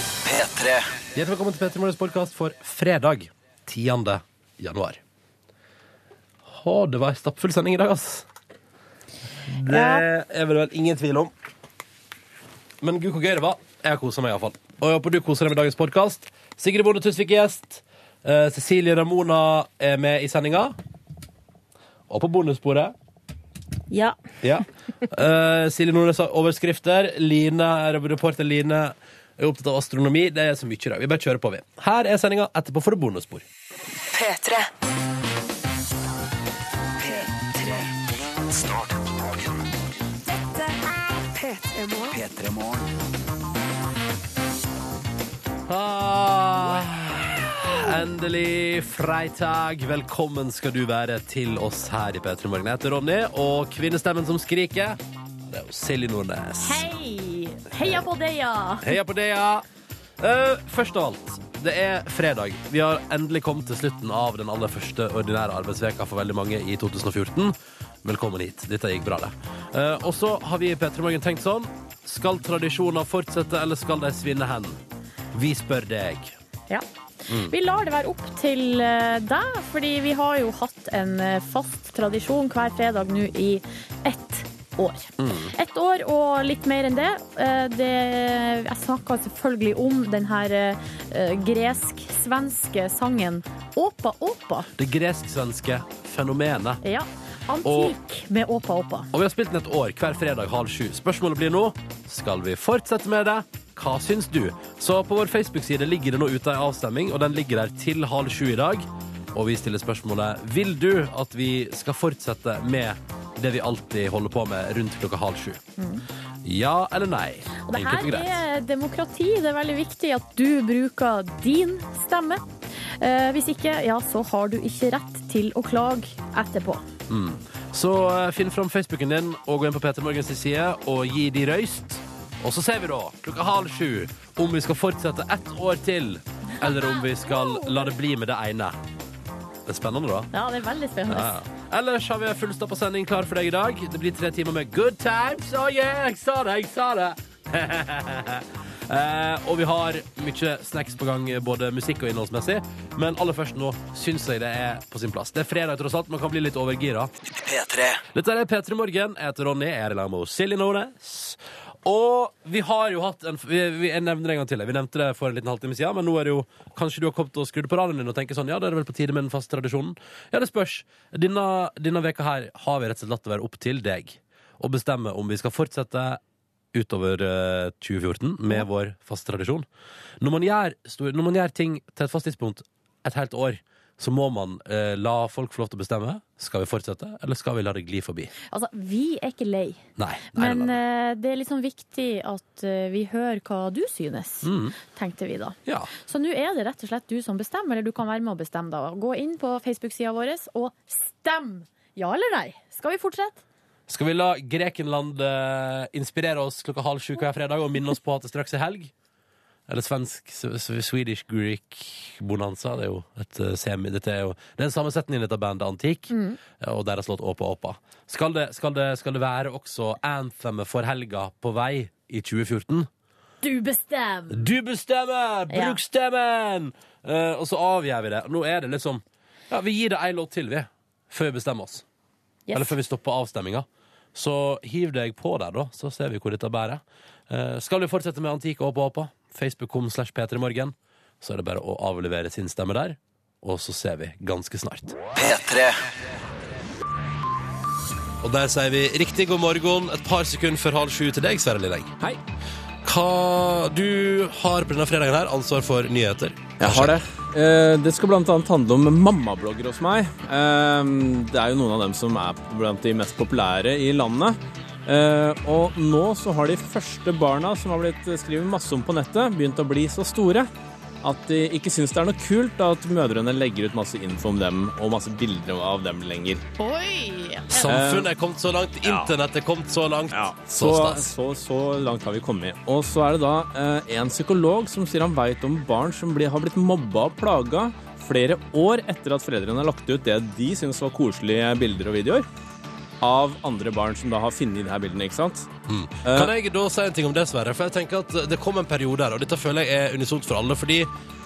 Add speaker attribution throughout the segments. Speaker 1: P3.
Speaker 2: Hjertelig velkommen til Petter Morgens podkast for fredag 10. januar. Å, det var ei stappfull sending i dag, ass. Det
Speaker 3: Ja.
Speaker 2: er vel vel ingen tvil om. Men gud, hvor gøy det var. Jeg har kosa meg, iallfall. Og jeg håper du koser deg med dagens podkast. Sigrid Bonde Tusvik er gjest. Eh, Cecilie Ramona er med i sendinga. Og på bonussporet.
Speaker 3: Ja.
Speaker 2: Ja. Eh, Silje Nordnes har overskrifter. Line, reporter Line er opptatt av astronomi. Det er så mye i dag. Vi bare kjører på, vi. Her er sendinga. Etterpå får du bonusspor.
Speaker 4: P3.
Speaker 1: Start på dagen.
Speaker 4: P3-morgen.
Speaker 1: P3 Morgen.
Speaker 2: Ah, endelig freitag. Velkommen skal du være til oss her i P3 Morgen. Jeg heter Ronny, og kvinnestemmen som skriker, det er jo Silje Nordnes.
Speaker 3: Hei! Heia på deg, ja!
Speaker 2: Heia på det, ja. Eh, først av alt, det er fredag. Vi har endelig kommet til slutten av den aller første ordinære arbeidsveka for veldig mange i 2014. Velkommen hit. Dette gikk bra, det. Eh, og så har vi i P3 Morgen tenkt sånn. Skal tradisjoner fortsette, eller skal de svinne hen? Vi spør deg.
Speaker 3: Ja.
Speaker 2: Mm.
Speaker 3: Vi lar det være opp til eh, deg, fordi vi har jo hatt en eh, fast tradisjon hver fredag nå i ett år.
Speaker 2: Mm.
Speaker 3: Ett år og litt mer enn det. Eh, det jeg snakka selvfølgelig om den her eh, gresk-svenske sangen Åpa Åpa.
Speaker 2: Det gresk-svenske fenomenet.
Speaker 3: Ja. Antik med Åpa Åpa.
Speaker 2: Og vi har spilt den et år, hver fredag halv sju. Spørsmålet blir nå skal vi fortsette med det. Hva syns du? Så på vår Facebook-side ligger det nå ute en avstemning, og den ligger der til halv sju i dag. Og vi stiller spørsmålet vil du at vi skal fortsette med det vi alltid holder på med rundt klokka halv sju. Ja eller nei?
Speaker 3: Mm. Og det
Speaker 2: Enkelt og
Speaker 3: her
Speaker 2: greit.
Speaker 3: er demokrati. Det er veldig viktig at du bruker din stemme. Eh, hvis ikke, ja, så har du ikke rett til å klage etterpå.
Speaker 2: Mm. Så eh, finn fram Facebooken din og gå inn på Peter Morgens side og gi de røyst. Og så ser vi da, klokka halv sju, om vi skal fortsette ett år til, eller om vi skal la det bli med det ene. Det er spennende, da.
Speaker 3: Ja, det er veldig spennende.
Speaker 2: Ja. Ellers har vi en fullstappa sending klar for deg i dag. Det blir tre timer med good times. Oh yeah, jeg sa det, jeg sa det! Eh, og vi har mye snacks på gang, både musikk og innholdsmessig. Men aller først nå syns jeg det er på sin plass. Det er fredag, tross alt. Man kan bli litt overgira.
Speaker 1: P3.
Speaker 2: Dette er P3 Morgen. Jeg heter Ronny. Jeg er i lag med Silje Nordnes. Og vi har jo hatt en vi, vi, Jeg nevner det en gang til. Vi nevnte det for en liten halvtime siden, men nå er det jo Kanskje du har kommet og skrudd på radioen din og tenker sånn Ja, da er det vel på tide med den faste tradisjonen? Ja, det spørs. Denne, denne veka her har vi rett og slett latt det være opp til deg å bestemme om vi skal fortsette utover eh, 2014 med vår faste tradisjon. Når man, gjør, stor- når man gjør ting til et fast tidspunkt et helt år, så må man eh, la folk få lov til å bestemme. Skal vi fortsette, eller skal vi la det gli forbi?
Speaker 3: Altså, vi er ikke lei,
Speaker 2: Nei. nei,
Speaker 3: men
Speaker 2: nei, nei.
Speaker 3: eh, det er liksom viktig at eh, vi hører hva du synes, tenkte vi da.
Speaker 2: Mm. Ja.
Speaker 3: Så nå er det rett og slett du som bestemmer, eller du kan være med å bestemme da. Gå inn på Facebook-sida vår og stem! Ja eller nei? Skal vi fortsette?
Speaker 2: Skal vi la Grekenland eh, inspirere oss klokka halv sju hver fredag og minne oss på at det straks er helg? Eller svensk s- s- Swedish Greek Bonanza. Det er jo et eh, semi... Dette er jo det er en sammensetning i dette bandet Antik, eh, og deres låt Åpa Åpa. Skal det, skal, det, skal det være også anthemet for helga på vei i 2014?
Speaker 3: Du bestemmer!
Speaker 2: Du bestemmer!
Speaker 3: Ja.
Speaker 2: Bruk stemmen! Eh, og så avgjør vi det. Nå er det liksom Ja, vi gir det ei låt til, vi, før vi bestemmer oss.
Speaker 3: Yes.
Speaker 2: Eller før vi stopper avstemminga. Så hiv deg på der, da, så ser vi hvor dette bærer. Eh, skal vi fortsette med Antik og Åpa Åpa, facebook.com slash p3morgen, så er det bare å avlevere sin stemme der. Og så ser vi ganske snart.
Speaker 1: P3.
Speaker 2: Og der sier vi riktig god morgen et par sekunder før halv sju til deg, Sverre Lilleng. Hei. Hva du har på denne fredagen her ansvar for nyheter.
Speaker 5: Jeg har det. Eh, Det skal bl.a. handle om mammablogger hos meg. Eh, Det er jo noen av dem som er blant de mest populære i landet. Eh, Og nå så har de første barna som har blitt skrevet masse om på nettet, begynt å bli så store at de ikke syns det er noe kult at mødrene legger ut masse info om dem og masse bilder av dem lenger.
Speaker 3: Oi!
Speaker 2: Samfunnet er kommet så langt, internett er kommet så langt. Så
Speaker 5: Så,
Speaker 2: stas.
Speaker 5: så, så langt har vi kommet. Og så er det da eh, en psykolog som sier han veit om barn som blir, har blitt mobba og plaga flere år etter at foreldrene har lagt ut det de syns var koselige bilder og videoer. av andre barn som da har funnet de her bildene, ikke sant?
Speaker 2: Mm.
Speaker 5: Eh,
Speaker 2: Kan jeg da si en ting om det, Sverre? For jeg tenker at det kom en periode her, og dette føler jeg er unisont for alle, fordi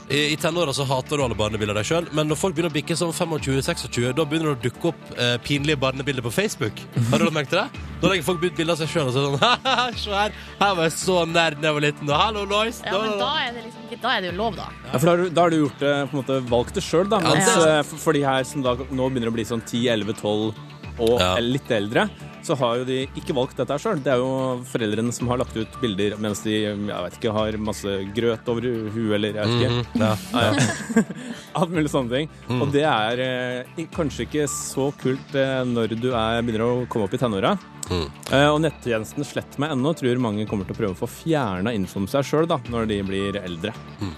Speaker 2: i i tenåra så hater du alle barnebilder deg sjøl, men når folk begynner å bikke sånn 25-26, da begynner det å dukke opp eh, pinlige barnebilder på Facebook. Har du lagt merke til det? Da legger folk ut bilder av seg sjøl og så er det sånn «Haha, Se her, her var jeg så nær da jeg var liten, og hallo, Lois!
Speaker 3: Ja, men da er, det liksom, da er det jo lov, da.
Speaker 5: Ja, for da har, du, da har du gjort det, på en måte valgt det sjøl, da. Mens
Speaker 3: det-
Speaker 5: eh, for, for de her som da nå begynner å bli sånn 10-11-12 og
Speaker 2: Ja.
Speaker 5: eller litt eldre, så har jo de ikke valgt dette her sjøl. Det er jo foreldrene som har lagt ut bilder mens de mm, jeg vet ikke, har masse grøt over huet eller jeg vet
Speaker 2: Mhm.
Speaker 5: ikke. Ja, ja. Alt mulig sånne ting. Og det er eh, i- kanskje ikke så kult eh, når du er, begynner å komme opp i tenåra.
Speaker 2: Mm.
Speaker 5: Eh, og nettjenesten Slett meg ennå tror mange kommer til å prøve å få fjerna info om seg sjøl når de blir eldre.
Speaker 2: Mm.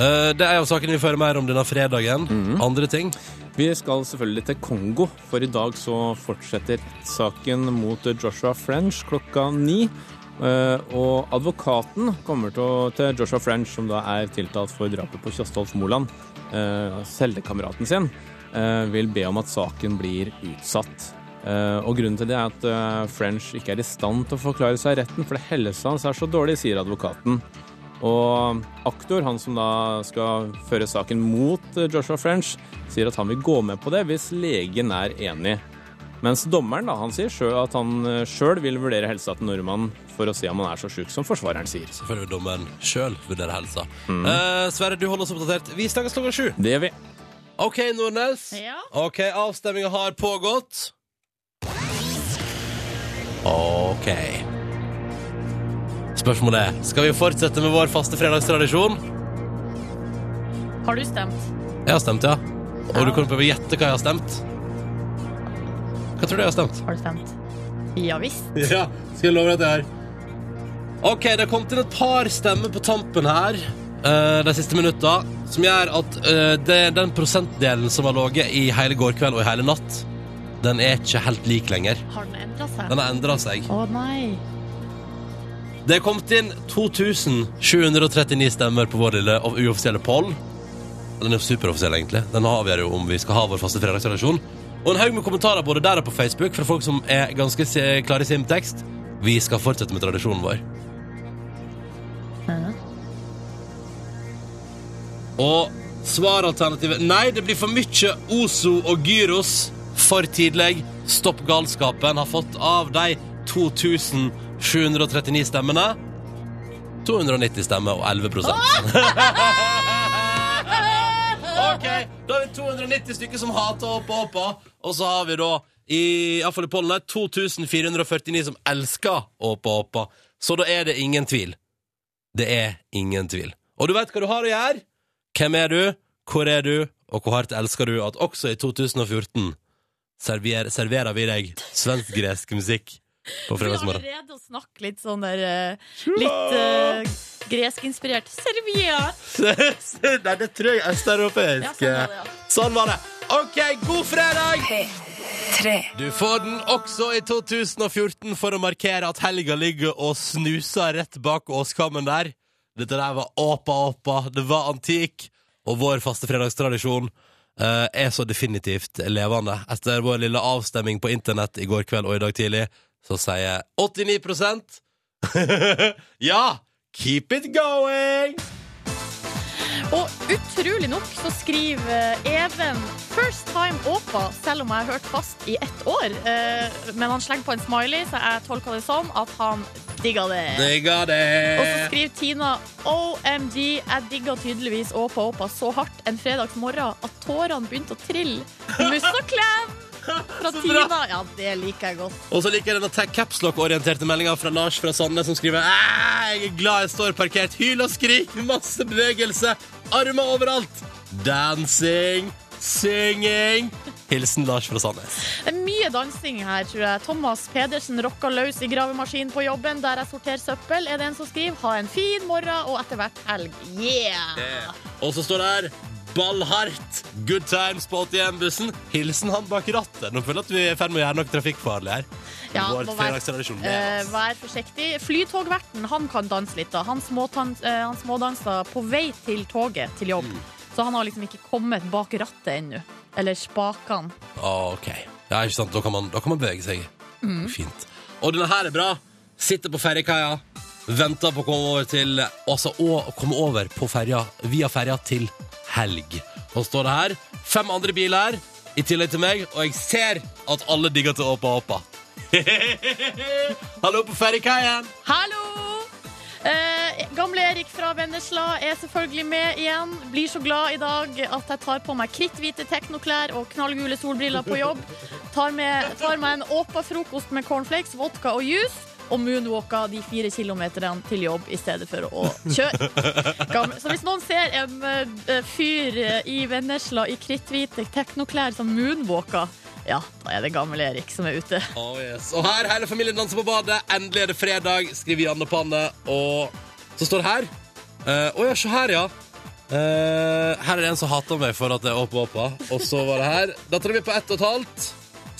Speaker 2: Eh, det er jo saken vi fører mer om denne fredagen. Andre ting.
Speaker 5: Mhm. Vi skal selvfølgelig til Kongo, for i dag så fortsetter rettssaken mot Joshua French klokka ni. Eh, Og advokaten kommer til, å, til Joshua French, som da er tiltalt for drapet på Kjostolf Moland, eh, cellekameraten sin, eh, vil be om at saken blir utsatt. Eh, Og grunnen til det er at eh, French ikke er i stand til å forklare seg i retten, fordi helsa hans er så dårlig, sier advokaten. Og aktor, han som da skal føre saken mot eh, Joshua French, sier at han vil gå med på det hvis legen er enig. Mens dommeren da, han sier sjøl at han eh, sjøl vil vurdere helsa til nordmannen for å se om han er så sjuk som forsvareren sier. Mhm.
Speaker 2: Selvfølgelig vil dommeren sjøl vurdere helsa. Eh, Sverre, du holder oss oppdatert. Vi snakkes klokka sju.
Speaker 5: Det vil
Speaker 2: OK, Nordnes.
Speaker 3: Ja.
Speaker 2: OK, avstemminga har pågått. OK. Spørsmålet er skal vi fortsette med vår faste fredagstradisjon.
Speaker 3: Har du stemt?
Speaker 2: Jeg har stemt, ja. Og du kan prøve å gjette hva jeg har stemt. Hva tror du jeg har stemt?
Speaker 3: Har du stemt? Ja visst.
Speaker 2: Ja, skal jeg love deg at jeg har. Ok, det har kommet inn et par stemmer på tampen her eh, de siste minutta, som gjør at eh, det, den prosentdelen som har ligget i hele går kveld og i hele natt, den er ikke helt lik lenger.
Speaker 3: Har den endra seg?
Speaker 2: Den har endra seg.
Speaker 3: Å nei.
Speaker 2: Det er kommet inn 2739 stemmer på vår lille og uoffisielle poll. Den er superoffisiell, egentlig. Den avgjør jo om vi skal ha vår faste fredagsredaksjon. Og en haug med kommentarer både der og på Facebook fra folk som er ganske se- klare i sin tekst. Vi skal fortsette med tradisjonen vår. Og svaralternativet Nei, det blir for mye Ozo og Gyros for tidlig. Stopp galskapen har fått av de 2739 stemmene 290 stemmer og 11 OK, da er vi 290 stykker som hater Åpa Åpa, og så har vi da i, i hvert fall i pollen her 2449 som elsker Åpa Åpa. Så da er det ingen tvil. Det er ingen tvil. Og du veit hva du har å gjøre. Hvem er du? Hvor er du? Og hvor hardt elsker du at også i 2014 server, serverer vi deg svensk-gresk musikk på
Speaker 3: Vi har
Speaker 2: fredagsmorgen?
Speaker 3: allerede å snakke litt sånn der eh, Litt eh, greskinspirert. Servia!
Speaker 2: Nei, det tror jeg er
Speaker 3: Ja,
Speaker 2: østeuropeisk.
Speaker 3: sånn var det, ja.
Speaker 2: Sånn var det. OK, god fredag! Du får den også i 2014 for å markere at helga ligger og snuser rett bak åskammen der. Dette der var Åpa Åpa, det var antikk, og vår faste fredagstradisjon eh, er så definitivt levende. Etter vår lille avstemming på internett i går kveld og i dag tidlig, så sier 89 Ja! Keep it going!
Speaker 3: Og utrolig nok så skriver eh, Even First time Åpa, selv om jeg har hørt fast i ett år. Eh, Men han slenger på en smiley, så jeg tolker det sånn at han digga det.
Speaker 2: Digga
Speaker 3: Og så
Speaker 2: det!
Speaker 3: skriver Tina OMG, jeg digga tydeligvis Åpa Åpa så hardt en fredagsmorgen at tårene begynte å trille. Muss og klem! Fra Tina. Ja, det liker jeg godt.
Speaker 2: Og så liker jeg denne capslock-orienterte meldinga fra Lars fra Sandnes som skriver «Æ, Jeg er glad jeg står parkert. Hyl og skrik, masse bevegelse, armer overalt. Dansing, synging. Hilsen Lars fra Sandnes.
Speaker 3: Det er mye dansing her, tror jeg. Thomas Pedersen rocka løs i gravemaskinen på jobben der jeg sorterer søppel, er det en som skriver. Ha en fin morgen og etter hvert helg. Yeah!
Speaker 2: Og så står det her Ballhardt. Good times på 81-bussen. Hilsen han bak rattet. Nå føler jeg at vi er i ferd med å gjøre noe trafikkfarlig her.
Speaker 3: Ja,
Speaker 2: Vår
Speaker 3: må være-
Speaker 2: fredagstradisjon
Speaker 3: Eh,
Speaker 2: med oss.
Speaker 3: vær forsiktig. Flytogverten han kan danse litt. da. Han, småtan, eh, han smådansa på vei til toget til jobb. Så han har liksom ikke kommet bak rattet ennå. Eller spakene.
Speaker 2: Ah, OK. Ja, ikke sant? Da kan man, da kan man bevege seg.
Speaker 3: Mm.
Speaker 2: Fint. Og denne her er bra. Sitter på ferjekaia, venter på å komme over til Altså å komme over på ferja, via ferja til helg. Og står det her fem andre biler i tillegg til meg, og jeg ser at alle digger til Åpa Åpa. Hallo på ferjekaien!
Speaker 3: Hallo! Eh, gamle Erik fra Vennesla er selvfølgelig med igjen. Blir så glad i dag at jeg tar på meg kritthvite teknoklær og knallgule solbriller på jobb. Tar, med, tar meg en åpa frokost med cornflakes, vodka og juice. Og moonwalka de fire kilometerne til jobb i stedet for å kjøre. Gamle. Så hvis noen ser en eh, fyr i Vennesla i kritthvite teknoklær som moonwalker, ja, da er det gamle Erik som er ute.
Speaker 2: Oh, yes. Og her, hele familien danser på badet. Endelig er det fredag, skriver Janne Panne. Og så står det her. Å ja, se her, ja. Eh, her er det en som hater meg for at det er Åpa Åpa. Og så var det her. Dattera mi på ett og et halvt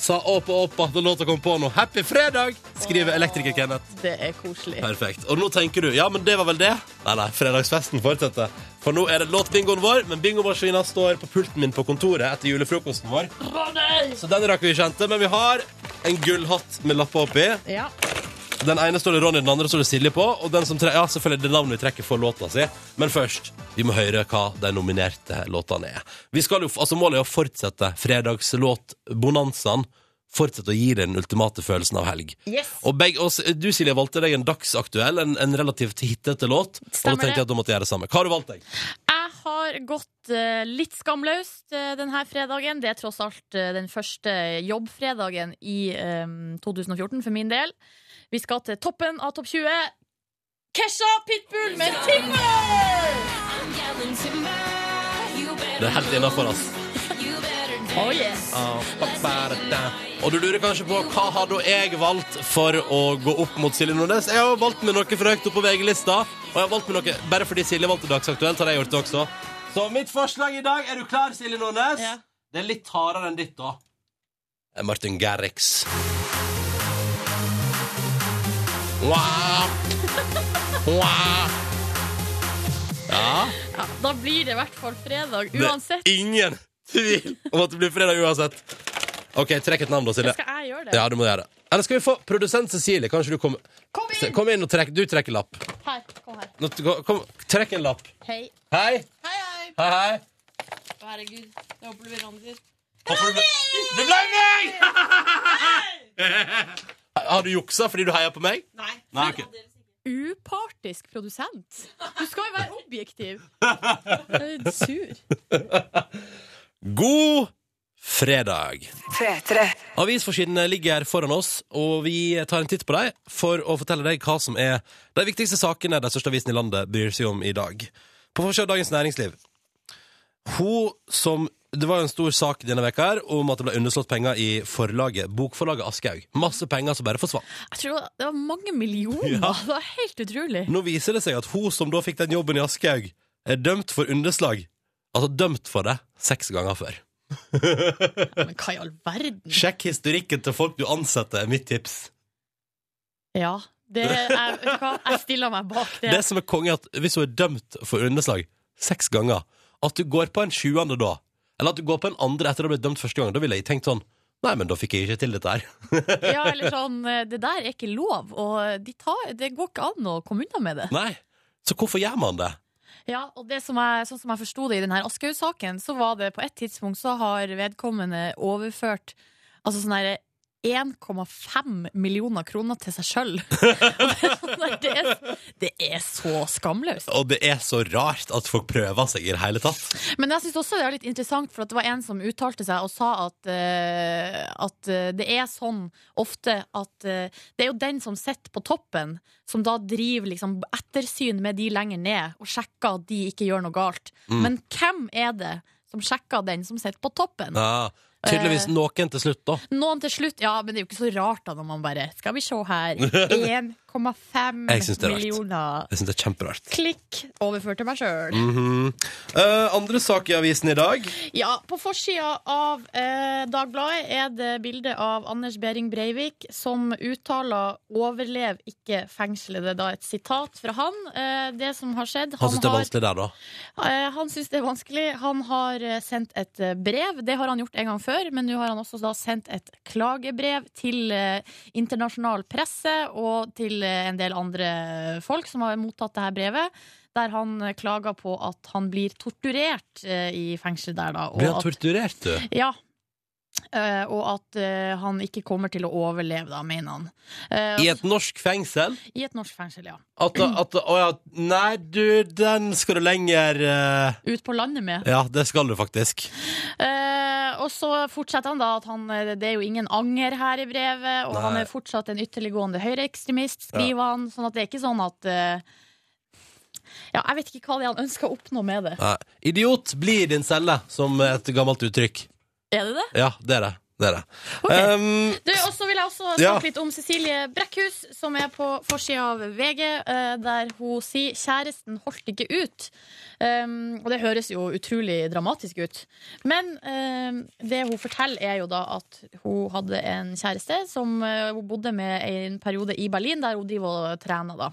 Speaker 2: sa Åpa Åpa da låta kom på nå. Happy fredag, skriver elektriker Kenneth.
Speaker 3: Det er koselig.
Speaker 2: Perfekt. Og nå tenker du ja, men det var vel det? Nei, nei, fredagsfesten fortsetter. For nå er det låtbingoen vår, men bingomaskina står på pulten min på kontoret etter julefrokosten vår. Så den rakk vi ikke hente, men vi har en gullhatt med lapper oppi.
Speaker 3: Ja.
Speaker 2: Den ene står det Ronny, den andre står det Silje på. Og den som tre ja, selvfølgelig det navnet vi trekker for låta si. Men først, vi må høre hva de nominerte låtene er. Vi skal jo, altså Målet er å fortsette fredagslåtbonanzaen. Fortsette å gi deg den ultimate følelsen av helg.
Speaker 3: Yes.
Speaker 2: Og begge, oss, Du, Silje, valgte deg en dagsaktuell, en, en relativt hittete låt. og
Speaker 3: Stemmer
Speaker 2: da tenkte jeg at du måtte gjøre det samme. Hva har du valgt deg?
Speaker 3: Jeg har gått eh, litt skamløst eh, denne fredagen. Det er tross alt eh, den første jobbfredagen i eh, 2014 for min del. Vi skal til toppen av topp 20. Kesha Pitbull med Timber!
Speaker 2: Det er helt innafor, ass.
Speaker 3: Oh yes.
Speaker 2: Og du lurer kanskje på hva har da jeg valgt for å gå opp mot Silje Nordnes? Jeg har valgt med noe for høyt opp på VG-lista. Og jeg har valgt med noe bare fordi Silje valgte Dagsaktuelt, har jeg gjort det også. Så mitt forslag i dag, er du klar, Silje Nordnes?
Speaker 3: Ja.
Speaker 2: Det er litt hardere enn ditt, da. Det er Martin Garrix. Wow. Wow.
Speaker 3: Ja, da blir det i hvert fall fredag uansett.
Speaker 2: Det er ingen tvil om at det blir fredag uansett. OK, trekk et navn, da, Silje.
Speaker 3: Skal jeg gjøre det?
Speaker 2: Ja, du må gjøre det. Eller skal vi få produsent Cecilie? Kanskje du kommer
Speaker 3: Kom inn!
Speaker 2: Kom inn og trekk. Du trekker lapp.
Speaker 3: Her, kom her.
Speaker 2: Nå, t- kom, kom, trekk en lapp.
Speaker 3: Hei.
Speaker 2: Hei!
Speaker 3: Hei, hei.
Speaker 2: Hei, hei.
Speaker 3: Herregud, jeg håper du blir Randi.
Speaker 2: Håper du ble- Det ble meg! Har du juksa fordi du heier på meg? Nei. ok.
Speaker 3: Upartisk produsent. Du skal jo være objektiv. Jeg er litt sur.
Speaker 2: God fredag. Avisforsidene ligger her foran oss, og vi tar en titt på dem for å fortelle deg hva som er de viktigste sakene de største avisene i landet bryr seg om i dag. På forsiden av Dagens Næringsliv. Hun som Det var jo en stor sak denne veka her om at det ble underslått penger i forlaget, bokforlaget Aschehoug. Masse penger som bare forsvant.
Speaker 3: Jeg tror det var- det var mange millioner.
Speaker 2: Ja.
Speaker 3: Det var helt utrolig.
Speaker 2: Nå viser det seg at hun som da fikk den jobben i Aschehoug, er dømt for underslag. Altså dømt for det seks ganger før.
Speaker 3: Men hva i all verden?
Speaker 2: Sjekk historikken til folk du ansetter, er mitt tips.
Speaker 3: Ja, det er, vet du hva? Jeg stiller meg bak det.
Speaker 2: Det som er konge er at hvis hun er dømt for underslag seks ganger, at du går på en sjuende da, eller at du går på en andre etter å ha blitt dømt første gang, da ville jeg tenkt sånn Nei, men da fikk jeg ikke til dette her.
Speaker 3: Ja, eller sånn, eh, det der er ikke lov, og de tar, det går ikke an å komme unna med det.
Speaker 2: Nei. Så hvorfor gjør man det?
Speaker 3: Ja, og det som jeg, sånn som jeg forsto det i denne Aschehoug-saken, så var det på et tidspunkt så har vedkommende overført altså sånn herre 1,5 millioner kroner til seg sjøl. Det, er- det er så skamløst.
Speaker 2: Og det er så rart at folk prøver seg i det hele tatt.
Speaker 3: Men jeg synes også det er litt interessant, for at det var en som uttalte seg og sa at, eh, at eh, det er sånn ofte at eh, det er jo den som sitter på toppen, som da driver liksom ettersyn med de lenger ned, og sjekker at de ikke gjør noe galt.
Speaker 2: Mm.
Speaker 3: Men hvem er det som sjekker den som sitter på toppen?
Speaker 2: Ja, tydeligvis
Speaker 3: Eh.
Speaker 2: noen til slutt, da.
Speaker 3: Noen til slutt, ja, men det er jo ikke så rart da når man bare Skal vi se her. 1,5
Speaker 2: Jeg synes det er rart.
Speaker 3: millioner.
Speaker 2: Jeg syns det er kjemperart.
Speaker 3: Klikk. Overført til meg sjøl.
Speaker 2: Mhm. Eh, andre sak i avisen i dag.
Speaker 3: Ja, på forsida av eh, Dagbladet er det bilde av Anders Behring Breivik som uttaler 'overlev ikke fengselet'. Det er da et sitat fra han. Eh, det som har skjedd
Speaker 2: Han syns det er
Speaker 3: har-
Speaker 2: vanskelig der, da.
Speaker 3: Eh, han syns det er vanskelig. Han har eh, sendt et eh, brev. Det har han gjort en gang før, men nå har han også da sendt et klagebrev til eh, internasjonal presse og til eh, en del andre folk som har mottatt dette brevet, der han eh, klager på at han blir torturert eh, i fengselet der, da.
Speaker 2: Blir han
Speaker 3: at-
Speaker 2: torturert, du?
Speaker 3: ja. Eh, og at eh, han ikke kommer til å overleve, da, mener han. Eh,
Speaker 2: I et norsk fengsel?
Speaker 3: I et norsk fengsel, ja.
Speaker 2: At, at, å ja, nei, du, den skal du lenger eh,
Speaker 3: Ut på landet med.
Speaker 2: Ja, det skal du faktisk.
Speaker 3: Eh, og så fortsetter han da at han, eh, det er jo ingen anger her i brevet, og
Speaker 2: Nei.
Speaker 3: han er fortsatt en ytterliggående høyreekstremist, skriver han. Sånn at det er ikke sånn at eh, Ja, jeg vet ikke hva det er han ønsker å oppnå med det.
Speaker 2: Nei. Idiot blir din celle, som et gammelt uttrykk.
Speaker 3: Er det det?
Speaker 2: Ja, det er det. Det er det.
Speaker 3: Ok.
Speaker 2: Um,
Speaker 3: Du, og så vil jeg også snakke
Speaker 2: Ja.
Speaker 3: litt om Cecilie Brekkhus, som er på forsida av VG, eh, der hun sier 'kjæresten holdt ikke ut'. Um, og det høres jo utrolig dramatisk ut. Men um, det hun forteller, er jo da at hun hadde en kjæreste som eh, hun bodde med en periode i Berlin, der hun driver og trener, da.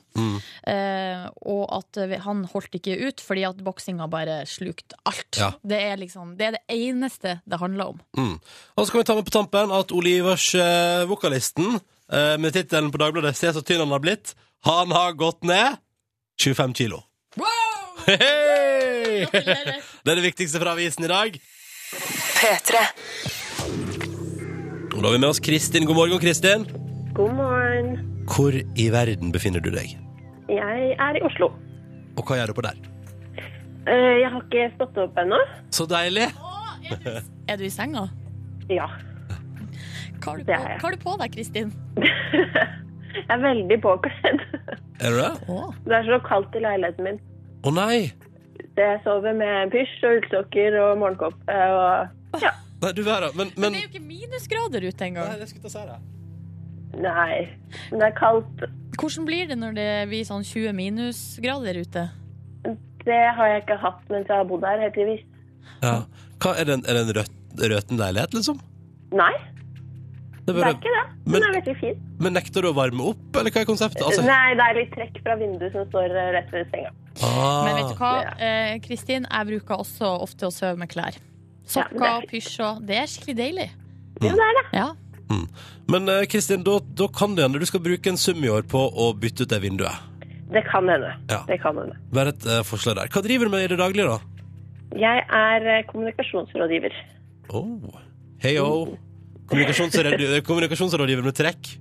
Speaker 3: Eh, og at eh, han holdt ikke ut fordi at boksinga bare slukte alt.
Speaker 2: Ja. Mm.
Speaker 3: Det er liksom Det er det eneste det handler om.
Speaker 2: Og så kan vi ta med på tampen at Ole Ivers, eh, vokalisten, eh, med tittelen på Dagbladet 'Se så tynn han har blitt', han har gått ned 25 kilo. Hei!
Speaker 3: Gratulerer.
Speaker 2: Det er det viktigste fra avisen i dag. Og da har vi med oss Kristin. God morgen, Kristin.
Speaker 6: God morgen.
Speaker 2: Hvor i verden befinner du deg?
Speaker 6: Jeg er i Oslo.
Speaker 2: Og hva gjør du på der?
Speaker 6: Eh, Jeg har ikke stått opp ennå.
Speaker 2: Så deilig!
Speaker 3: Er du i senga?
Speaker 6: Ja.
Speaker 3: Hva har du
Speaker 6: Det
Speaker 3: på,
Speaker 6: er jeg.
Speaker 3: hva har du på deg, Kristin?
Speaker 6: Jeg er veldig påkledd.
Speaker 2: Er du det?
Speaker 6: Det er så kaldt i leiligheten min.
Speaker 2: Å nei!
Speaker 6: Så Jeg sover med pysj og ullsokker og morgenkåpe og
Speaker 2: Nei, du verden. Men,
Speaker 3: Men
Speaker 2: men
Speaker 3: det er jo ikke minusgrader ute engang.
Speaker 2: jeg skulle ta si det.
Speaker 6: Nei. Men det er kaldt.
Speaker 3: Hvordan blir det når det blir sånn 20 minusgrader ute?
Speaker 6: Det har jeg ikke hatt mens jeg har bodd her, heldigvis.
Speaker 2: Ja. Hva, er det en, er det en røt- røten leilighet, liksom?
Speaker 6: Nei,
Speaker 2: Det
Speaker 6: det er ikke det.
Speaker 2: Men-
Speaker 6: Den er veldig fin.
Speaker 2: Men nekter du å varme opp, eller hva er konseptet? Altså,
Speaker 6: Nei, det er litt trekk fra vinduet som står eh, rett ved senga.
Speaker 2: ah.
Speaker 3: Men vet du hva,
Speaker 6: Ja.
Speaker 3: eh, Kristin, jeg bruker også ofte å sove med klær. Sokker
Speaker 6: Ja,
Speaker 3: og pysj og Det er skikkelig deilig.
Speaker 6: Jo, det er det.
Speaker 3: Ja.
Speaker 2: Men eh, Kristin, da, da kan det hende du skal bruke en sum i år på å bytte ut det vinduet.
Speaker 6: Det kan hende.
Speaker 2: Ja.
Speaker 6: Det kan hende.
Speaker 2: Bare et eh, forslag der. Hva driver du med i det daglige, da?
Speaker 6: Jeg er eh, kommunikasjonsrådgiver.
Speaker 2: Oh. Hei yo. Kommunikasjonsrådgiver, kommunikasjonsrådgiver med trekk.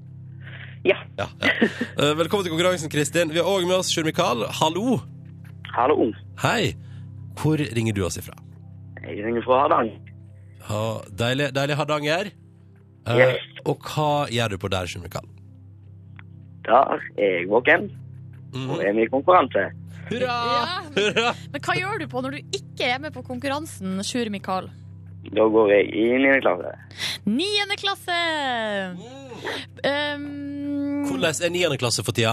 Speaker 6: Ja.
Speaker 2: Ja, ja. Eh, velkommen til konkurransen, Kristin. Vi har òg med oss Sjur Mikael. Hallo.
Speaker 7: Hallo.
Speaker 2: Hei. Hvor ringer du oss ifra?
Speaker 7: Jeg ringer fra Hardanger.
Speaker 2: Ha, deilig, deilig Hardanger. Eh,
Speaker 7: Yes.
Speaker 2: Og hva gjør du på der, Sjur Mikael?
Speaker 7: Der er jeg våken og
Speaker 2: Mhm.
Speaker 7: er med i konkurranse.
Speaker 2: Hurra!
Speaker 3: Ja.
Speaker 2: Hurra!
Speaker 3: Men hva gjør du på når du ikke er med på konkurransen, Sjur Mikael?
Speaker 7: Da går jeg i 9. klasse.
Speaker 3: Niende klasse! Um,
Speaker 2: Mm. Hvordan er niende klasse for tida?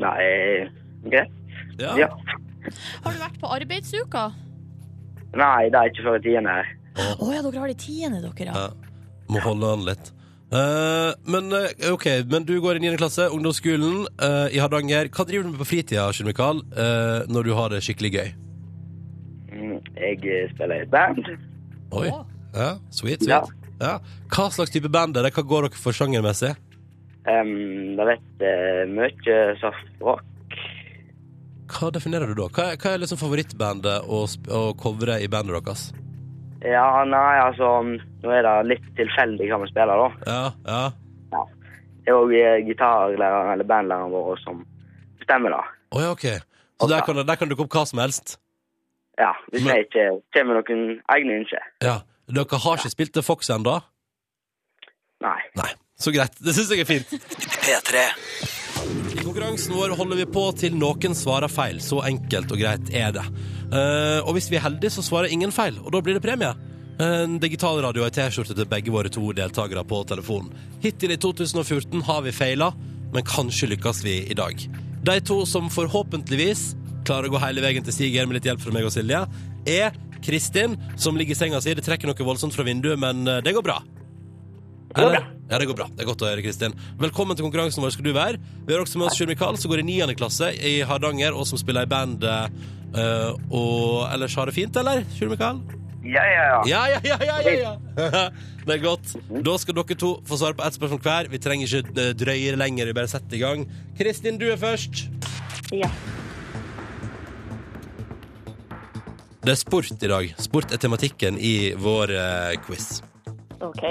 Speaker 7: Nei, greit. Ja.
Speaker 3: har du vært på arbeidsuka?
Speaker 7: Nei, det er ikke før i tiende.
Speaker 3: Å ja, dere har de tiende, dere. Ja.
Speaker 2: Ja. Må holde an litt. Eh, men eh, ok, men du går i 9. klasse, ungdomsskolen eh, i Hardanger. Hva driver du med på fritida Kjell Mikael, eh, når du har det skikkelig gøy?
Speaker 7: Mm, Jeg spiller i et band.
Speaker 2: Oi.
Speaker 3: Å.
Speaker 2: Ja, sweet,
Speaker 7: Ja.
Speaker 2: sweet. Ja. Hva slags type band er det? Hva går dere for sjangermessig?
Speaker 7: Um, det vet uh, mye soft rock.
Speaker 2: Hva definerer du da? Hva er, hva er liksom favorittbandet å, sp- å covre i bandet deres?
Speaker 7: Ja, nei, altså Nå er det litt tilfeldig hva vi spiller, da.
Speaker 2: Ja, ja.
Speaker 7: Det er òg eh, gitarlæreren eller bandlæreren vår som bestemmer, da.
Speaker 2: Å ja, ok. Så der kan, det- der kan dukke opp hva som helst?
Speaker 7: Ja, Hvis
Speaker 2: Men-
Speaker 7: vi ikke kommer med noen egne ønsker.
Speaker 2: Ja. Dere har ikke spilt til Fox ennå?
Speaker 7: Nei.
Speaker 2: Nei. Så greit. Det syns jeg er fint.
Speaker 8: P3.
Speaker 2: I konkurransen vår holder vi på til noen svarer feil. Så enkelt og greit er det. Eh, og hvis vi er heldige, så svarer ingen feil, og da blir det premie. Eh, En digitalradio og ei T-skjorte til begge våre to deltakere på telefonen. Hittil i 2014 har vi feila, men kanskje lykkes vi i dag. De to som forhåpentligvis klarer å gå hele veien til Siger med litt hjelp fra meg og Silje, er Kristin, som ligger i senga si. Det trekker noe voldsomt fra vinduet, men eh, det går bra.
Speaker 7: går bra.
Speaker 2: Eller? Ja, det går bra. Det er godt å høre, Kristin. Velkommen til konkurransen vår skal du være. Vi har også med oss Sjur Mikael, som går i 9. klasse i Hardanger, og som spiller i band. eh, og ellers har det fint, eller? Sjur Mikael?
Speaker 7: Ja, ja, ja.
Speaker 2: Ja, ja, ja, ja, ja, ja. Det er godt. Da skal dere to få svare på ett spørsmål hver. Vi trenger ikke eh, drøyere lenger. Vi bare setter i gang. Kristin, du er først.
Speaker 6: Ja.
Speaker 2: Det er sport i dag. Sport er tematikken i vår eh, quiz.
Speaker 6: OK.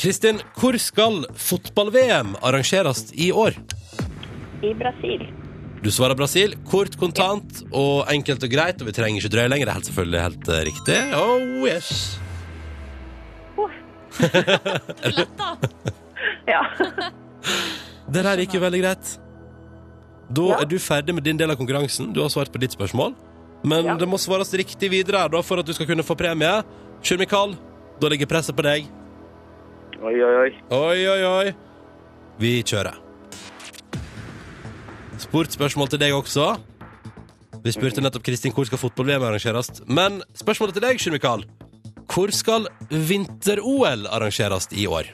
Speaker 2: Kristin, hvor skal fotball-VM arrangeres i år?
Speaker 6: I Brasil.
Speaker 2: Du svarer Brasil. Kort, kontant og enkelt og greit. Og vi trenger ikke drøye lenger. Det er helt selvfølgelig helt eh, riktig. Oh, yes.
Speaker 6: Ja.
Speaker 2: Det der gikk jo veldig greit. Da er du ferdig med din del av konkurransen. Du har svart på ditt spørsmål. Men
Speaker 6: Ja.
Speaker 2: det må svares riktig videre her, da, for at du skal kunne få premie. Sjur Mikael, da ligger presset på deg.
Speaker 7: Oi, oi, oi.
Speaker 2: Oi, oi, oi. Vi kjører. Sportsspørsmål til deg også. Vi spurte nettopp Kristin hvor skal fotball-VM arrangeres. Men spørsmålet til deg, Sjur Mikael. Hvor skal vinter-OL arrangeres i år?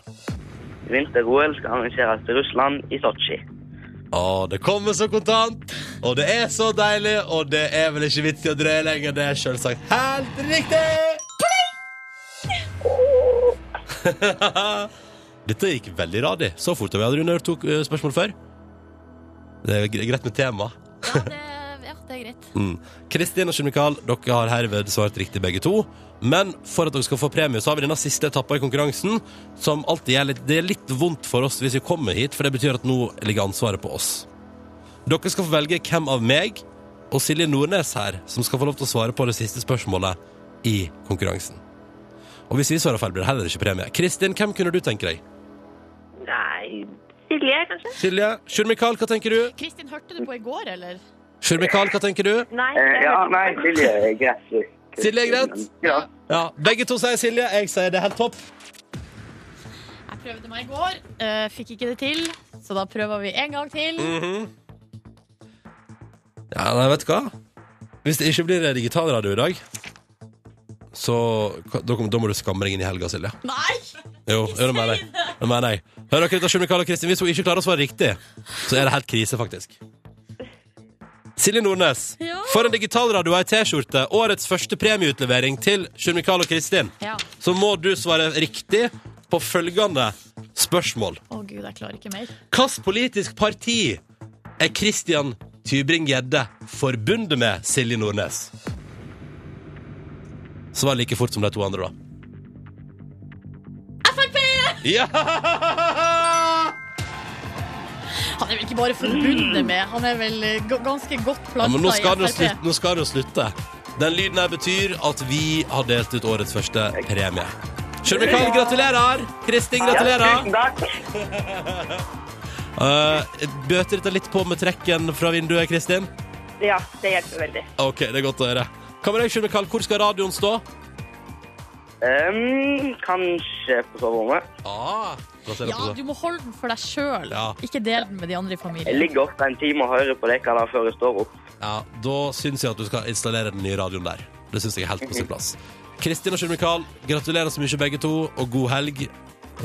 Speaker 7: Vinter-OL skal arrangeres til Russland i Sotsji.
Speaker 2: Å, det kommer så kontant, og det er så deilig, og det er vel ikke vits i å drøye lenger. Det er selvsagt helt riktig!
Speaker 3: Eh,
Speaker 2: Pling! Dette gikk veldig radig. Så fort har vi aldri hørt to eh, spørsmål før. Det er gre- greit med tema.
Speaker 3: Ja, det, ja, det er greit.
Speaker 2: Mm. Kristin og Kjell-Mikael, dere har herved svart riktig begge to. Men for at dere skal få premie, så har vi denne siste etappa i konkurransen, som alltid er litt, det er litt vondt for oss hvis vi kommer hit, for det betyr at nå ligger ansvaret på oss. Dere skal få velge hvem av meg og Silje Nordnes her som skal få lov til å svare på det siste spørsmålet i konkurransen. Og hvis vi svarer feil, blir det heller ikke premie. Kristin, hvem kunne du tenke deg?
Speaker 6: Nei Silje, kanskje?
Speaker 2: Silje? Sjur-Mikael, hva tenker du?
Speaker 3: Kristin, hørte du på i går, eller?
Speaker 2: Sjur-Mikael, hva tenker du?
Speaker 6: Nei.
Speaker 7: Eh,
Speaker 6: jeg
Speaker 7: ja,
Speaker 6: hørte
Speaker 7: nei,
Speaker 6: ikke.
Speaker 7: Silje er greit.
Speaker 2: Silje er greit?
Speaker 7: Ja.
Speaker 2: Ja, Begge to sier Silje, jeg sier det er helt topp.
Speaker 3: Jeg prøvde meg i går, eh, fikk ikke det til, så da prøver vi en gang til.
Speaker 2: Mhm. Ja, nei, vet du hva? Hvis det ikke blir digitalradio i dag, så da, kom- da må du skamme deg inn i helga, Silje.
Speaker 3: Nei!
Speaker 2: Jo, jo, det mener jeg. Det mener jeg. Hører dere ut av Sjur Mikael og Kristin, hvis hun ikke klarer å svare riktig, så er det helt krise, faktisk. Silje Nordnes,
Speaker 3: Ja.
Speaker 2: for en digitalradio og ei T-skjorte, årets første premieutlevering til Sjur Mikael og Kristin,
Speaker 3: Ja.
Speaker 2: så må du svare riktig på følgende spørsmål.
Speaker 3: Å gud, jeg klarer ikke mer.
Speaker 2: Hvilket politisk parti er Christian Tybring-Gjedde forbundet med Silje Nordnes? Svar like fort som de to andre, da.
Speaker 3: Frp!
Speaker 2: Ja!
Speaker 3: Han er vel ikke bare forbundet med, han er vel eh, g- ganske godt planta
Speaker 2: ja men nå skal, det
Speaker 3: i
Speaker 2: jo slutte, nå skal det jo slutte. Den lyden her betyr at vi har delt ut årets første premie. Sjøl Mikael, gratulerer! Kristin, gratulerer!
Speaker 7: Tusen takk.
Speaker 2: Eh, bøter dette litt på med trekken fra vinduet, Kristin?
Speaker 6: Ja, det hjelper veldig.
Speaker 2: OK, det er godt å høre. Hva med deg, Sjøl Mikael? Hvor skal radioen stå?
Speaker 7: Ehm, kanskje på soverommet.
Speaker 2: Ah, plasserer
Speaker 3: Ja,
Speaker 2: på det.
Speaker 3: du må holde den for deg sjøl.
Speaker 2: Ja.
Speaker 3: Ikke del den med de andre i
Speaker 7: Jeg
Speaker 3: familien.
Speaker 7: ligger ofte en time og hører på dere da før jeg står opp.
Speaker 2: Ja, Da syns jeg at du skal installere den nye radioen der. Det syns jeg er helt på sin plass. Kristin og Kjell Mikael, gratulerer så mye begge to, og god helg.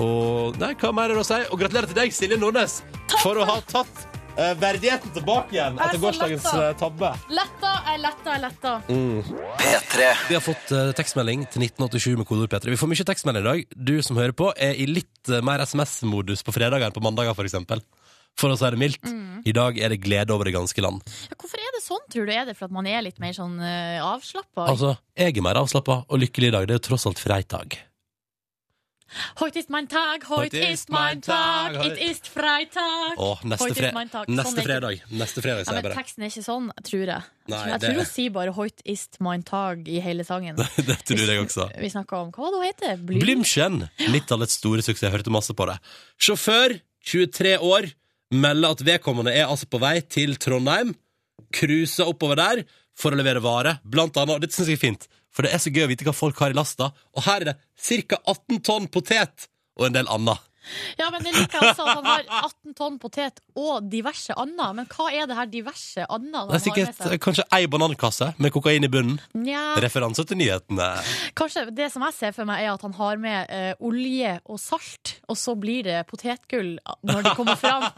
Speaker 2: Og nei, hva mer er det å si? Og gratulerer til deg, Silje Nordnes, for å ha tatt eh, verdigheten tilbake igjen
Speaker 3: Jeg
Speaker 2: etter
Speaker 3: er så
Speaker 2: gårsdagens
Speaker 3: letta.
Speaker 2: eh, tabbe.
Speaker 3: Letta, jeg letta, jeg letta.
Speaker 9: P3.
Speaker 2: Mm. Vi har fått eh, tekstmelding til 1987 med kodeord P3. Vi får mye tekstmelding i dag. Du som hører på, er i litt eh, mer SMS-modus på fredager enn på mandager, f.eks. For, eksempel. for å si det mildt. I dag er det glede over det ganske land.
Speaker 3: Ja, hvorfor er det sånn, tror du? Er det for at man er litt mer sånn uh, avslappa?
Speaker 2: Altså, jeg er mer avslappa og lykkelig i dag. Det er jo tross alt fredag.
Speaker 3: Hoit ist mein Tag, hoit ist mein Tag, it is Freitag.
Speaker 2: Åh, neste,
Speaker 3: Hoit is
Speaker 2: fre
Speaker 3: mein Tag.
Speaker 2: neste
Speaker 3: Sånn er det.
Speaker 2: fredag. Neste fredag,
Speaker 3: Ja,
Speaker 2: sier jeg
Speaker 3: men
Speaker 2: bare.
Speaker 3: teksten er ikke sånn, tror jeg.
Speaker 2: Nei,
Speaker 3: jeg
Speaker 2: det-
Speaker 3: tror hun sier bare 'Hoit ist mein Tag' i hele sangen.
Speaker 2: Det tror jeg også.
Speaker 3: Vi snakka om hva var det hun heter? Blym?
Speaker 2: Blymchen, midtallets store suksess. Jeg hørte masse på det. Sjåfør, 23 år, melder at vedkommende er altså på vei til Trondheim. Cruiser oppover der for å levere vare, blant annet. Og dette syns jeg er fint, for det er så gøy å vite hva folk har i lasta. Og her er det ca. 18 tonn potet og en del annet.
Speaker 3: Ja, men jeg liker altså at han har 18 tonn potet og diverse anna. Men hva er det her diverse anna han
Speaker 2: Det
Speaker 3: har
Speaker 2: er sikkert
Speaker 3: med
Speaker 2: eh,
Speaker 3: seg?
Speaker 2: kanskje ei banankasse med kokain i bunnen.
Speaker 3: Nja,
Speaker 2: Referanse til nyhetene.
Speaker 3: kanskje det som jeg ser for meg, er at han har med eh, olje og salt, og så blir det potetgull eh, når det kommer fram.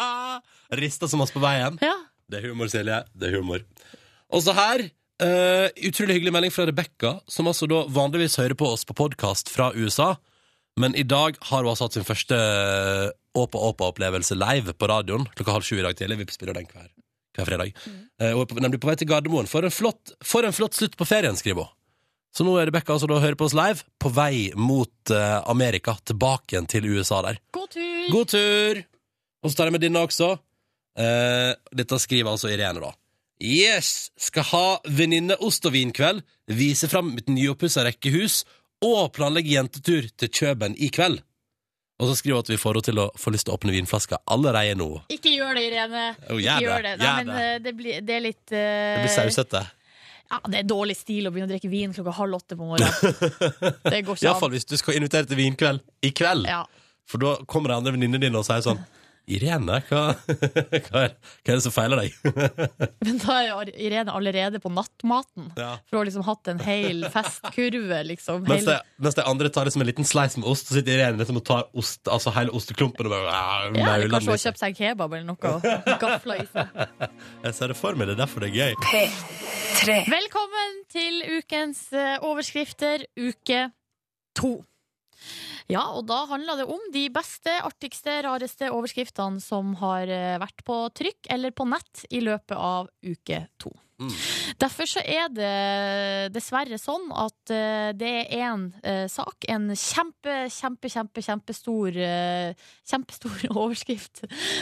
Speaker 2: Rista som oss på veien.
Speaker 3: Ja.
Speaker 2: Det er humor, Silje. Det er humor. Også her Eh, utrolig hyggelig melding fra Rebekka, som altså da vanligvis hører på oss på podkast fra USA. Men i dag har hun altså hatt sin første eh, Åpa-Åpa-opplevelse live på radioen klokka halv sju i dag tidlig. Vi spiller den hver, hver fredag. Eh, hun er på- nemlig på vei til Gardermoen. For en flott, for en flott slutt på ferien, skriver hun. Så nå er Rebekka altså da hører på oss live, på vei mot eh, Amerika, tilbake igjen til USA der.
Speaker 3: God tur!
Speaker 2: God tur! Og så tar jeg med denne også. Eh, dette skriver altså Irene, da. Yes! Skal ha venninne ost og vinkveld, vise fram mitt nyoppussa rekkehus og planlegge jentetur til Kjøben i kveld. Og så skriver hun at vi får henne til å få lyst til å åpne vinflaska allerede nå.
Speaker 3: Ikke gjør det, Irene.
Speaker 2: Jo,
Speaker 3: Ikke
Speaker 2: gjør
Speaker 3: gjør det.
Speaker 2: det,
Speaker 3: Nei,
Speaker 2: gjør
Speaker 3: men
Speaker 2: det.
Speaker 3: eh, det, blir, det er litt eh,
Speaker 2: Det blir sausete.
Speaker 3: Ja, det er dårlig stil å begynne å drikke vin klokka halv åtte på morgenen. Det går ikke an.
Speaker 2: Iallfall hvis du skal invitere til vinkveld i kveld.
Speaker 3: Ja.
Speaker 2: For da kommer de andre venninnene dine og sier sånn Irene, hva, hva, er, hva er det som feiler deg?
Speaker 3: Men da er jo Irene allerede på nattmaten.
Speaker 2: Ja.
Speaker 3: For hun har liksom hatt en hel festkurve, liksom.
Speaker 2: Mens
Speaker 3: Hele...
Speaker 2: de, mens de andre tar det som en liten slice med ost, så sitter Irene liksom og tar ost, altså hele osteklumpen og bare ah,
Speaker 3: Ja, eller
Speaker 2: mauler den
Speaker 3: kanskje hun har
Speaker 2: litt.
Speaker 3: kjøpt seg en kebab eller noe og gafla i seg.
Speaker 2: Jeg ser det for meg, det er derfor det er gøy.
Speaker 3: Velkommen til ukens eh, overskrifter, uke to. Ja, og da handler det om de beste, artigste, rareste overskriftene som har eh, vært på trykk eller på nett i løpet av uke to.
Speaker 2: Mm.
Speaker 3: Derfor så er det dessverre sånn at eh, det er en eh, sak, en kjempe, kjempe, kjempe, kjempestor, eh, kjempestor overskrift,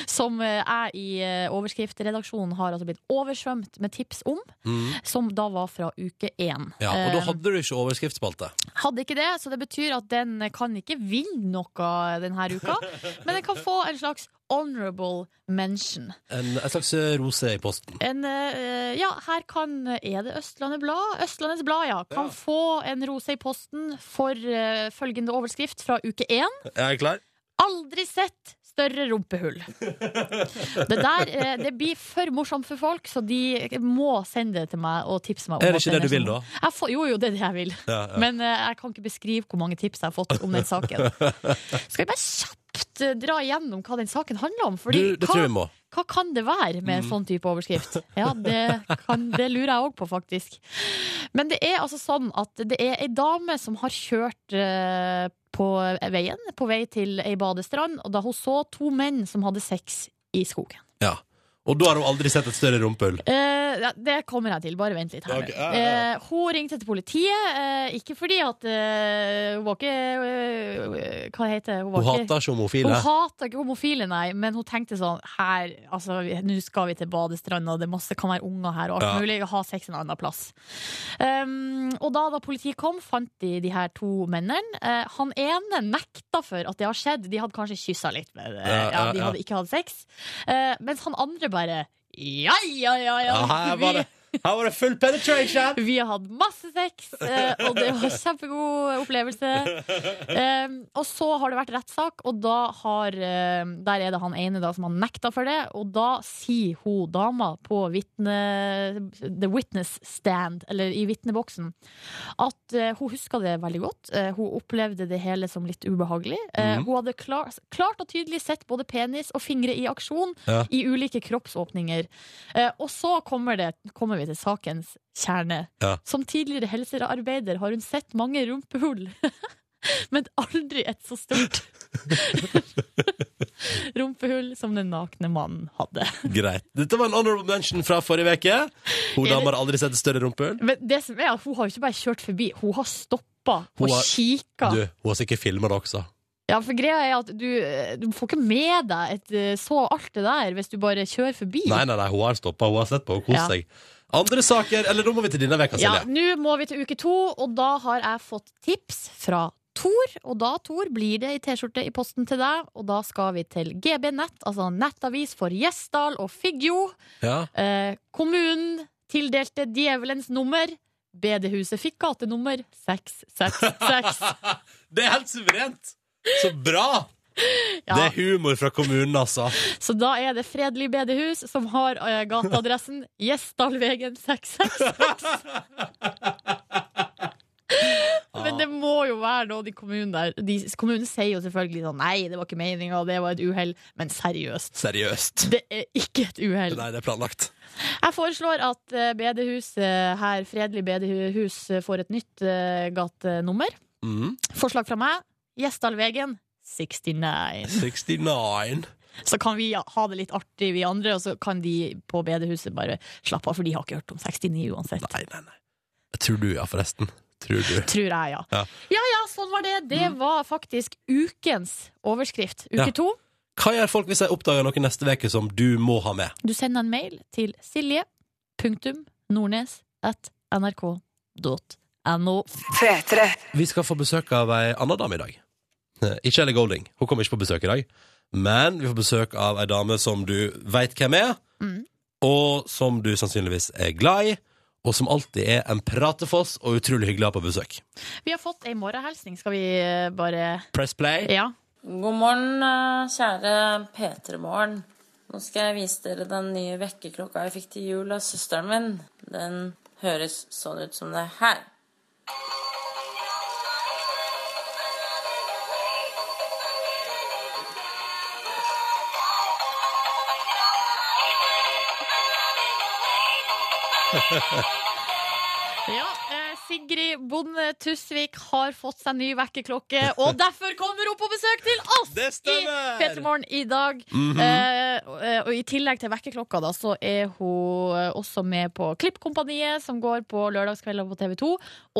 Speaker 3: som eh, jeg i eh, overskriftredaksjonen har altså blitt oversvømt med tips om som da var fra uke én.
Speaker 2: Mm. Ja, og da
Speaker 3: Eh,
Speaker 2: hadde du ikke overskriftsspalte.
Speaker 3: hadde ikke det, så det betyr at den kan ikke vinne noe denne uka, men den kan få en slags honorable mention.
Speaker 2: En, en slags eh, rose i posten.
Speaker 3: En, eh, ja, her kan Er det Østlandet Blad? Østlandets Blad, ja. Kan få en rose i posten for eh, følgende overskrift fra uke én.
Speaker 2: Er jeg klar?
Speaker 3: Aldri sett større rumpehull. Det der eh, det blir for morsomt for folk, så de må sende det til meg og tipse meg. om
Speaker 2: Er
Speaker 3: at
Speaker 2: det ikke
Speaker 3: den
Speaker 2: det du vil,
Speaker 3: sånn.
Speaker 2: da?
Speaker 3: Jeg får, jo, jo, det er det jeg vil.
Speaker 2: Ja, ja.
Speaker 3: Men eh, jeg kan ikke beskrive hvor mange tips jeg har fått om den saken. Skal vi bare kjapt eh, dra igjennom hva den saken handler om?
Speaker 2: Du,
Speaker 3: Fordi
Speaker 2: det tror jeg vi
Speaker 3: hva,
Speaker 2: må. Mm.
Speaker 3: hva kan det være med en sånn type overskrift? Ja, det, kan, det lurer jeg òg på, faktisk. Men det er altså sånn at det er ei dame som har kjørt eh, på veien, på vei til ei badestrand, og da hun så to menn som hadde sex i skogen.
Speaker 2: Ja. Og da har hun aldri sett et større rumpehull.
Speaker 3: Eh, ja, det kommer jeg til, bare vent litt her.
Speaker 2: Ok,
Speaker 3: nå.
Speaker 2: ja, ja,
Speaker 3: Eh, hun ringte til politiet, eh, ikke fordi at eh, hun var ikke eh, Hva heter det? Hun, var
Speaker 2: Hun
Speaker 3: ikke-
Speaker 2: hater ikke
Speaker 3: hun
Speaker 2: homofile.
Speaker 3: hata ikke homofile, nei, men hun tenkte sånn Her, altså, vi- nå skal vi til badestranda, det er masse, kan være unger her, og alt
Speaker 2: Ja.
Speaker 3: mulig, ha sex en annen plass. Um, og da, da politiet kom, fant de de her to mennene. Eh, han ene nekta for at det har skjedd, de hadde kanskje kyssa litt, men eh,
Speaker 2: Ja,
Speaker 3: ja,
Speaker 2: ja,
Speaker 3: de
Speaker 2: ja.
Speaker 3: hadde ikke hatt sex. Eh, mens han andre bare ja, ja, ja, ja.
Speaker 2: Ja, her var
Speaker 3: vi-
Speaker 2: det, her var det full penetration!
Speaker 3: vi har hatt masse sex, eh, og det var kjempegod opplevelse. Um, og så har det vært rettssak, og da har eh, Der er det han ene da som har nekta for det, og da sier hun dama på vitne, the witness stand, eller i vitneboksen, at eh, hun huska det veldig godt. Eh, hun opplevde det hele som litt ubehagelig. Eh,
Speaker 2: Mhm.
Speaker 3: Hun hadde klar, klart og tydelig sett både penis og fingre i aksjon
Speaker 2: Ja.
Speaker 3: i ulike kroppsåpninger. Eh, og så kommer, det, kommer vi til sakens kjerne.
Speaker 2: Ja.
Speaker 3: Som tidligere helsearbeider har hun sett mange rumpehull, men aldri et så stort rumpehull som den nakne mannen hadde.
Speaker 2: Greit. Dette var en honorable mention fra forrige uke. Hun
Speaker 3: Er det-
Speaker 2: dama har aldri sett et større rumpehull.
Speaker 3: Men det som er at hun har jo ikke bare kjørt forbi, hun har stoppa
Speaker 2: Hun
Speaker 3: og
Speaker 2: har-
Speaker 3: kikka.
Speaker 2: Du, hun har sikkert filma det også.
Speaker 3: Ja, for greia er at du, du får ikke med deg et, eh, så alt det der hvis du bare kjører forbi.
Speaker 2: Nei, nei, nei, hun har stoppa. Hun har sett på og kost
Speaker 3: Ja.
Speaker 2: seg. Andre saker Eller nå må vi til denne veka,
Speaker 3: Ja,
Speaker 2: Silje.
Speaker 3: nå må vi til uke to, og da har jeg fått tips fra Tor. Og da, Tor, blir det ei T-skjorte i posten til deg, og da skal vi til GB Nett, altså nettavis for Gjesdal og Figgjo.
Speaker 2: Ja.
Speaker 3: Eh, kommunen tildelte djevelens nummer. Bedehuset fikk gatenummer 666.
Speaker 2: Det er helt suverent! Så bra!
Speaker 3: Ja.
Speaker 2: Det er humor fra kommunen, altså.
Speaker 3: Så da er det Fredelig bedehus som har eh, gateadressen Gjesdalvegen 666. men det må jo være noen i kommunen der. De, kommunen sier jo selvfølgelig sånn nei, det var ikke meninga, det var et uhell. Men seriøst,
Speaker 2: Seriøst.
Speaker 3: det er ikke et uhell.
Speaker 2: Nei, det er planlagt.
Speaker 3: Jeg foreslår at eh, bedehuset her, Fredelig bedehus, eh, får et nytt eh, gatenummer.
Speaker 2: Mhm.
Speaker 3: Forslag fra meg. Gjesdalvegen 69.
Speaker 2: 69.
Speaker 3: Så kan vi ha det litt artig, vi andre, og så kan de på bedehuset bare slappe av, for de har ikke hørt om 69 uansett.
Speaker 2: Nei, nei, nei. Jeg tror du, ja, forresten. Tror du.
Speaker 3: Tror jeg, ja.
Speaker 2: Ja.
Speaker 3: ja. Ja sånn var det. Det var faktisk ukens overskrift. Uke
Speaker 2: Mm. Ja.
Speaker 3: to.
Speaker 2: Hva gjør folk hvis jeg oppdager noe neste uke som du må ha med?
Speaker 3: Du sender en mail til silje.nordnes.nrk.no.
Speaker 2: Vi skal få besøk av ei anna dame i dag. Eh, Ikke Ellie Golding, hun kommer ikke på besøk i dag. Men vi får besøk av ei dame som du veit hvem er,
Speaker 3: Mm.
Speaker 2: og som du sannsynligvis er glad i, og som alltid er en pratefoss og utrolig hyggelig å ha på besøk.
Speaker 3: Vi har fått ei morgenhilsning, skal vi eh, bare
Speaker 2: Press play.
Speaker 3: Ja.
Speaker 6: God morgen, eh, kjære P3-morgen. Nå skal jeg vise dere den nye vekkerklokka jeg fikk til jul av søsteren min. Den høres sånn ut som det her.
Speaker 3: ja eh, Sigrid Bonde Tusvik har fått seg ny vekkerklokke, og derfor kommer hun på besøk til oss
Speaker 2: Det
Speaker 3: i
Speaker 2: stemmer! Mhm.
Speaker 3: P3 Morgen i dag. Eh, og- eh, og i tillegg til vekkerklokka, da, så er hun eh, også med på Klippkompaniet, som går på lørdagskvelder på TV 2,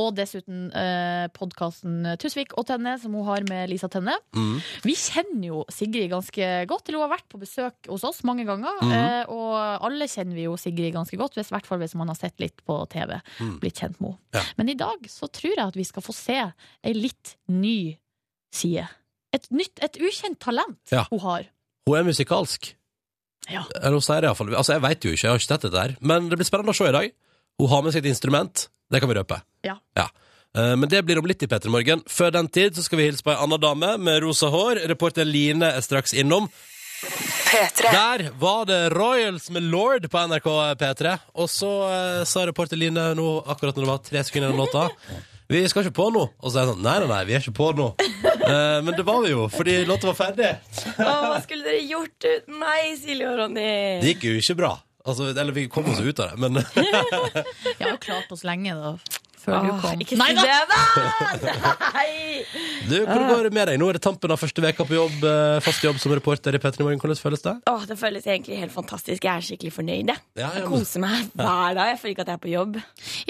Speaker 3: og dessuten eh, podkasten Tusvik og Tønne, som hun har med Lisa Tønne.
Speaker 2: Mm.
Speaker 3: Vi kjenner jo Sigrid ganske godt. Eller hun har vært på besøk hos oss mange ganger.
Speaker 2: Mhm.
Speaker 3: eh, Og alle kjenner vi jo Sigrid ganske godt, hvis, i hvert fall hvis man har sett litt på TV.
Speaker 2: Mhm.
Speaker 3: Blitt kjent med henne.
Speaker 2: Ja.
Speaker 3: Men i dag så tror jeg at vi skal få se ei litt ny side. Et nytt, et ukjent talent
Speaker 2: Ja.
Speaker 3: hun har.
Speaker 2: Hun er musikalsk.
Speaker 3: Ja.
Speaker 2: Eller hun sier det iallfall. Altså, jeg veit jo ikke, jeg har ikke sett dette her. Men det blir spennende å se i dag. Hun har med seg et instrument. Det kan vi røpe.
Speaker 3: Ja.
Speaker 2: Eh, Men det blir om litt i P3 Morgen. Før den tid så skal vi hilse på ei anna dame med rosa hår. Reporter Line er straks innom. Der var det Royals med Lord på NRK P3. Og så eh, sa reporter Line nå, akkurat når det var tre sekunder igjen av låta Vi skal ikke på nå. Og så er jeg sånn Nei, nei, nei, vi er ikke på nå. Eh, men det var vi jo, fordi låta var ferdig.
Speaker 6: hva skulle dere gjort uten meg, Silje og Ronny?
Speaker 2: Det gikk jo ikke bra. Altså, eller vi kom oss ut av det, men
Speaker 3: Vi har jo klart oss lenge, da. Før du kom.
Speaker 6: Ikke
Speaker 3: Nei
Speaker 6: si
Speaker 3: da!
Speaker 6: det, da! Nei!
Speaker 2: Du, hvordan går det med deg? Nå er det tampen av første veka på jobb, eh, fast jobb som reporter i P3 Morgen. Hvordan føles det?
Speaker 6: Åh, det føles egentlig helt fantastisk. Jeg er skikkelig fornøyd. jeg.
Speaker 2: Ja, ja,
Speaker 6: Jeg
Speaker 2: men,
Speaker 6: koser meg hver dag. Jeg føler ikke at jeg er på jobb.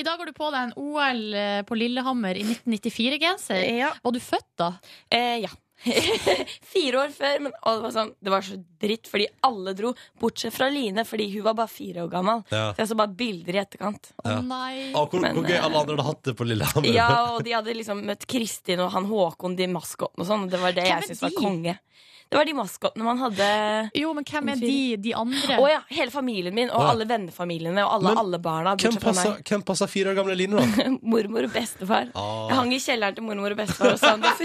Speaker 3: I dag har du på deg en OL eh, på Lillehammer i 1994-genser.
Speaker 6: Ja.
Speaker 3: Var du født da?
Speaker 6: Eh, ja. fire år før, men og det, var sånn, det var så dritt fordi alle dro, bortsett fra Line, fordi hun var bare fire år gammel.
Speaker 2: Ja.
Speaker 6: Så jeg så bare bilder i etterkant.
Speaker 3: Å
Speaker 2: Ja.
Speaker 3: nei.
Speaker 2: Å, hvor,
Speaker 6: Men,
Speaker 2: hvor gøy
Speaker 6: eh,
Speaker 2: alle andre hadde hatt det på Lillehammer.
Speaker 6: Ja, og de hadde liksom møtt Kristin og han Håkon de maskottene og sånn, og det var det
Speaker 3: Hvem er
Speaker 6: jeg syntes var
Speaker 3: de?
Speaker 6: konge. Det var de maskottene man hadde
Speaker 3: Jo, men hvem er de, de andre?
Speaker 6: Å ja, hele familien min og
Speaker 2: Å ja.
Speaker 6: alle vennefamiliene og alle,
Speaker 2: Men
Speaker 6: alle barna,
Speaker 2: Hvem
Speaker 6: bortsett fra
Speaker 2: passer, hvem passer fire år gamle Line, da?
Speaker 6: meg. Mormor og bestefar.
Speaker 2: Ah.
Speaker 6: Jeg hang i kjelleren til mormor og bestefar og Sound of,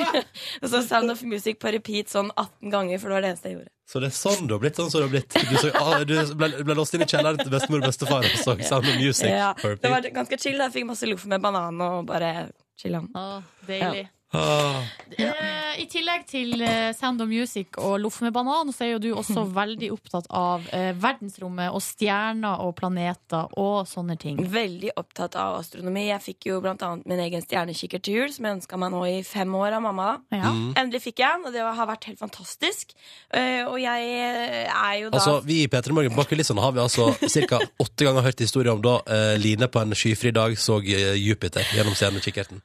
Speaker 6: og så Sound of Music på repeat sånn 18 ganger, for det var det eneste jeg gjorde.
Speaker 2: Så det er sånn det har blitt? Sånn som det har blitt. Du, så, ah, du ble, ble låst inn i kjelleren til bestemor og bestefar og så Sound of Music.
Speaker 6: Ja,
Speaker 2: på repeat.
Speaker 6: det var ganske chill. da. Jeg fikk masse loff med banan og bare chilla.
Speaker 3: Å, deilig.
Speaker 2: Ah,
Speaker 3: Eh, I tillegg til eh, Sound of Music og Loff med banan, så er jo du også veldig opptatt av eh, verdensrommet og stjerner og planeter og sånne ting.
Speaker 6: Veldig opptatt av astronomi. Jeg fikk jo blant annet min egen stjernekikker til jul, som jeg ønska meg nå i fem år av mamma.
Speaker 3: Ja.
Speaker 6: Endelig fikk jeg den, og det har vært helt fantastisk. Eh, Og jeg eh, er jo da
Speaker 2: altså, vi i P3 Morgen bak kulissene har vi altså ca. åtte ganger hørt historier om da eh, Line på en skyfri dag så eh, Jupiter gjennom stjernekikkerten.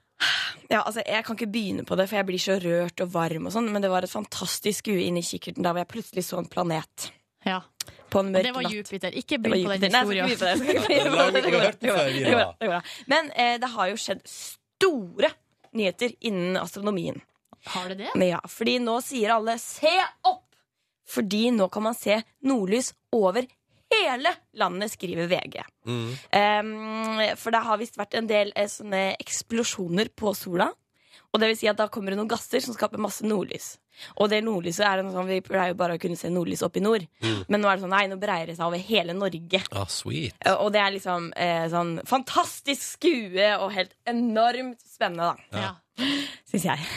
Speaker 6: ja, altså, Jeg kan ikke begynne på det, for jeg blir så rørt og varm, og sånn men det var et fantastisk skue inn i kikkerten da hvor jeg plutselig så en planet
Speaker 3: ja.
Speaker 6: på en
Speaker 3: Og
Speaker 6: mørk
Speaker 3: det var
Speaker 6: natt.
Speaker 3: Jupiter. Ikke
Speaker 6: Det var
Speaker 3: begynn på den
Speaker 6: Jupiter. Nei, jeg skal
Speaker 3: historien.
Speaker 6: ikke begynne på det. Det går bra. Det går bra. Det går bra. Det går bra. Men eh, det har jo skjedd store nyheter innen astronomien.
Speaker 3: Har det det?
Speaker 6: Men ja, fordi nå sier alle 'se opp'! Fordi nå kan man se nordlys over hele landet, skriver VG.
Speaker 2: Mm.
Speaker 6: Ehm, for det har visst vært en del eh, sånne eksplosjoner på sola. Og det vil si at da kommer det noen gasser som skaper masse nordlys. Og det nordlyset er noe sånn, Vi pleier jo bare å kunne se nordlys oppe i nord. Men nå er det sånn, nei, nå breier det seg over hele Norge.
Speaker 2: Ah, sweet.
Speaker 6: Eh, Og det er liksom eh, sånn fantastisk skue og helt enormt spennende, da.
Speaker 10: Ja.
Speaker 6: Syns jeg.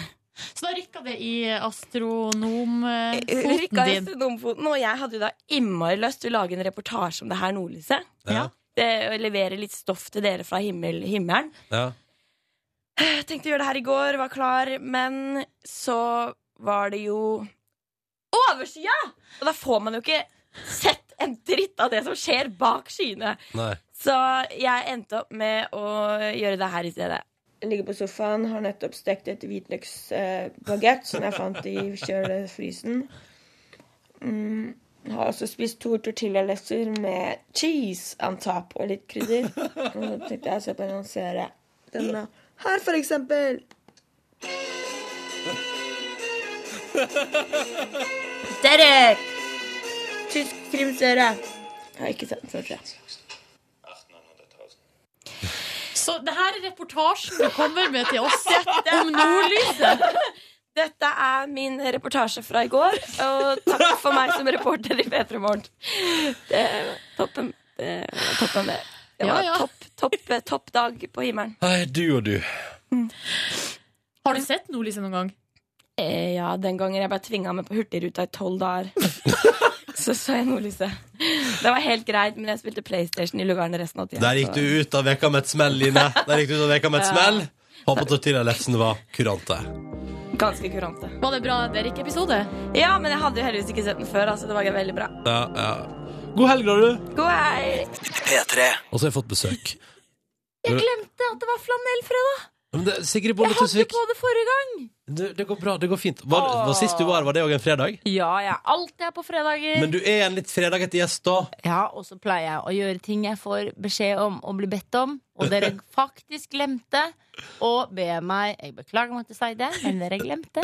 Speaker 10: Så da rykka det i astronomfoten
Speaker 6: Rykka Eh, i
Speaker 10: din.
Speaker 6: astronomfoten, og jeg hadde jo da innmari lyst til å lage en reportasje om det her nordlyset.
Speaker 2: Ja.
Speaker 6: Eh, Og levere litt stoff til dere fra himmel, himmelen.
Speaker 2: Ja.
Speaker 6: Jeg tenkte å gjøre det her i går, var klar, men så var det jo overskya! Og da får man jo ikke sett en dritt av det som skjer bak skyene.
Speaker 2: Nei.
Speaker 6: Så jeg endte opp med å gjøre det her i stedet.
Speaker 4: Jeg ligger på sofaen, har nettopp stekt et hvitløksbagett som jeg fant i kjølefrysen. Mm, har også spist to tortillalefser med cheese on top og litt krydder. Og så tenkte jeg å se på annonsere denne her, for eksempel. Derek! Tysk krimserie. Jeg har ikke sett den før, tror jeg.
Speaker 10: Så det her er reportasjen du kommer med til oss om nordlyset.
Speaker 6: Dette er min reportasje fra i går, og takk for meg som reporter i P3 Morgen. Det var toppen. Det var toppen, det. Det
Speaker 10: Ja,
Speaker 6: var
Speaker 10: ja.
Speaker 6: topp, topp, topp dag på himmelen.
Speaker 2: Nei, du og du.
Speaker 10: Har du sett nordlyset noen gang?
Speaker 6: Eh, ja, den gangen jeg ble tvinga med på Hurtigruta i tolv dager. Så så jeg nordlyset. Det var helt greit, men jeg spilte PlayStation i lugaren resten av tida.
Speaker 2: Der gikk du ut av veka med et smell, Line. Der gikk du ut av veka med et smell. Håper tortillalefsen var kurante.
Speaker 6: Ganske kurante.
Speaker 10: Var det bra Derek-episode?
Speaker 6: Ja, men jeg hadde jo heldigvis ikke sett den før, altså. Det var veldig bra.
Speaker 2: Ja, ja. God helg, da, du.
Speaker 6: God helg!
Speaker 1: P3.
Speaker 2: Og så har jeg fått besøk.
Speaker 10: Jeg glemte at det var flanellfredag!
Speaker 2: Men det, Sigrid Bonde Tusvik,
Speaker 10: det forrige gang!
Speaker 2: det, det går bra. Det går fint. Var, var sist du var, var det òg en fredag?
Speaker 11: Ja, jeg er alltid her på fredager.
Speaker 2: Men du er en litt fredag etter gjest, da.
Speaker 11: Ja, og så pleier jeg å gjøre ting jeg får beskjed om og blir bedt om, og dere faktisk glemte å be meg Jeg beklager måtte si det, men dere glemte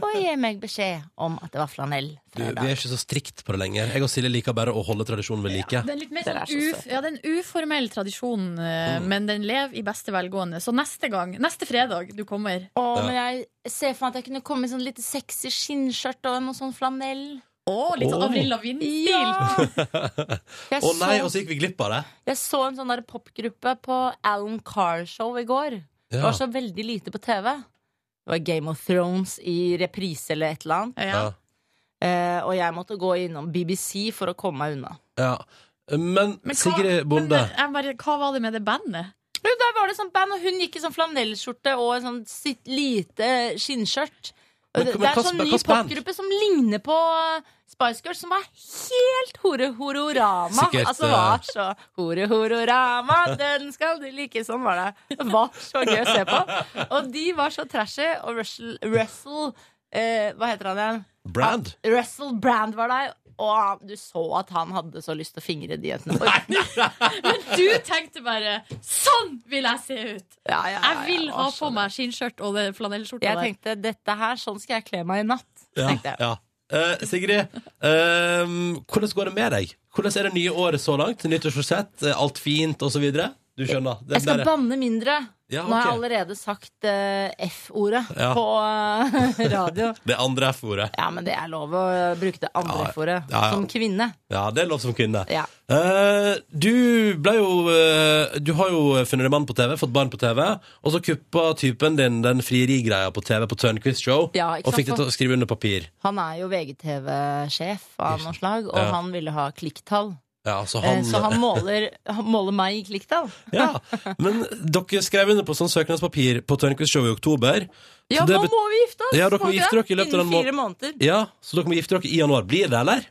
Speaker 11: å gi meg beskjed om at det var
Speaker 2: Du, vi
Speaker 11: flanellfredag.
Speaker 2: er ikke så strikt på det lenger. Jeg og Silje liker bare å holde tradisjonen ved like.
Speaker 3: Det er litt mer
Speaker 6: Dere
Speaker 3: sånn
Speaker 6: er så
Speaker 3: uf ja, det er en uformell tradisjon, eh, men den lever i beste velgående. Så neste gang, neste fredag du kommer
Speaker 11: Å, men jeg ser for meg at jeg kunne komme i sånn litt sexy skinnskjørt og noe sånn flanell.
Speaker 3: Å, litt sånn
Speaker 2: Åh.
Speaker 3: Avril Lavigne-stil!
Speaker 11: Jeg
Speaker 2: Å nei, og
Speaker 11: så,
Speaker 2: så gikk vi glipp av det.
Speaker 11: jeg så en sånn der popgruppe på Alan Carr-show i går. Det
Speaker 2: Ja.
Speaker 11: var så veldig lite på TV. Det var Game of Thrones i reprise eller et eller annet.
Speaker 2: Ja.
Speaker 3: Ja.
Speaker 11: Eh, og jeg måtte gå innom BBC for å komme meg unna.
Speaker 2: Ja. Men,
Speaker 3: Men hva-
Speaker 2: Sigrid Bonde
Speaker 3: Men, eh, jeg bare, hva var det med det bandet?
Speaker 11: Jo, der var det sånn band, og hun gikk i sånn flanellskjorte og en sånn sitt lite skinnskjørt.
Speaker 2: Men- men
Speaker 11: Og Det det er en
Speaker 2: hva-
Speaker 11: sånn ny
Speaker 2: hva band?
Speaker 11: popgruppe som ligner på eh, Spice Girls, som var helt hore-hororama.
Speaker 2: Sikkert,
Speaker 11: Altså var så hore-hororama, den skal du like. Sånn var det. Det var så gøy å se på. Og de var så trashy, og Russell, Russell eh, Hva heter han igjen?
Speaker 2: Brand?
Speaker 11: Russell Brand var der, og du så at han hadde så lyst til å fingre de jentene.
Speaker 3: Du tenkte bare 'sånn vil jeg se ut'!
Speaker 11: Ja, ja, ja,
Speaker 3: Jeg
Speaker 11: ja,
Speaker 3: vil
Speaker 11: det var
Speaker 3: ha
Speaker 11: så
Speaker 3: på meg skinnskjørt og det flanellskjorta
Speaker 11: Jeg
Speaker 3: der.
Speaker 11: tenkte dette her, sånn skal jeg kle meg i natt.
Speaker 2: Ja.
Speaker 11: tenkte jeg.
Speaker 2: ja. Eh, Sigrid, eh, hvordan går det med deg? Hvordan er det nye året så langt? Nyttårsforsett? eh, Alt fint, osv.? Du skjønner. Det
Speaker 11: Jeg skal
Speaker 2: der-
Speaker 11: banne mindre.
Speaker 2: Ja,
Speaker 11: Nå har jeg
Speaker 2: ok.
Speaker 11: allerede sagt eh, F-ordet
Speaker 2: Ja.
Speaker 11: på eh, radio.
Speaker 2: det andre F-ordet.
Speaker 11: Ja, men det er lov å bruke det andre
Speaker 2: Ja,
Speaker 11: F-ordet
Speaker 2: ja, ja.
Speaker 11: som kvinne.
Speaker 2: Ja, det er lov som kvinne.
Speaker 11: Ja.
Speaker 2: Eh, du ble jo eh, Du har jo funnet en mann på TV, fått barn på TV, og så kuppa typen din den frierigreia på TV på Tørnquist Show
Speaker 11: Ja, ikke
Speaker 2: og fikk
Speaker 11: sant?
Speaker 2: deg til å skrive under papir.
Speaker 11: Han er jo VGTV-sjef av noe slag, og
Speaker 2: Ja.
Speaker 11: han ville ha klikktall.
Speaker 2: Ja, så
Speaker 11: Eh,
Speaker 2: han,
Speaker 11: Så han måler, han måler meg i klikktall.
Speaker 2: ja. Men dere skrev under på sånn søknadspapir på Tørnquist Show i oktober.
Speaker 11: Ja,
Speaker 2: det
Speaker 11: nå
Speaker 2: bet-
Speaker 11: må vi gifte oss!
Speaker 2: Ja, dere må
Speaker 11: må vi
Speaker 2: gifte
Speaker 11: det?
Speaker 2: dere i løpet av den
Speaker 11: Innen
Speaker 2: må-
Speaker 11: fire måneder.
Speaker 2: Ja, Så dere må gifte dere i januar. Blir det, eller?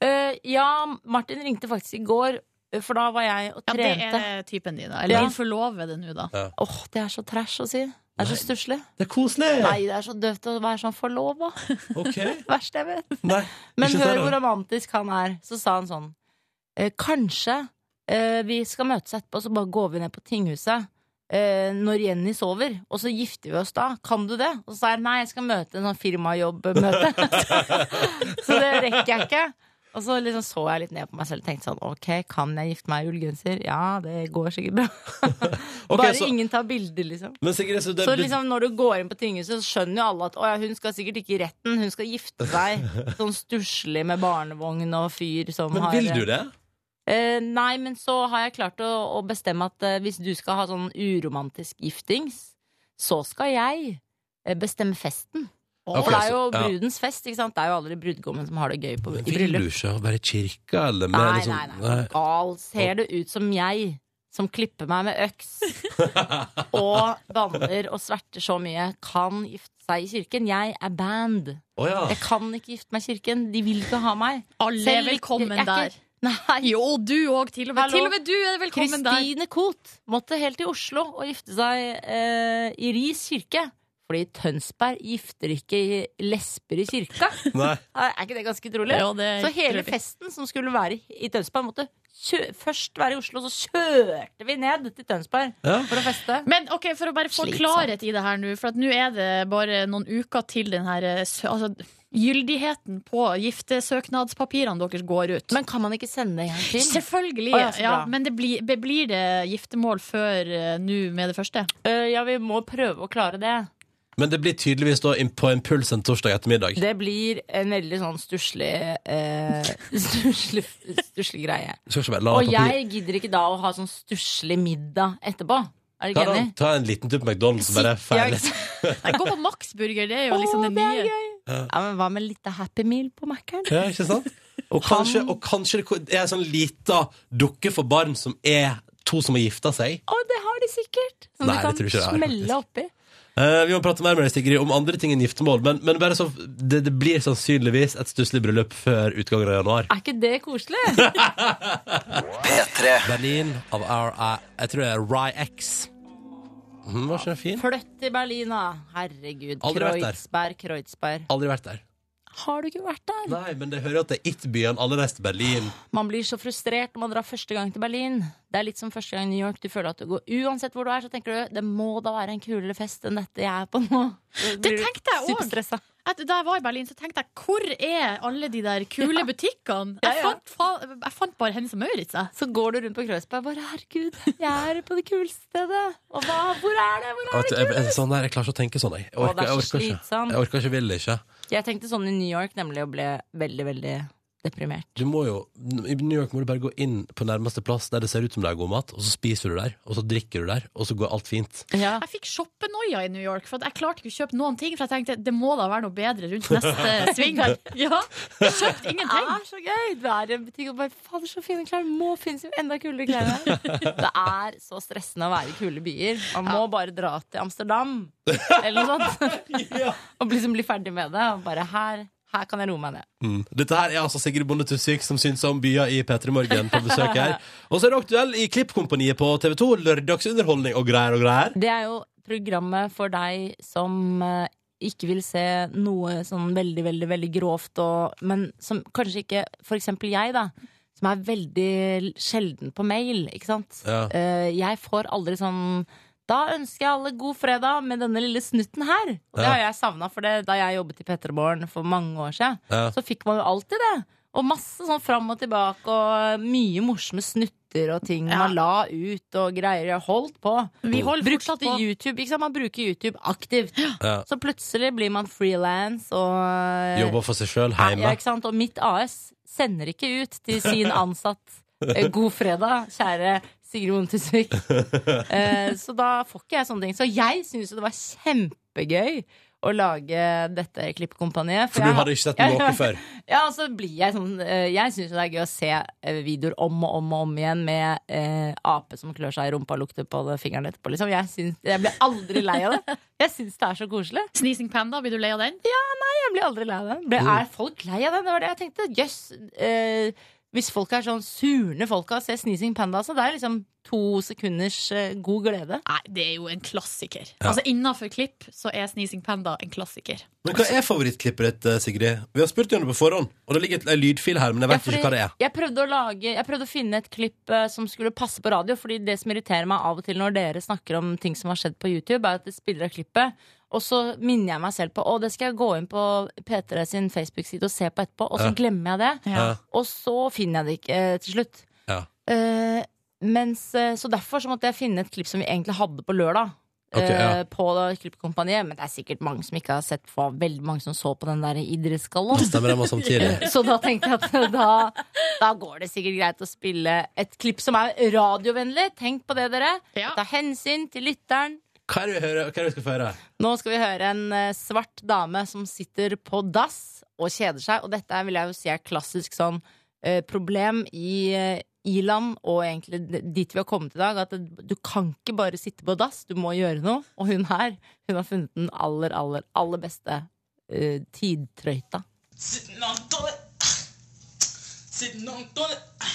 Speaker 11: Eh, ja, Martin ringte faktisk i går, eh, for da var jeg og
Speaker 3: Ja,
Speaker 11: trente.
Speaker 3: det er typen din, da. Eller
Speaker 11: Ja.
Speaker 3: din forlovede nå, da.
Speaker 11: Åh, det er så trash å si. Det er så stusslig.
Speaker 2: Det er koselig!
Speaker 11: Nei, det er så døvt å være sånn forlova.
Speaker 2: Ok.
Speaker 11: Verst jeg vet.
Speaker 2: Nei,
Speaker 11: Men
Speaker 2: ikke se
Speaker 11: hør
Speaker 2: det.
Speaker 11: hvor romantisk han er. Så sa han sånn eh, Kanskje eh, vi skal møtes etterpå, så bare går vi ned på tinghuset eh, når Jenny sover, og så gifter vi oss da. Kan du det? Og så sa jeg nei, jeg skal møte en sånn firmajobbmøte. så det rekker jeg ikke. Og så liksom så jeg litt ned på meg selv og tenkte sånn OK, kan jeg gifte meg i ullgenser? Ja, det går sikkert bra.
Speaker 2: Ok,
Speaker 11: Bare
Speaker 2: så-
Speaker 11: ingen tar bilder, liksom.
Speaker 2: Men Sigrid, så det,
Speaker 11: Så liksom når du går inn på tinghuset, så skjønner jo alle at å, ja, hun skal sikkert ikke i retten, hun skal gifte seg sånn stusslig med barnevogn og fyr som
Speaker 2: Men
Speaker 11: har
Speaker 2: vil du det?
Speaker 11: Eh, nei, men så har jeg klart å, å bestemme at eh, hvis du skal ha sånn uromantisk giftings, så skal jeg eh, bestemme festen.
Speaker 2: Ok,
Speaker 11: For det er jo
Speaker 2: så- ja.
Speaker 11: brudens fest, ikke sant? Det er jo aldri brudgommen som har det gøy på, i
Speaker 2: Vil du
Speaker 11: bryllup.
Speaker 2: ikke være i kirka, eller mer
Speaker 11: Nei,
Speaker 2: liksom
Speaker 11: nei, nei. Gal. Ser det ut som jeg, som klipper meg med øks og banner og sverter så mye, kan gifte seg i kirken? Jeg er band.
Speaker 2: Å ja.
Speaker 11: Jeg kan ikke gifte meg i kirken. De vil ikke ha meg.
Speaker 12: Alle er
Speaker 11: Selv ikke-
Speaker 12: velkommen
Speaker 11: jeg er ikke-
Speaker 12: der.
Speaker 11: Nei.
Speaker 12: Jo, du òg. Til, og med-
Speaker 11: Hallo.
Speaker 12: til og med du er velkommen der.
Speaker 11: Kristine Koht måtte helt til Oslo og gifte seg eh, i Ris kirke. Fordi Tønsberg gifter ikke lesber i kirka.
Speaker 2: Nei.
Speaker 11: Er ikke det ganske utrolig?
Speaker 12: Jo, det er
Speaker 11: så hele
Speaker 12: utrolig.
Speaker 11: festen som skulle være i Tønsberg, måtte kjø først være i Oslo, så kjørte vi ned til Tønsberg
Speaker 2: Ja.
Speaker 11: for å feste.
Speaker 12: Men ok, for å bare få
Speaker 11: Slitsomt.
Speaker 12: klarhet i det her nå, for at nå er det bare noen uker til den her eh, sø- altså, gyldigheten på giftesøknadspapirene deres går ut.
Speaker 11: Men kan man ikke sende en gang til?
Speaker 12: Selvfølgelig.
Speaker 11: Å, ja, så
Speaker 12: ja,
Speaker 11: bra.
Speaker 12: men det blir, be- blir det giftermål før eh, nå med det første?
Speaker 11: Eh, ja, vi må prøve å klare det.
Speaker 2: Men det blir tydeligvis da inn- på impuls en torsdag ettermiddag.
Speaker 11: Det blir en veldig sånn stusslig eh, stusslig stusslig greie.
Speaker 2: Skal ikke bare la
Speaker 11: Og
Speaker 2: papir-
Speaker 11: jeg gidder ikke da å ha sånn stusslig middag etterpå. Er du
Speaker 2: ta,
Speaker 11: ikke enig?
Speaker 2: da- ta en liten tur på McDonald's og bare
Speaker 11: Ja,
Speaker 2: ferdig.
Speaker 11: ikke sant?
Speaker 12: Nei, gå på Max Burger, det er jo
Speaker 11: Å,
Speaker 12: liksom det
Speaker 11: det er
Speaker 12: nye.
Speaker 11: Ja, men hva med litt Happy Meal på Mækkern?
Speaker 2: Ja, ikke sant? Og kanskje, og kanskje det er en sånn lita dukke for barn som er to som har gifta seg.
Speaker 11: Å, det har de sikkert! Som
Speaker 2: Nei, det tror
Speaker 11: du kan
Speaker 2: jeg ikke det er,
Speaker 11: smelle oppi.
Speaker 2: Eh, vi må prate mer med deg, Sigrid, om andre ting enn giftermål. Men, men bare så, det, det blir sannsynligvis et stusslig bryllup før utgangen av januar.
Speaker 11: Er ikke det koselig?
Speaker 8: P3.
Speaker 2: Berlin av our, jeg tror det er Ry-X. Mhm, var ikke den fin?
Speaker 11: Flytt til Berlin, da! Herregud.
Speaker 2: Aldri vært der.
Speaker 11: Kreuzberg, Kreuzberg.
Speaker 2: Aldri vært der.
Speaker 11: Har du ikke vært der?
Speaker 2: Nei, men det hører at det er it-byen. Alle reiser til Berlin.
Speaker 11: Man blir så frustrert når man drar første gang til Berlin. Det er litt som første gang i New York. Du føler at du går Uansett hvor du er, så tenker du det må da være en kulere fest enn dette jeg er på nå.
Speaker 12: Det tenkte jeg òg.
Speaker 11: Superstressa.
Speaker 12: At Da jeg var i Berlin, så tenkte jeg hvor er alle de der kule butikkene?
Speaker 11: Ja,
Speaker 12: Jeg
Speaker 11: ja.
Speaker 12: fant, fa jeg fant bare Hennes og Maurits. jeg.
Speaker 11: Så går du rundt på Kreuzberg og bare 'herregud, jeg er på det kuleste stedet'. Og hva, hvor er det? Hvor er
Speaker 2: At,
Speaker 11: det
Speaker 2: jeg, jeg, sånn der, jeg klarer ikke å tenke sånn, jeg. Jeg
Speaker 11: Å, det
Speaker 2: orker,
Speaker 11: er
Speaker 2: jeg
Speaker 11: så
Speaker 2: orker ikke.
Speaker 11: slitsomt.
Speaker 2: Jeg orker ikke, vil ikke.
Speaker 11: Jeg tenkte sånn i New York nemlig og ble veldig, veldig deprimert.
Speaker 2: Du må jo, I New York må du bare gå inn på nærmeste plass der det ser ut som det er god mat, og så spiser du der, og så drikker du der, og så går alt fint.
Speaker 11: Ja.
Speaker 12: Jeg fikk shoppenoia i New York, for at jeg klarte ikke å kjøpe noen ting. For jeg tenkte det må da være noe bedre rundt neste sving her. Ja, jeg kjøpte
Speaker 11: Det
Speaker 12: ingenting.
Speaker 11: er så gøy! Du er i en butikk og bare 'fader, så fine klær', må finnes jo enda kulere klær her. Det er så stressende å være i kule byer. Man må bare dra til Amsterdam eller noe sånt. Og liksom bli ferdig med det. Og bare her, her kan jeg roe meg ned.
Speaker 2: Mm. Dette her er altså Sigrid Bonde Tusvik som syns om byer i P3 Morgen på besøk her. Og så er du aktuell i Klippkompaniet på TV 2. Lørdagsunderholdning og greier og greier.
Speaker 11: Det er jo programmet for deg som eh, ikke vil se noe sånn veldig, veldig, veldig grovt og Men som kanskje ikke For eksempel jeg, da. Som er veldig sjelden på mail, ikke sant.
Speaker 2: Ja.
Speaker 11: Eh, jeg får aldri sånn da ønsker jeg alle god fredag med denne lille snutten her. Og det
Speaker 2: Ja.
Speaker 11: har jeg savna, for det, da jeg jobbet i Petterborn for mange år siden,
Speaker 2: Ja.
Speaker 11: så fikk man jo alltid det. Og masse sånn fram og tilbake, og mye morsomme snutter og ting man la ut og greier. Jeg holdt på.
Speaker 12: Vi holder
Speaker 11: Brukte
Speaker 12: fortsatt på.
Speaker 11: YouTube, ikke sant? Man bruker YouTube aktivt.
Speaker 2: Ja.
Speaker 11: Så plutselig blir man frilans og
Speaker 2: Jobber for seg sjøl
Speaker 11: Eh, Ja,
Speaker 2: hjemme.
Speaker 11: ikke sant? Og mitt AS sender ikke ut til sin ansatt eh, God fredag, kjære Sigrid Vonde Tusvik. Eh, Så da får ikke jeg sånne ting. Så jeg syns jo det var kjempegøy å lage dette klippkompaniet.
Speaker 2: For
Speaker 11: jeg-
Speaker 2: du hadde ikke sett noe før.
Speaker 11: ja, og så blir jeg sånn eh, Jeg syns det er gøy å se eh, videoer om og om og om igjen med eh, ape som klør seg i rumpa og lukter på det fingeren etterpå. Liksom. Jeg, syns- jeg blir aldri lei av det. Jeg syns det er så koselig.
Speaker 12: Sneezing Panda, blir du lei av den?
Speaker 11: Jeg blir aldri lei av den. Ble, er folk lei av den? Det var det jeg tenkte. Jøss. eh, hvis folk er sånn surne folk av å se Sneezing Panda, så det er liksom to sekunders eh, god glede.
Speaker 12: Nei, det er jo en klassiker. Altså Innafor klipp så er Sneezing Panda en klassiker.
Speaker 2: Men hva er favorittklippet ditt, eh, Sigrid? Vi har spurt om det på forhånd, og det ligger et- en lydfil her, men jeg vet
Speaker 11: Ja, fordi
Speaker 2: ikke hva det er.
Speaker 11: Jeg prøvde, å lage, jeg prøvde å finne et klipp eh, som skulle passe på radio. Fordi det som irriterer meg av og til når dere snakker om ting som har skjedd på YouTube, er at det spiller av klippet, og så minner jeg meg selv på Å, det skal jeg gå inn på P3 sin Facebook-side og se på etterpå. Og så
Speaker 2: Ja.
Speaker 11: glemmer jeg det.
Speaker 2: Ja.
Speaker 11: Og så finner jeg det ikke eh, til slutt.
Speaker 2: Ja.
Speaker 11: Eh, mens, eh, så derfor så måtte jeg finne et klipp som vi egentlig hadde på lørdag.
Speaker 2: Ok, ja.
Speaker 11: eh, På Klippkompaniet. Men det er sikkert mange som ikke har sett på. Veldig mange som så på den der idrettsgallaen.
Speaker 2: Stemmer det, var samtidig.
Speaker 11: Så da tenkte jeg at da, da går det sikkert greit å spille et klipp som er radiovennlig. Tenk på det, dere.
Speaker 12: Ja.
Speaker 11: Ta hensyn til lytteren.
Speaker 2: Hva er det vi, hører, hva er det vi skal få høre?
Speaker 11: Nå skal vi høre en eh, svart dame som sitter på dass og kjeder seg. Og dette er, vil jeg jo si er klassisk sånn eh, problem i eh, i-land og egentlig d- dit vi har kommet i dag. At det- du kan ikke bare sitte på dass, du må gjøre noe. Og hun her, hun har funnet den aller, aller, aller beste eh, tidtrøyta.
Speaker 13: Sitting on toilet. Sitting on toilet.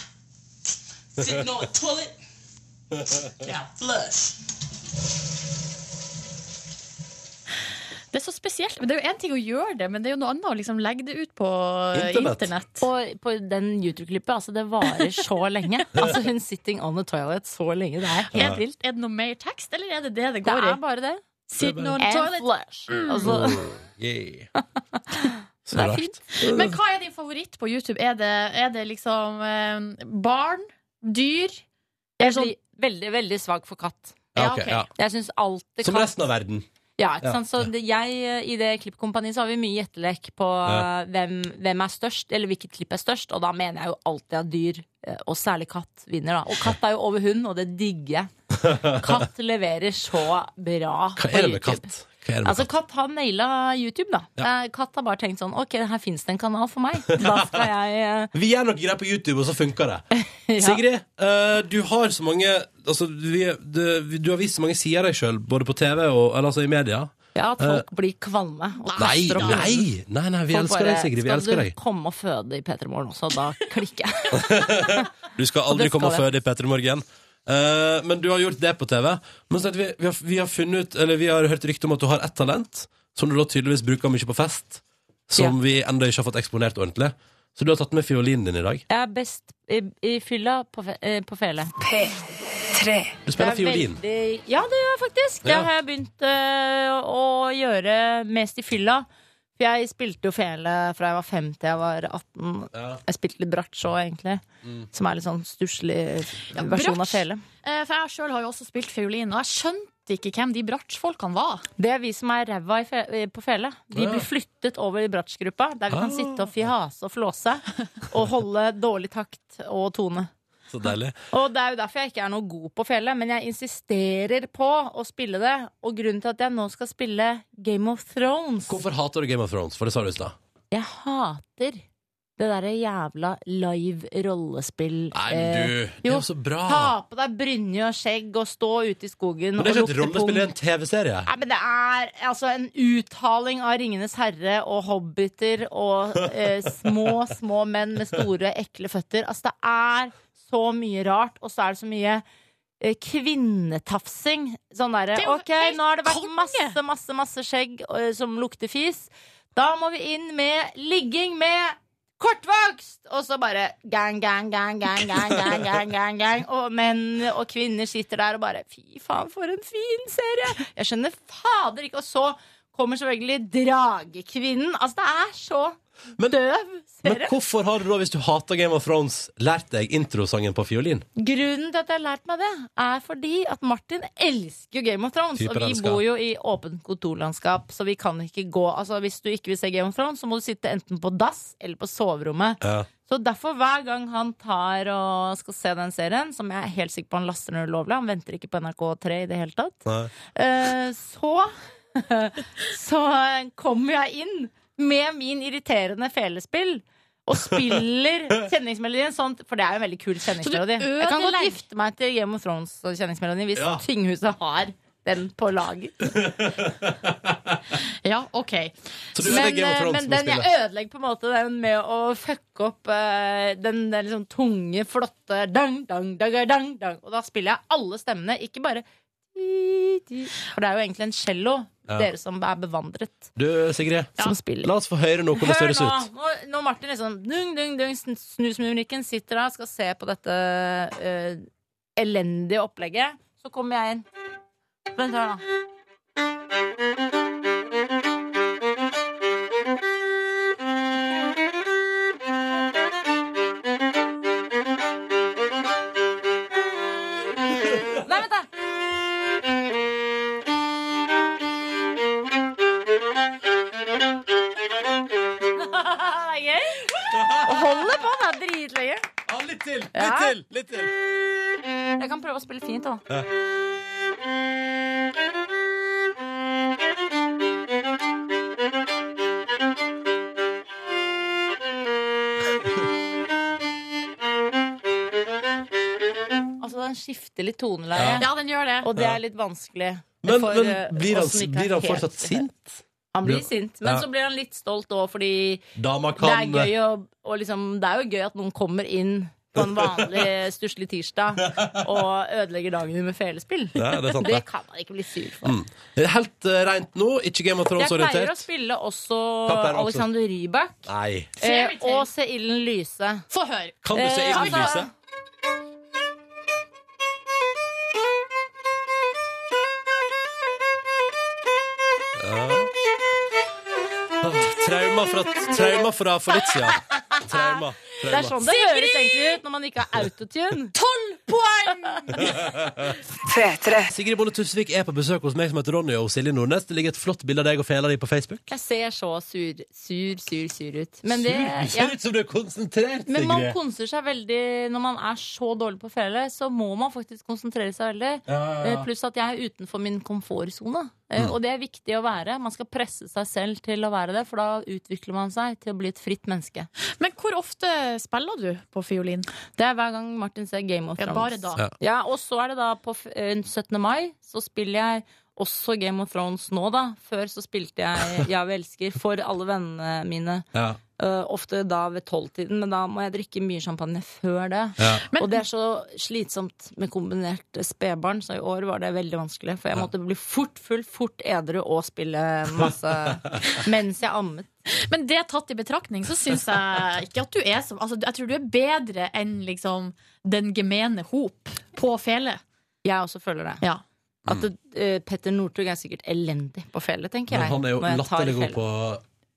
Speaker 13: Sitting on toilet. Now flush.
Speaker 12: Det er så spesielt. Men Det er jo én ting å gjøre det, men det er jo noe annet å liksom legge det ut på eh,
Speaker 2: Internett.
Speaker 12: internett.
Speaker 11: på, på den YouTube-klippet. Altså, det varer så lenge. Altså, hun sitting on the toilet så lenge. Det er helt vilt.
Speaker 12: Er det noe mer tekst, eller er det det det
Speaker 11: Det
Speaker 12: går i?
Speaker 11: er bare det.
Speaker 12: Sit on
Speaker 11: And
Speaker 12: toilet.
Speaker 11: flush.
Speaker 12: Mm.
Speaker 2: Mm.
Speaker 11: Altså,
Speaker 2: Oh, Yeah. Så
Speaker 11: det er
Speaker 2: rart.
Speaker 11: fint.
Speaker 12: Men hva er din favoritt på YouTube? Er det, er det liksom eh, barn? Dyr?
Speaker 11: Jeg blir veldig, veldig svag for katt.
Speaker 2: Ja,
Speaker 12: Ja,
Speaker 2: ok,
Speaker 12: ok.
Speaker 2: ja.
Speaker 11: Jeg syns alltid
Speaker 2: Som
Speaker 11: katt
Speaker 2: resten av verden.
Speaker 11: Ja, ikke
Speaker 2: Ja.
Speaker 11: sant? Så det, jeg, eh, I det klippkompaniet så har vi mye gjettelek på
Speaker 2: Ja.
Speaker 11: eh, hvem, hvem er størst, eller hvilket klipp er størst. Og da mener jeg jo alltid at dyr, eh, og særlig katt, vinner. da Og katt er jo over hund, og det digger jeg. Katt leverer så bra
Speaker 2: Hva
Speaker 11: på
Speaker 2: er det med
Speaker 11: YouTube.
Speaker 2: katt? Hva er det med
Speaker 11: Altså, Katt har naila YouTube, da. Eh, Katt har bare tenkt sånn Ok, her fins det en kanal for meg. Da skal jeg eh,
Speaker 2: Vi gjør noe greier på YouTube, og så funker det.
Speaker 11: Ja.
Speaker 2: Sigrid, eh, du har så mange altså, vi, det, vi- du har vist så mange sider av deg sjøl, både på TV og eller, altså, i media.
Speaker 11: Ja, at folk blir kvalme. og
Speaker 2: Eh, Nei,
Speaker 11: kaster opp i hodet.
Speaker 2: nei, nei, nei vi
Speaker 11: Folk
Speaker 2: elsker
Speaker 11: bare,
Speaker 2: deg, Sigrid. Vi elsker deg.
Speaker 11: Skal du komme og føde i P3 Morgen også? Da klikker jeg.
Speaker 2: Du skal
Speaker 11: Og
Speaker 2: aldri
Speaker 11: det skal
Speaker 2: komme og
Speaker 11: jeg.
Speaker 2: føde i Petter Morgen. Eh, men du har gjort det på TV. Men så at vi, vi, har, vi har funnet ut Eller vi har hørt rykte om at du har ett talent, som du da tydeligvis bruker mye på fest, som
Speaker 11: Ja.
Speaker 2: vi ennå ikke har fått eksponert ordentlig. Så du har tatt med fiolinen din i dag.
Speaker 11: Jeg er best i, i fylla på, fe- eh, på fele.
Speaker 2: Du spiller fiolin.
Speaker 11: Veldig, ja, det gjør jeg faktisk. Det
Speaker 2: Ja.
Speaker 11: har jeg begynt eh, å gjøre mest i fylla. For jeg spilte jo fele fra jeg var fem til jeg var 18.
Speaker 2: Ja. Mm.
Speaker 11: Jeg spilte litt bratsjå, egentlig. Som er litt sånn stusslig versjon av
Speaker 12: bratsj.
Speaker 11: fele.
Speaker 12: Eh, For jeg sjøl har jo også spilt fiolin, og jeg skjønte ikke hvem de bratsjfolkene var.
Speaker 11: Det er vi som er ræva i fe eh, på fele. Vi
Speaker 2: Ja. Ah.
Speaker 11: blir flyttet over i bratsjgruppa, der vi kan sitte og fjase og flåse. Og holde dårlig takt og tone.
Speaker 2: Så deilig.
Speaker 11: Og det er jo derfor jeg ikke er noe god på fele, men jeg insisterer på å spille det. Og grunnen til at jeg nå skal spille Game of Thrones
Speaker 2: Hvorfor hater du Game of Thrones? For det sa du i stad.
Speaker 11: Jeg hater det derre jævla live rollespill.
Speaker 2: Nei, men du, det er
Speaker 11: Eh, jo,
Speaker 2: jo så bra.
Speaker 11: Ta på deg brynje og skjegg og stå ute i skogen
Speaker 2: Men det er
Speaker 11: og
Speaker 2: ikke et
Speaker 11: lukte
Speaker 2: rollespill, det er en TV-serie.
Speaker 11: Nei, men det er altså en uthaling av Ringenes herre og hobbiter og eh, små, små menn med store, ekle føtter. Altså, det er så mye rart, og så er det så mye eh, kvinnetafsing. Sånn derre
Speaker 12: Det er jo
Speaker 11: OK, nå har det vært
Speaker 12: konge!»
Speaker 11: masse, masse, masse skjegg eh, som lukter fis. Da må vi inn med ligging med Kortvokst! Og så bare gang, gang, gang, gang, gang, gang, gang, gang, gang. Og menn og kvinner sitter der og bare Fy faen, for en fin serie! Jeg skjønner fader ikke. Og så kommer selvfølgelig Dragekvinnen. Altså, det er så
Speaker 2: Men-
Speaker 11: døv
Speaker 2: Men
Speaker 11: serie.
Speaker 2: hvorfor har du da, hvis du hater Game of Thrones, lært deg introsangen på fiolin?
Speaker 11: Grunnen til at jeg har lært meg det, er fordi at Martin elsker jo Game of Thrones.
Speaker 2: Typer
Speaker 11: Og vi
Speaker 2: elsker.
Speaker 11: bor jo i åpent kontorlandskap, så vi kan ikke gå Altså, hvis du ikke vil se Game of Thrones, så må du sitte enten på dass eller på soverommet.
Speaker 2: Ja.
Speaker 11: Så derfor hver gang han tar og skal se den serien, som jeg er helt sikker på han laster ned ulovlig, han venter ikke på NRK3 i det hele tatt,
Speaker 2: Nei.
Speaker 11: eh, så så kommer jeg inn med min irriterende felespill. Og spiller kjenningsmelodien sånn, for det er jo en veldig kul kjenningsmelodi.
Speaker 12: Så du
Speaker 11: Jeg kan godt
Speaker 12: ødelegger-
Speaker 11: gifte meg til Game of Thrones og kjenningsmelodien hvis
Speaker 2: Ja.
Speaker 11: tinghuset har den på lager.
Speaker 12: Ja, OK.
Speaker 11: Så
Speaker 12: du ødelegger
Speaker 11: men,
Speaker 12: Game of
Speaker 11: eh,
Speaker 12: Thrones
Speaker 11: men
Speaker 12: med
Speaker 11: den jeg
Speaker 12: spillet.
Speaker 11: ødelegger på en måte den med å fucke opp eh, den, den liksom tunge, flotte dang, dang, dang, dang, dang. Og da spiller jeg alle stemmene, ikke bare For det er jo egentlig en cello,
Speaker 2: Ja.
Speaker 11: dere som er bevandret.
Speaker 2: Du, Sigrid, la oss få høre noe om det
Speaker 11: Hør
Speaker 2: høres
Speaker 11: nå!
Speaker 2: ut.
Speaker 11: Nå, nå Martin liksom dung, dung, dung, sn- Snusmumrikken sitter der skal se på dette eh, elendige opplegget. Så kommer jeg inn. Vent her, da. Nei, vent, da! Det er gøy. Holder på, det er dritløye.
Speaker 2: Ja, litt til, litt
Speaker 11: til,
Speaker 2: litt til.
Speaker 11: Jeg kan prøve å spille fint, da.
Speaker 2: Ja.
Speaker 11: Altså, den skifter litt toneleie.
Speaker 12: Ja, den gjør det.
Speaker 11: Og det
Speaker 2: Ja.
Speaker 11: er litt vanskelig.
Speaker 2: Men,
Speaker 11: for, eh,
Speaker 2: men blir,
Speaker 11: oss som
Speaker 2: han,
Speaker 11: ikke er
Speaker 2: blir han
Speaker 11: helt-
Speaker 2: fortsatt sint?
Speaker 11: Han blir sint, men
Speaker 2: Ja.
Speaker 11: så blir han litt stolt òg, fordi
Speaker 2: Dama kan eh,
Speaker 11: det er gøy å, og liksom, det er jo gøy at noen kommer inn på en vanlig stusslig tirsdag og ødelegger dagen din med felespill.
Speaker 2: Ja, det er sant, det.
Speaker 11: kan man ikke bli sur for.
Speaker 2: mm. Det er Helt eh, rent nå, ikke Game of
Speaker 11: Jeg pleier å
Speaker 2: Thrones-orientert.
Speaker 11: spille også
Speaker 2: Hva pleier du også?
Speaker 11: Alexander Rybak
Speaker 2: Nei.
Speaker 11: eh, og Se ilden lyse.
Speaker 12: Få høre.
Speaker 2: Kan du se
Speaker 11: Eh,
Speaker 2: ilden
Speaker 11: altså-
Speaker 2: lyse? Ja. Åh, Ah, Trauma fra, trauma fra for litt siden. Trauma.
Speaker 11: Det er sånn det høres egentlig ut når man ikke har autotune. Tolv poeng!
Speaker 2: Sigrid Bonde Tusvik er på besøk hos meg som heter Ronny og Silje Nordnes. Det ligger et flott bilde av deg og fela di på Facebook.
Speaker 11: Jeg ser så sur, sur, sur, sur ut. Men det,
Speaker 2: Sur.
Speaker 11: ja.
Speaker 2: Ser ut som du er konsentrert,
Speaker 11: Men man
Speaker 2: Sigrid.
Speaker 11: konser seg veldig når man er så dårlig på fele, så må man faktisk konsentrere seg veldig.
Speaker 2: Ja, ja, ja.
Speaker 11: Eh, Pluss at jeg er utenfor min komfortsone. Eh,
Speaker 2: Mm.
Speaker 11: Og det er viktig å være. Man skal presse seg selv til å være det, for da utvikler man seg til å bli et fritt menneske.
Speaker 12: Men hvor ofte spiller du på fiolin?
Speaker 11: Det er hver gang Martin ser Game of
Speaker 12: Ja,
Speaker 11: Thrones.
Speaker 12: bare da. Ja.
Speaker 11: Ja, og så er det da på f- eh, 17. mai, så spiller jeg også Game of Thrones nå, da. Før så spilte jeg Ja, vi elsker for alle vennene mine.
Speaker 2: Ja.
Speaker 11: Eh, ofte da ved tolvtiden, men da må jeg drikke mye champagne før det.
Speaker 2: Ja.
Speaker 11: og det er så slitsomt med kombinert spedbarn, så i år var det veldig vanskelig. For jeg måtte bli fort full, fort edru og spille masse mens jeg ammet.
Speaker 12: Men det tatt i betraktning, så syns jeg ikke at du er som altså, Jeg tror du er bedre enn liksom den gemene hop på fele.
Speaker 11: Jeg også føler det.
Speaker 12: Ja.
Speaker 11: At eh, Petter Northug er sikkert elendig på fele, tenker
Speaker 2: Men
Speaker 11: jeg.
Speaker 2: han er jo
Speaker 11: når jeg tar
Speaker 2: latterlig god
Speaker 11: fele.
Speaker 2: på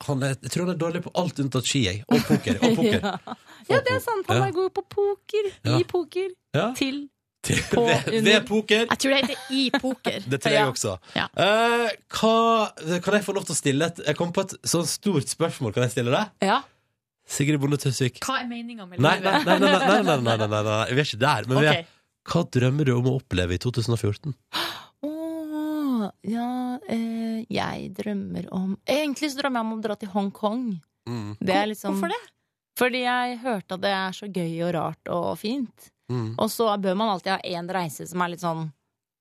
Speaker 2: han er, Jeg tror han er dårlig på alt unntatt ski, jeg. Og poker. Og poker.
Speaker 11: ja. ja, det er sant. Han
Speaker 2: Ja.
Speaker 11: er god på poker.
Speaker 2: Ja.
Speaker 11: I poker.
Speaker 2: Ja.
Speaker 11: Til.
Speaker 2: På, ved, ved poker.
Speaker 12: Jeg tror det heter i poker.
Speaker 2: Det tror jeg også. Eh, hva, kan jeg få lov til å stille et Jeg kom på et sånn stort spørsmål. Kan jeg stille det?
Speaker 11: Ja.
Speaker 2: Sigrid Bonde Tusvik.
Speaker 12: Hva er meninga med
Speaker 2: Nei, nei,
Speaker 12: livet?
Speaker 2: nei, nei, nei, nei, nei, nei, nei, nei, vi er ikke der. Men vi er,
Speaker 12: Ok.
Speaker 2: hva drømmer du om å oppleve i 2014?
Speaker 11: Åh, ja eh, Jeg drømmer om Egentlig så drømmer jeg om å dra til Hongkong. Det er liksom,
Speaker 12: Hvorfor det?
Speaker 11: Fordi jeg hørte at det er så gøy og rart og fint.
Speaker 2: Mm.
Speaker 11: Og så bør man alltid ha én reise som er litt sånn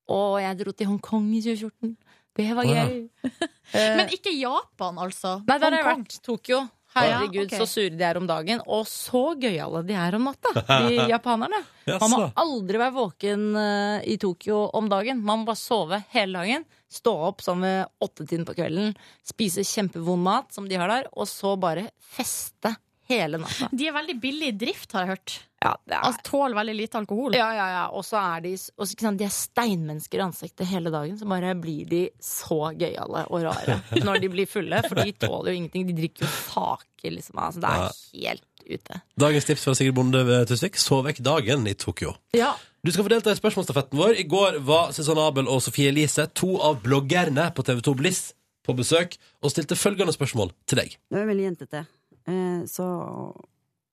Speaker 11: Å, jeg dro til Hongkong i 2014. Det var
Speaker 12: Å, ja.
Speaker 11: gøy. Eh,
Speaker 12: Men ikke Japan, altså.
Speaker 11: Nei, der har jeg
Speaker 12: Hongkong.
Speaker 11: vært. Tokyo.
Speaker 12: Ja,
Speaker 11: Herregud,
Speaker 12: ok.
Speaker 11: så sure de er om dagen. Og så gøyale de er om natta, de japanerne. Man må
Speaker 12: Jaså.
Speaker 11: aldri være våken eh, i Tokyo om dagen. Man må bare sove hele dagen. Stå opp sånn ved åttetiden på kvelden, spise kjempevond mat som de har der, og så bare feste hele natta.
Speaker 12: De er veldig billig i drift, har jeg hørt.
Speaker 11: Ja, det
Speaker 12: Altså, tåler veldig lite alkohol.
Speaker 11: Ja, ja, ja. Og så er de, og så, ikke sant, de er steinmennesker i ansiktet hele dagen, så bare blir de så gøyale og rare når de blir fulle. For de tåler jo ingenting. De drikker jo saker, liksom. Altså, det er helt ute.
Speaker 2: Dagens tips fra Sigrid Bonde eh, Tusvik. Sov vekk dagen i Tokyo.
Speaker 11: Ja.
Speaker 2: Du skal få delta i spørsmålsstafetten vår. I går var Susanne Abel og Sofie Elise, to av bloggerne på TV2 Bliss, på besøk og stilte følgende spørsmål til deg.
Speaker 14: Du er veldig jentete. Eh, Så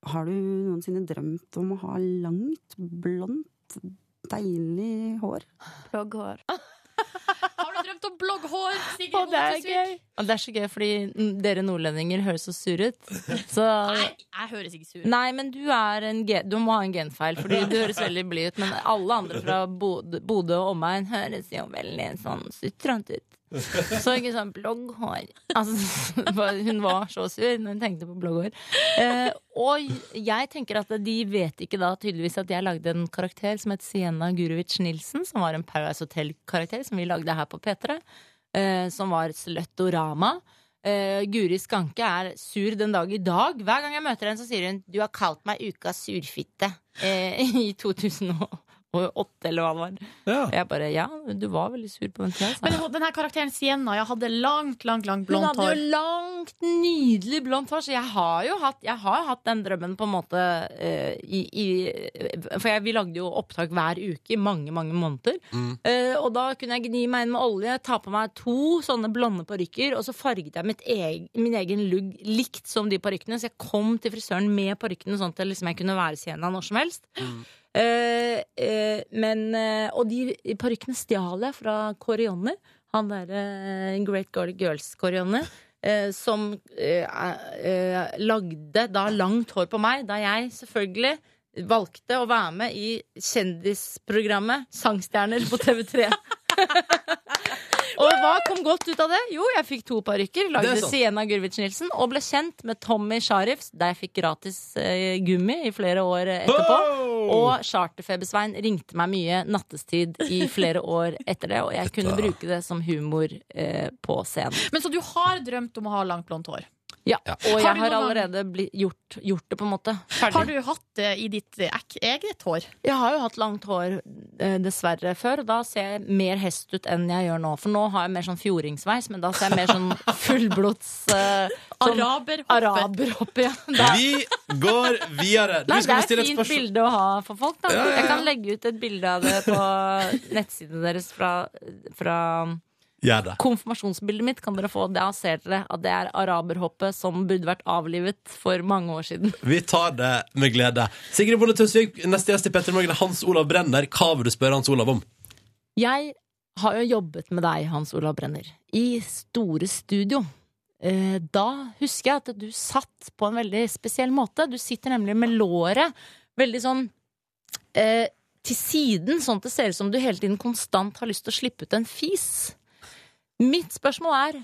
Speaker 14: har du noensinne drømt om å ha langt, blondt, deilig hår?
Speaker 12: Har du drømt om
Speaker 3: blogghår. Sigrid
Speaker 11: Og det er
Speaker 3: Montesvik.
Speaker 11: Og det er så gøy, fordi mm, dere nordlendinger høres så sure ut. Så
Speaker 3: Nei, jeg høres ikke sur ut.
Speaker 11: Nei, men du, er en ge- du må ha en genfeil, Fordi du høres veldig blid ut. Men alle andre fra Bod- Bodø og omegn høres jo veldig sånn sutrete ut. Så ikke sånn blogghår. Altså, bare- hun var så sur når hun tenkte på blogghår. Eh, og jeg tenker at de vet ikke da tydeligvis at jeg lagde en karakter som het Sienna Gurovic Nilsen, som var en Paradise Hotel-karakter som vi lagde her på P3, eh, som var Sløttorama. Eh, Guri Skanke er sur den dag i dag. Hver gang jeg møter henne, så sier hun 'du har kalt meg ukas surfitte' eh, i 2008, eller hva det var. Og Jeg bare 'ja, du var veldig sur på den tida'. sa jeg.
Speaker 12: Men hun- denne karakteren Sienna jeg hadde langt, langt, langt
Speaker 11: Hun
Speaker 12: blondt
Speaker 11: hadde
Speaker 12: hår.
Speaker 11: jo langt, nydelig blondt hår, så jeg har jo hatt, jeg har hatt den drømmen på en måte eh, i, i For jeg, vi lagde jo opptak hver uke i mange, mange måneder. Eh, og da kunne jeg gni meg inn med olje, ta på meg to sånne blonde parykker, og så farget jeg mitt eg, min egen lugg likt som de parykkene, så jeg kom til frisøren med parykkene sånn at jeg liksom jeg kunne være Sienna når som helst. Eh, eh, men, eh, og de parykkene stjal jeg fra Kåre Jonny. Han derre eh, Great Girl Girls-Kåre Jonny. eh, som eh, eh, lagde da langt hår på meg, da jeg selvfølgelig valgte å være med i kjendisprogrammet Sangstjerner på TV3. og hva kom godt ut av det? Jo, jeg fikk to parykker.
Speaker 12: Det
Speaker 11: Lagde
Speaker 12: er sant.
Speaker 11: Sienna Gurvic Nilsen. Og ble kjent med Tommy Sharifs, der jeg fikk gratis eh, gummi i flere år eh, etterpå. Og Charterfebersvein ringte meg mye nattestid i flere år etter det. Og jeg kunne bruke det som humor eh, på scenen.
Speaker 12: Men Så du har drømt om å ha langt, blondt hår?
Speaker 11: Ja,
Speaker 12: Har
Speaker 11: Og jeg
Speaker 12: du
Speaker 11: har
Speaker 12: noen gang-
Speaker 11: allerede bli, gjort, gjort det, på en måte.
Speaker 12: Har du hatt det i ditt eh, ek- eget hår?
Speaker 11: Jeg har jo hatt langt hår, eh, dessverre, før. Og da ser jeg mer hest ut enn jeg gjør nå. For nå har jeg mer sånn fjordingsveis, men da ser jeg mer sånn fullblods eh, sånn
Speaker 12: Araberhoppe.
Speaker 11: Araberhoppe, ja.
Speaker 2: Vi går videre. Du
Speaker 11: Nei, det
Speaker 2: skal
Speaker 11: er
Speaker 2: få stille
Speaker 11: et
Speaker 2: et
Speaker 11: fint
Speaker 2: spørsmål.
Speaker 11: bilde å ha for folk. Da.
Speaker 2: Ja, ja, ja.
Speaker 11: Jeg kan legge ut et bilde av det på nettsidene deres fra, fra
Speaker 2: Gjør det.
Speaker 11: konfirmasjonsbildet mitt. Kan dere få Da ser dere at det er araberhoppet som burde vært avlivet for mange år siden.
Speaker 2: Vi tar det med glede. Sigrid Bonde Tusvik, neste gjest i Petter Morgen er Hans Olav Brenner. Hva vil du spørre Hans Olav om?
Speaker 11: Jeg har jo jobbet med deg, Hans Olav Brenner, i Store Studio. Eh, Da husker jeg at du satt på en veldig spesiell måte. Du sitter nemlig med låret veldig sånn eh, til siden, sånn at det ser ut som du hele tiden konstant har lyst til å slippe ut en fis. Mitt spørsmål er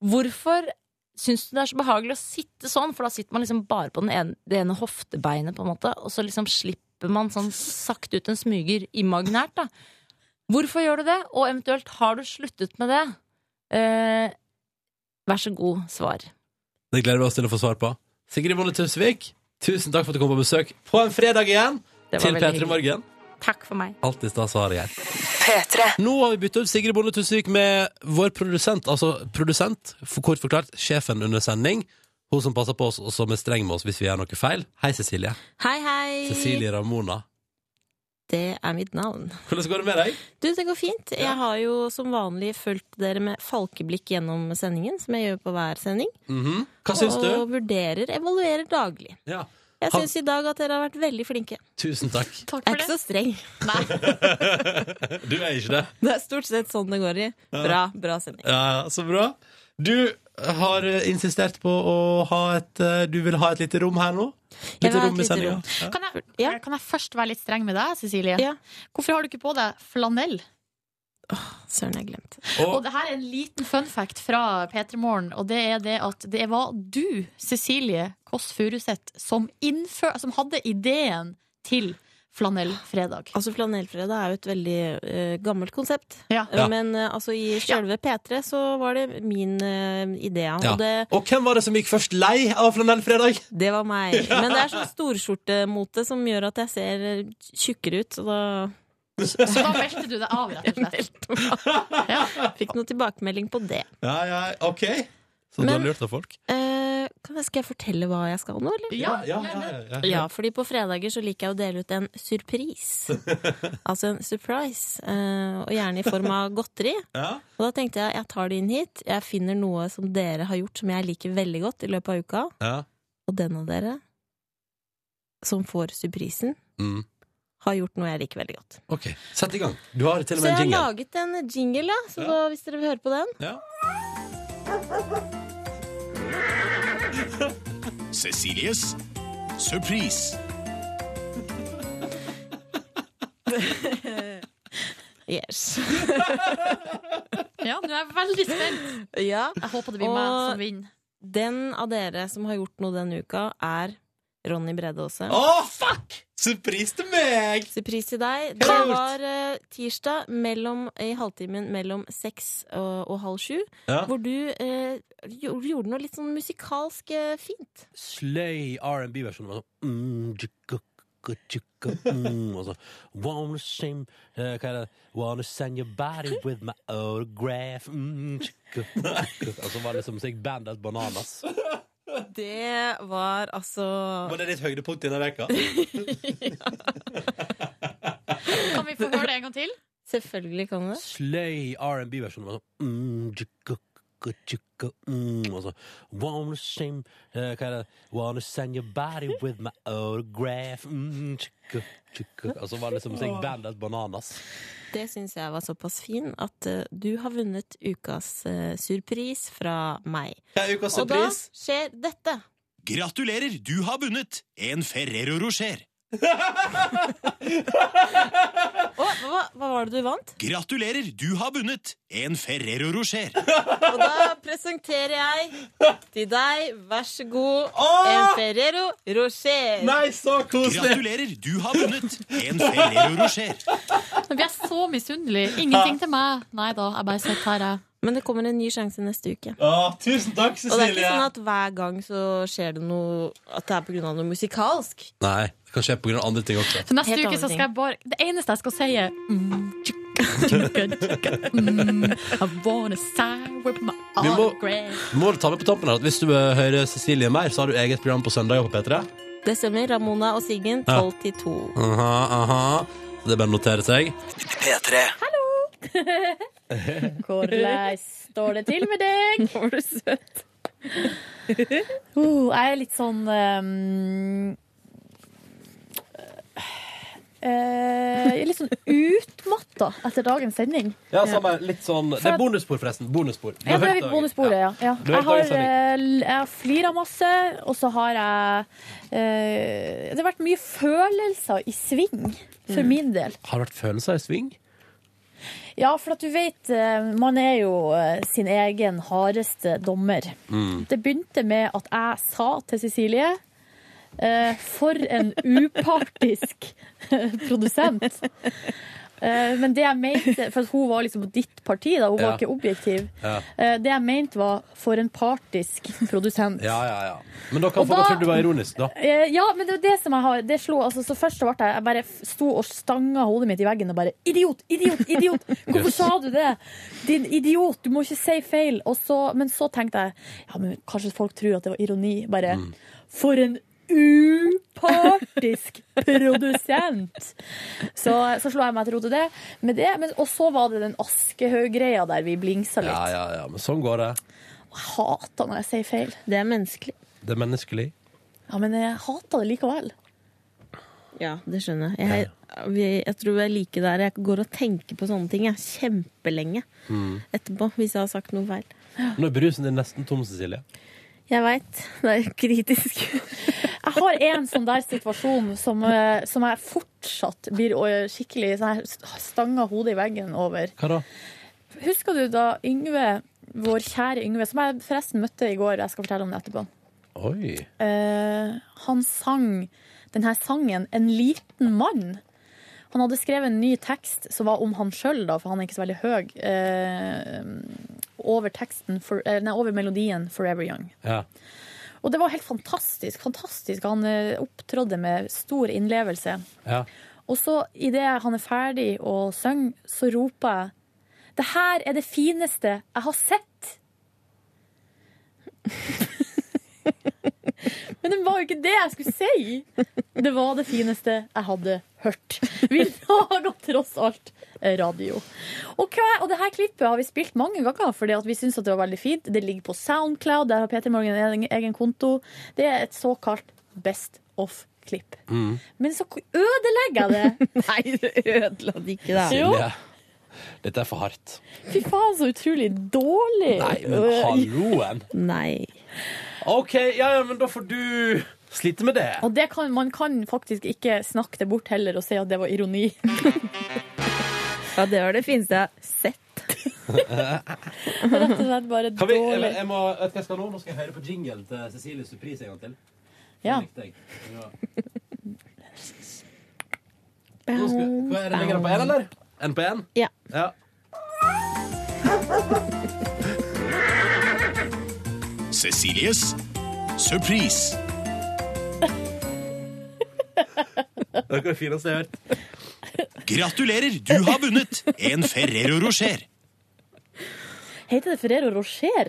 Speaker 11: hvorfor syns du det er så behagelig å sitte sånn? For da sitter man liksom bare på den ene, det ene hoftebeinet, på en måte, og så liksom slipper man sånn sakte ut en smyger imaginært, da. Hvorfor gjør du det? Og eventuelt, har du sluttet med det? Eh, vær så god, svar.
Speaker 2: Det gleder vi oss til å få svar på. Sigrid Bonde Tusvik, tusen takk for at du kom på besøk på en fredag igjen til
Speaker 11: Det var veldig
Speaker 2: Petter
Speaker 11: hyggelig.
Speaker 2: Morgen.
Speaker 11: Takk for meg.
Speaker 2: Alltid stas å ha deg her. Nå har vi bytta ut Sigrid Bonde Tusvik med vår produsent, altså produsent, for kort forklart sjefen under sending. Hun som passer på oss, og som er streng med oss hvis vi gjør noe feil. Hei, Cecilie.
Speaker 15: Hei, hei.
Speaker 2: Cecilie Ramona.
Speaker 15: Det er mitt navn.
Speaker 2: Hvordan går det med deg?
Speaker 15: Du, det går fint. Jeg har jo som vanlig fulgt dere med falkeblikk gjennom sendingen, som jeg gjør på hver sending.
Speaker 2: Mhm. Hva syns du?
Speaker 15: Og vurderer, evaluerer daglig.
Speaker 2: Ja.
Speaker 15: Jeg
Speaker 2: Han-
Speaker 15: syns i dag at dere har vært veldig flinke.
Speaker 2: Tusen takk.
Speaker 15: jeg er ikke så streng.
Speaker 2: Du er ikke det.
Speaker 15: Det er stort sett sånn det går i. Bra, bra sending.
Speaker 2: Ja, så bra. Du har eh, insistert på å ha et eh, Du vil ha et lite rom her nå?
Speaker 12: Jeg vil ha
Speaker 2: Lite
Speaker 12: et
Speaker 2: rom i
Speaker 12: lite
Speaker 2: sendinga?
Speaker 12: rom.
Speaker 2: Ja.
Speaker 12: Kan jeg, kan jeg først være litt streng med deg, Cecilie? Hvorfor har du ikke på deg flanell?
Speaker 15: Søren, jeg glemte
Speaker 12: Og, det her er en liten fun fact fra P3 Morgen, og det er det at det var du, Cecilie Kåss Furuseth, som, innfø- som hadde ideen til flanellfredag.
Speaker 15: Altså Flanellfredag er jo et veldig eh, gammelt konsept.
Speaker 2: Ja.
Speaker 15: Men eh, altså i sjølve P3 så var det min eh, idé.
Speaker 2: Ja.
Speaker 15: Og det,
Speaker 2: Og hvem var det som gikk først lei av flanellfredag?
Speaker 15: det var meg. Men det er sånn storskjortemote som gjør at jeg ser eh, tjukkere ut, så da
Speaker 12: Så da meldte du deg av, rett og slett.
Speaker 15: Fikk noe tilbakemelding på det.
Speaker 2: Ja, ja, ok. Så du
Speaker 15: Men-
Speaker 2: har lurt av folk?
Speaker 15: Eh, kan jeg, skal jeg fortelle hva jeg skal nå, eller?
Speaker 2: Ja, ja, ja, ja, ja.
Speaker 15: Ja, fordi på fredager så liker jeg å dele ut en surprise. altså en surprise. eh, og gjerne i form av godteri.
Speaker 2: Ja.
Speaker 15: Og da tenkte jeg jeg tar det inn hit. Jeg finner noe som dere har gjort som jeg liker veldig godt i løpet av uka.
Speaker 2: Ja.
Speaker 15: Og den av dere som får surprisen,
Speaker 2: Mm.
Speaker 15: har gjort noe jeg liker veldig godt.
Speaker 2: OK, sett i gang. Du har til og
Speaker 15: Så
Speaker 2: med
Speaker 15: jeg
Speaker 2: en
Speaker 15: har
Speaker 2: jingle.
Speaker 15: laget en jingle, ja. Så
Speaker 2: Ja.
Speaker 15: da, hvis dere vil høre på den
Speaker 2: Ja.
Speaker 16: Cecilies surprise.
Speaker 15: Yes.
Speaker 12: ja, nå er jeg veldig spent.
Speaker 15: Ja.
Speaker 12: Jeg håper det blir meg som vinner.
Speaker 15: Den av dere som har gjort noe denne uka, er Ronny Brede Aase.
Speaker 2: Å, fuck! Surprise til meg!
Speaker 15: Surprise til deg. Det
Speaker 2: Kult!
Speaker 15: var eh, tirsdag mellom, i halvtimen mellom seks eh, og, og halv sju,
Speaker 4: Ja.
Speaker 15: hvor du eh, gjorde gjorde noe litt sånn musikalsk eh, fint.
Speaker 4: Slay R&B-versjonen var sånn mm, tjukka, tjukka, tjukka, mm, og så, Wanna shame eh, Hva er det? Wanna send your body with my autograph mm, tjukka, tjukka. Og så var det liksom så gikk bandet bananas.
Speaker 15: Det var altså
Speaker 2: Var det er ditt høydepunkt i denne veka?
Speaker 12: Kan vi få høre det en gang til?
Speaker 15: Selvfølgelig kan du det.
Speaker 4: Slay R&B-versjonen var sånn mm, tjukka, tjukka, tjukka, mm, og så, Wanna shame eh, Hva er det? Wanna send your body with my autograph mm, tjukka, tjukka. Og så var det liksom så gikk bandet bananas.
Speaker 15: Det syns jeg var såpass fin at eh, du har vunnet ukas eh, surpris fra meg.
Speaker 2: Hva er ukas
Speaker 15: Og da
Speaker 2: surprise?
Speaker 15: skjer dette.
Speaker 16: Gratulerer, du har vunnet en Ferrero Rocher.
Speaker 15: Å, hva, hva var det du vant?
Speaker 16: Gratulerer, du har vunnet en Ferrero Rocher.
Speaker 15: Og da presenterer jeg til deg, vær så god, en Ferrero Rocher.
Speaker 2: Nei, så
Speaker 16: Gratulerer, du har vunnet en Ferrero Rocher.
Speaker 12: Nå blir jeg så misunnelig. Ingenting til meg. Nei da, jeg bare sitter her, jeg.
Speaker 15: Men det kommer en ny sjanse neste uke.
Speaker 2: Å, tusen takk,
Speaker 15: Og det er
Speaker 2: Cecilie!
Speaker 15: ikke sånn at hver gang så skjer det noe At det er på grunn av noe musikalsk.
Speaker 2: Nei, det kan skje på grunn av andre ting også.
Speaker 12: Så neste
Speaker 15: Helt
Speaker 12: uke
Speaker 15: andre
Speaker 12: så
Speaker 15: ting.
Speaker 12: skal jeg bare Det eneste jeg skal si, er mm, tjukka, tjukka, tjukka, mm, I wanna sign with my
Speaker 2: Vi må-
Speaker 12: autograph.
Speaker 2: Må du ta med på tampen her at hvis du vil høre Cecilie mer, så har du eget program på søndag på P3.
Speaker 15: Det stemmer. Ramona og Siggen,
Speaker 2: Ja.
Speaker 15: 12 til 2.
Speaker 2: Aha, aha. Det er bare å notere seg.
Speaker 8: P3.
Speaker 3: Hvordan står det til med deg? Var du søt? Oh,
Speaker 12: Uh, jeg er litt sånn ehm,
Speaker 3: Eh, jeg er litt sånn utmatta etter dagens sending.
Speaker 4: Ja, samme, litt sånn Det
Speaker 3: For
Speaker 4: er
Speaker 3: at-
Speaker 4: bonusspor, forresten. Bonusspor. Du
Speaker 3: Ja,
Speaker 4: har
Speaker 3: det er
Speaker 4: hørt
Speaker 3: litt
Speaker 4: det.
Speaker 3: bonussporet, ja. ja.
Speaker 4: Du har
Speaker 3: Jeg
Speaker 4: hørt
Speaker 3: har,
Speaker 4: dagens sending.
Speaker 3: eh, l- jeg har flira masse, og så har jeg eh, Det har vært mye følelser i sving, for min del.
Speaker 4: Har det vært følelser i sving?
Speaker 3: Ja, for at du vet, eh, man er jo eh, sin egen hardeste dommer.
Speaker 2: Mm.
Speaker 3: Det begynte med at jeg sa til Cecilie eh, For en upartisk produsent. Eh, men det jeg mente For at hun var liksom på ditt parti, da. Hun
Speaker 4: Ja.
Speaker 3: var ikke objektiv.
Speaker 4: Ja.
Speaker 3: Eh, det jeg mente var 'for en partisk produsent'.
Speaker 4: ja, ja, ja. Men da kan
Speaker 3: Og
Speaker 4: folk ha
Speaker 3: da-
Speaker 4: trodd du var ironisk, da.
Speaker 3: Eh, ja, men det var det som jeg har Det slo, altså, Så først så ble jeg Jeg bare sto og stanga hodet mitt i veggen og bare Idiot! Idiot! Idiot! Hvorfor
Speaker 4: Yes.
Speaker 3: sa du det? Din idiot! Du må ikke si feil! Og så, men så tenkte jeg Ja, men kanskje folk tror at det var ironi. Bare
Speaker 4: Mm.
Speaker 3: For en upartisk produsent! Så, så slo jeg meg til ro til det. Med det men, og så var det den Aschehoug-greia der vi blingsa litt.
Speaker 4: Ja, ja, ja. Men sånn går det.
Speaker 3: Jeg hater når jeg sier feil.
Speaker 15: Det er menneskelig.
Speaker 4: Det er menneskelig.
Speaker 3: Ja, men jeg hater det likevel.
Speaker 15: Ja, det skjønner jeg. Jeg, vi- jeg tror vi er like der. Jeg går og tenker på sånne ting jeg, kjempelenge
Speaker 4: Mm.
Speaker 15: etterpå, hvis jeg har sagt noe feil.
Speaker 4: Nå er brusen din nesten tom, Cecilie.
Speaker 15: Jeg veit. Det er kritisk.
Speaker 3: Jeg har en sånn der situasjon som, eh, som jeg fortsatt blir eh, skikkelig sånn her stanga hodet i veggen over.
Speaker 4: Hva da?
Speaker 3: Husker du da Yngve, vår kjære Yngve, som jeg forresten møtte i går, jeg skal fortelle om det etterpå,
Speaker 4: Oi.
Speaker 3: eh, han sang denne sangen 'En liten mann'. Han hadde skrevet en ny tekst som var om han sjøl, for han er ikke så veldig høy, eh, over, teksten for, eh, nei, over melodien 'Forever Young'.
Speaker 4: Ja.
Speaker 3: Og det var helt fantastisk. fantastisk. Han eh, opptrådde med stor innlevelse.
Speaker 4: ja.
Speaker 3: Og så idet han er ferdig å synge, så roper jeg Det her er det fineste jeg har sett! Men det var jo ikke det jeg skulle si! Det var det fineste jeg hadde hørt. Vi laga tross alt radio. Og, hva- og det her klippet har vi spilt mange ganger fordi at vi syns det var veldig fint. Det ligger på Soundcloud, der har Peter Morgen en egen konto. Det er et såkalt best of klipp.
Speaker 2: Mm.
Speaker 3: Men så ødelegger jeg det! Nei, du ødela det ikke, Jo.
Speaker 17: Silje, dette er for hardt.
Speaker 3: Fy faen, så utrolig dårlig.
Speaker 17: Nei, men halloen!
Speaker 3: Nei.
Speaker 2: OK, ja, ja, men da får du slite med det.
Speaker 3: Og det kan, man kan faktisk ikke snakke det bort heller og si at det var ironi.
Speaker 15: Ja, det var det fineste jeg har sett.
Speaker 3: Rett og slett bare
Speaker 2: Kan vi, jeg,
Speaker 3: dårlig.
Speaker 2: jeg må, vet du hva jeg skal nå? Nå skal jeg høre på jingle til Cecilie Surprise en gang til.
Speaker 3: Ja.
Speaker 2: Den likte jeg. Ja. Nå skal, hva er det lenger på en, eller? En på en?
Speaker 15: Ja.
Speaker 16: Cecilies surprise.
Speaker 2: Det er det fineste jeg har hørt.
Speaker 16: Gratulerer, du har vunnet en Ferrero Rocher.
Speaker 3: Heter det Ferrero Rocher?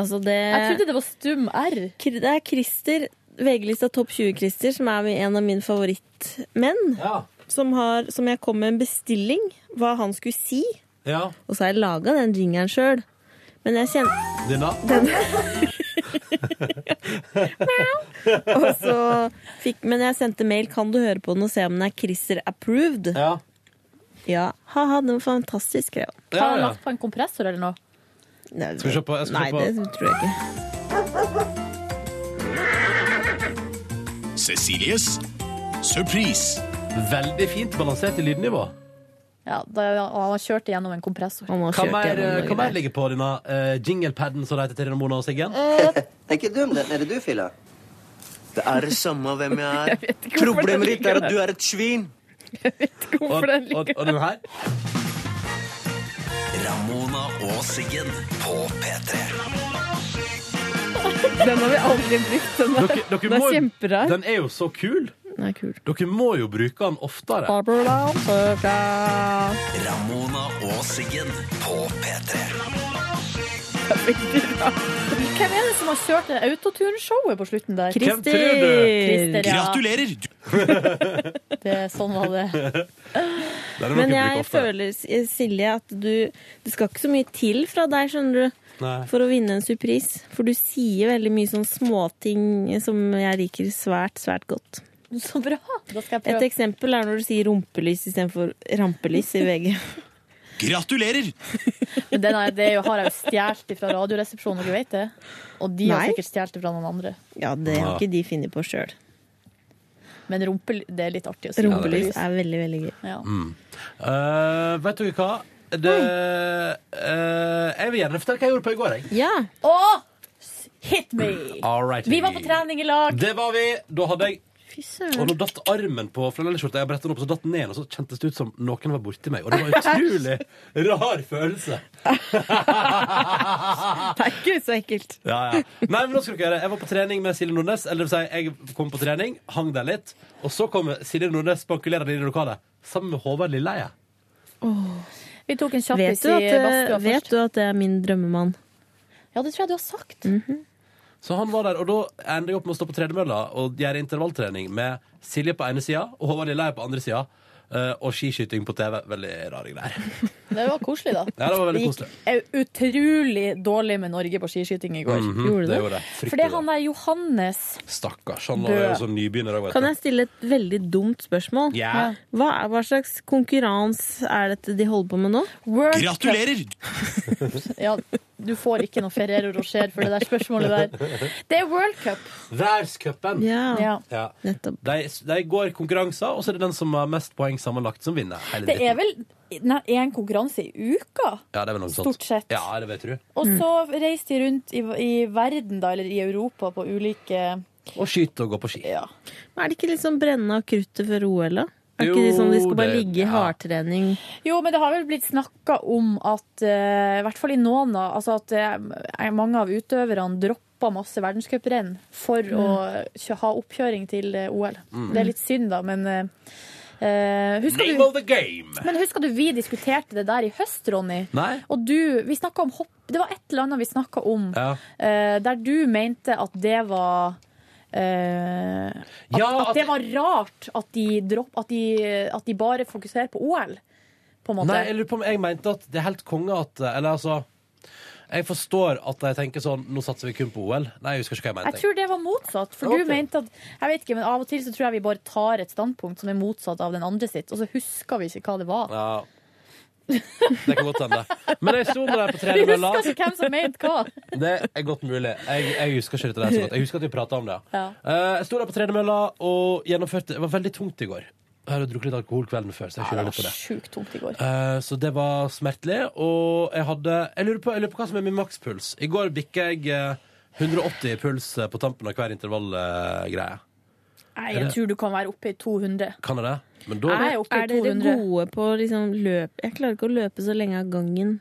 Speaker 15: Altså, det
Speaker 3: Jeg trodde det var stum R.
Speaker 15: Kri- Det er Christer, VG-lista topp 20-Christer, som er en av mine favorittmenn. Som, har, som jeg kom med en bestilling, hva han skulle si.
Speaker 2: Ja.
Speaker 15: Og så har jeg laga den jingeren sjøl. Men jeg kjenner
Speaker 2: Denne?
Speaker 15: Og så fikk Men jeg sendte mail. Kan du høre på den og se om den er Christer approved?
Speaker 2: Ja.
Speaker 15: Ja. Ha-ha, den var fantastisk. Ja.
Speaker 2: Ja, Har han ja. lagt
Speaker 15: på en kompressor eller noe? Nei,
Speaker 2: Skal vi se på- jeg skal
Speaker 15: nei
Speaker 2: se på-
Speaker 15: det tror jeg ikke.
Speaker 16: Cecilies surprise.
Speaker 2: Veldig fint balansert i lydnivå.
Speaker 3: Ja, da, han har kjørt gjennom en kompressor.
Speaker 2: Hva mer, hva mer ligger på denne uh, jinglepaden som det heter til Rina Mona og Siggen?
Speaker 1: Eh, Det er ikke dum, den. Er det du, Fille? Det er det samme hvem jeg
Speaker 2: Jeg
Speaker 1: er.
Speaker 2: vet ikke hvorfor den
Speaker 1: Problemet ditt
Speaker 2: ligger
Speaker 1: er at
Speaker 2: der.
Speaker 1: du er et svin.
Speaker 2: Og, og, og den her?
Speaker 1: Ramona og Siggen på P3.
Speaker 15: Den har vi aldri brukt. Den
Speaker 2: Dere,
Speaker 15: er,
Speaker 2: dere
Speaker 15: den er
Speaker 2: må,
Speaker 15: kjemperar.
Speaker 2: den er jo så kul.
Speaker 15: Den er kul.
Speaker 2: Dere må jo bruke den oftere.
Speaker 1: Ramona og Siggen på P3.
Speaker 3: Hvem er det som har kjørt det autoturen-showet på slutten der?
Speaker 16: Hvem tror du?
Speaker 3: Christer, ja.
Speaker 16: Gratulerer!
Speaker 3: Det, sånn var det.
Speaker 15: Men jeg føler, eh, Silje, at du Det skal ikke så mye til fra deg, skjønner du,
Speaker 2: Nei.
Speaker 15: for å vinne en surprise. For du sier veldig mye sånn småting som jeg liker svært, svært godt.
Speaker 3: Så bra! Da skal jeg
Speaker 15: Et
Speaker 3: prøve.
Speaker 15: eksempel er når du sier rumpelys istedenfor rampelys i VG.
Speaker 16: Gratulerer!
Speaker 3: Men den er, det er jo- har jeg jo stjålet fra Radioresepsjonen, og du vet det. Og de har
Speaker 15: Nei.
Speaker 3: sikkert stjålet det fra noen andre.
Speaker 15: Ja, det har ikke de funnet på sjøl.
Speaker 3: Men rumpel, det er litt artig å si.
Speaker 15: Rumpelys er veldig, veldig gøy.
Speaker 3: Ja.
Speaker 2: Mm. Eh, vet dere hva? Det, eh, jeg vil gjerne fortelle hva jeg gjorde på i går. Jeg.
Speaker 3: Å! Hit me!
Speaker 2: All right.
Speaker 3: Vi var på trening i lag.
Speaker 2: Det var vi. Da hadde jeg
Speaker 3: Fy
Speaker 2: Og nå
Speaker 3: søren.
Speaker 2: datt armen på flanellskjorta. Jeg brettet den opp, så datt den ned, og så kjentes det ut som noen var borti meg. Og det var en utrolig rar følelse.
Speaker 15: Det er ikke så ekkelt.
Speaker 2: Ja, ja. Nei, men nå skal dere gjøre det. Jeg var på trening med Silje Nordnes. Eller det vil si, jeg kom på trening, hang der litt, og så kom Silje Nordnes spankulerende inn i lokalet. Sammen med Håvard Lilleheie.
Speaker 3: Vi tok en
Speaker 15: Vet
Speaker 3: kjappis
Speaker 15: du,
Speaker 3: i
Speaker 15: at,
Speaker 3: badstua
Speaker 15: vet
Speaker 3: først.
Speaker 15: du at det er min drømmemann? Mhm.
Speaker 3: Ja, det tror jeg du har sagt.
Speaker 2: Så han var der, og da ender jeg opp med å stå på tredemølla og gjøre intervalltrening med Silje på ene sida og Håvard Lilleheie på andre sida. eh, Og skiskyting på TV. Veldig rare greier.
Speaker 3: Det var koselig, da.
Speaker 2: Ja, det var veldig koselig.
Speaker 3: gikk eh, utrolig dårlig med Norge på skiskyting i går.
Speaker 2: Mhm, det gjorde det. Fryktelig
Speaker 3: For det er han der Johannes
Speaker 2: Stakkars. Han
Speaker 3: Bø.
Speaker 2: var jo sånn nybegynner. da, vet
Speaker 15: Kan
Speaker 2: du.
Speaker 15: jeg stille et veldig dumt spørsmål?
Speaker 2: Ja.
Speaker 15: Hva, er- hva slags konkurranse er dette de holder på med nå?
Speaker 3: World Gratulerer! Ja, du får ikke noe Ferrero Rocher for det der spørsmålet der. Det er World Cup.
Speaker 2: Verdenscupen.
Speaker 15: Ja.
Speaker 3: Ja.
Speaker 2: De, de går konkurranser, og så er det den som har mest poeng sammenlagt, som vinner. hele
Speaker 3: Det er
Speaker 2: dritten.
Speaker 3: vel én konkurranse i uka?
Speaker 2: ja, det er vel noe sånt.
Speaker 3: stort sett.
Speaker 2: Ja, det vil jeg tro.
Speaker 3: Og
Speaker 15: Mm.
Speaker 3: så reiser de rundt i, i verden, da, eller i Europa, på ulike
Speaker 2: Og skyte og gå på ski.
Speaker 15: Men er det ikke litt sånn brenne av kruttet før OL, da? Er ikke de sånn de skal bare
Speaker 3: det-
Speaker 15: ligge i hardtrening?
Speaker 3: Jo, men det har vel blitt snakka om at eh, I hvert fall i noen, da. Altså at eh, mange av utøverne dropper masse verdenscuprenn for å
Speaker 15: Mm.
Speaker 3: kjø ha oppkjøring til eh, OL.
Speaker 2: Mm.
Speaker 3: Det er litt synd, da, men eh, eh, husker
Speaker 2: Name of
Speaker 3: du
Speaker 2: the game!
Speaker 3: men husker du vi diskuterte det der i høst, Ronny?
Speaker 2: Nei?
Speaker 3: Og du, vi snakket om hopp Det var et eller annet vi snakka om
Speaker 2: Ja.
Speaker 3: eh, der du mente at det var eh, at,
Speaker 2: Ja,
Speaker 3: at,
Speaker 2: at-
Speaker 3: det var rart at de, dropp, at de, at de bare fokuserer på OL, på en måte.
Speaker 2: Nei, jeg lurer på om jeg mente at det er helt konge at Eller altså Jeg forstår at de tenker sånn Nå satser vi kun på OL. Nei, jeg husker ikke hva jeg mente.
Speaker 3: Jeg tror det var motsatt. For
Speaker 2: Ok.
Speaker 3: du mente at Jeg vet ikke, men av og til så tror jeg vi bare tar et standpunkt som er motsatt av den andre sitt, og så husker vi ikke hva det var.
Speaker 2: Ja. Det kan godt hende. Men jeg sto med deg på
Speaker 3: Vi
Speaker 2: trenermølla.
Speaker 3: husker ikke hvem som mente hva.
Speaker 2: Det er godt mulig. Jeg, jeg husker ikke dette der så godt. Jeg husker at vi prata om det.
Speaker 3: Ja.
Speaker 2: Eh, Jeg sto der på tredemølla og gjennomførte Det var veldig tungt i går. Jeg hadde drukket litt alkohol kvelden før, så jeg skylder litt på det.
Speaker 3: Sjukt tungt i går.
Speaker 2: Eh, Så det var smertelig, og jeg hadde Jeg lurer på, jeg lurer på hva som er min makspuls. I går bikka jeg eh, 180 i puls eh, på tampen av hver intervallgreie.
Speaker 3: Nei, jeg tror du kan være oppe i 200.
Speaker 2: Kan jeg det? Men da
Speaker 3: Jeg er oppe i
Speaker 15: Er dere
Speaker 3: 200.
Speaker 15: gode på liksom løp? Jeg klarer ikke å løpe så lenge av gangen.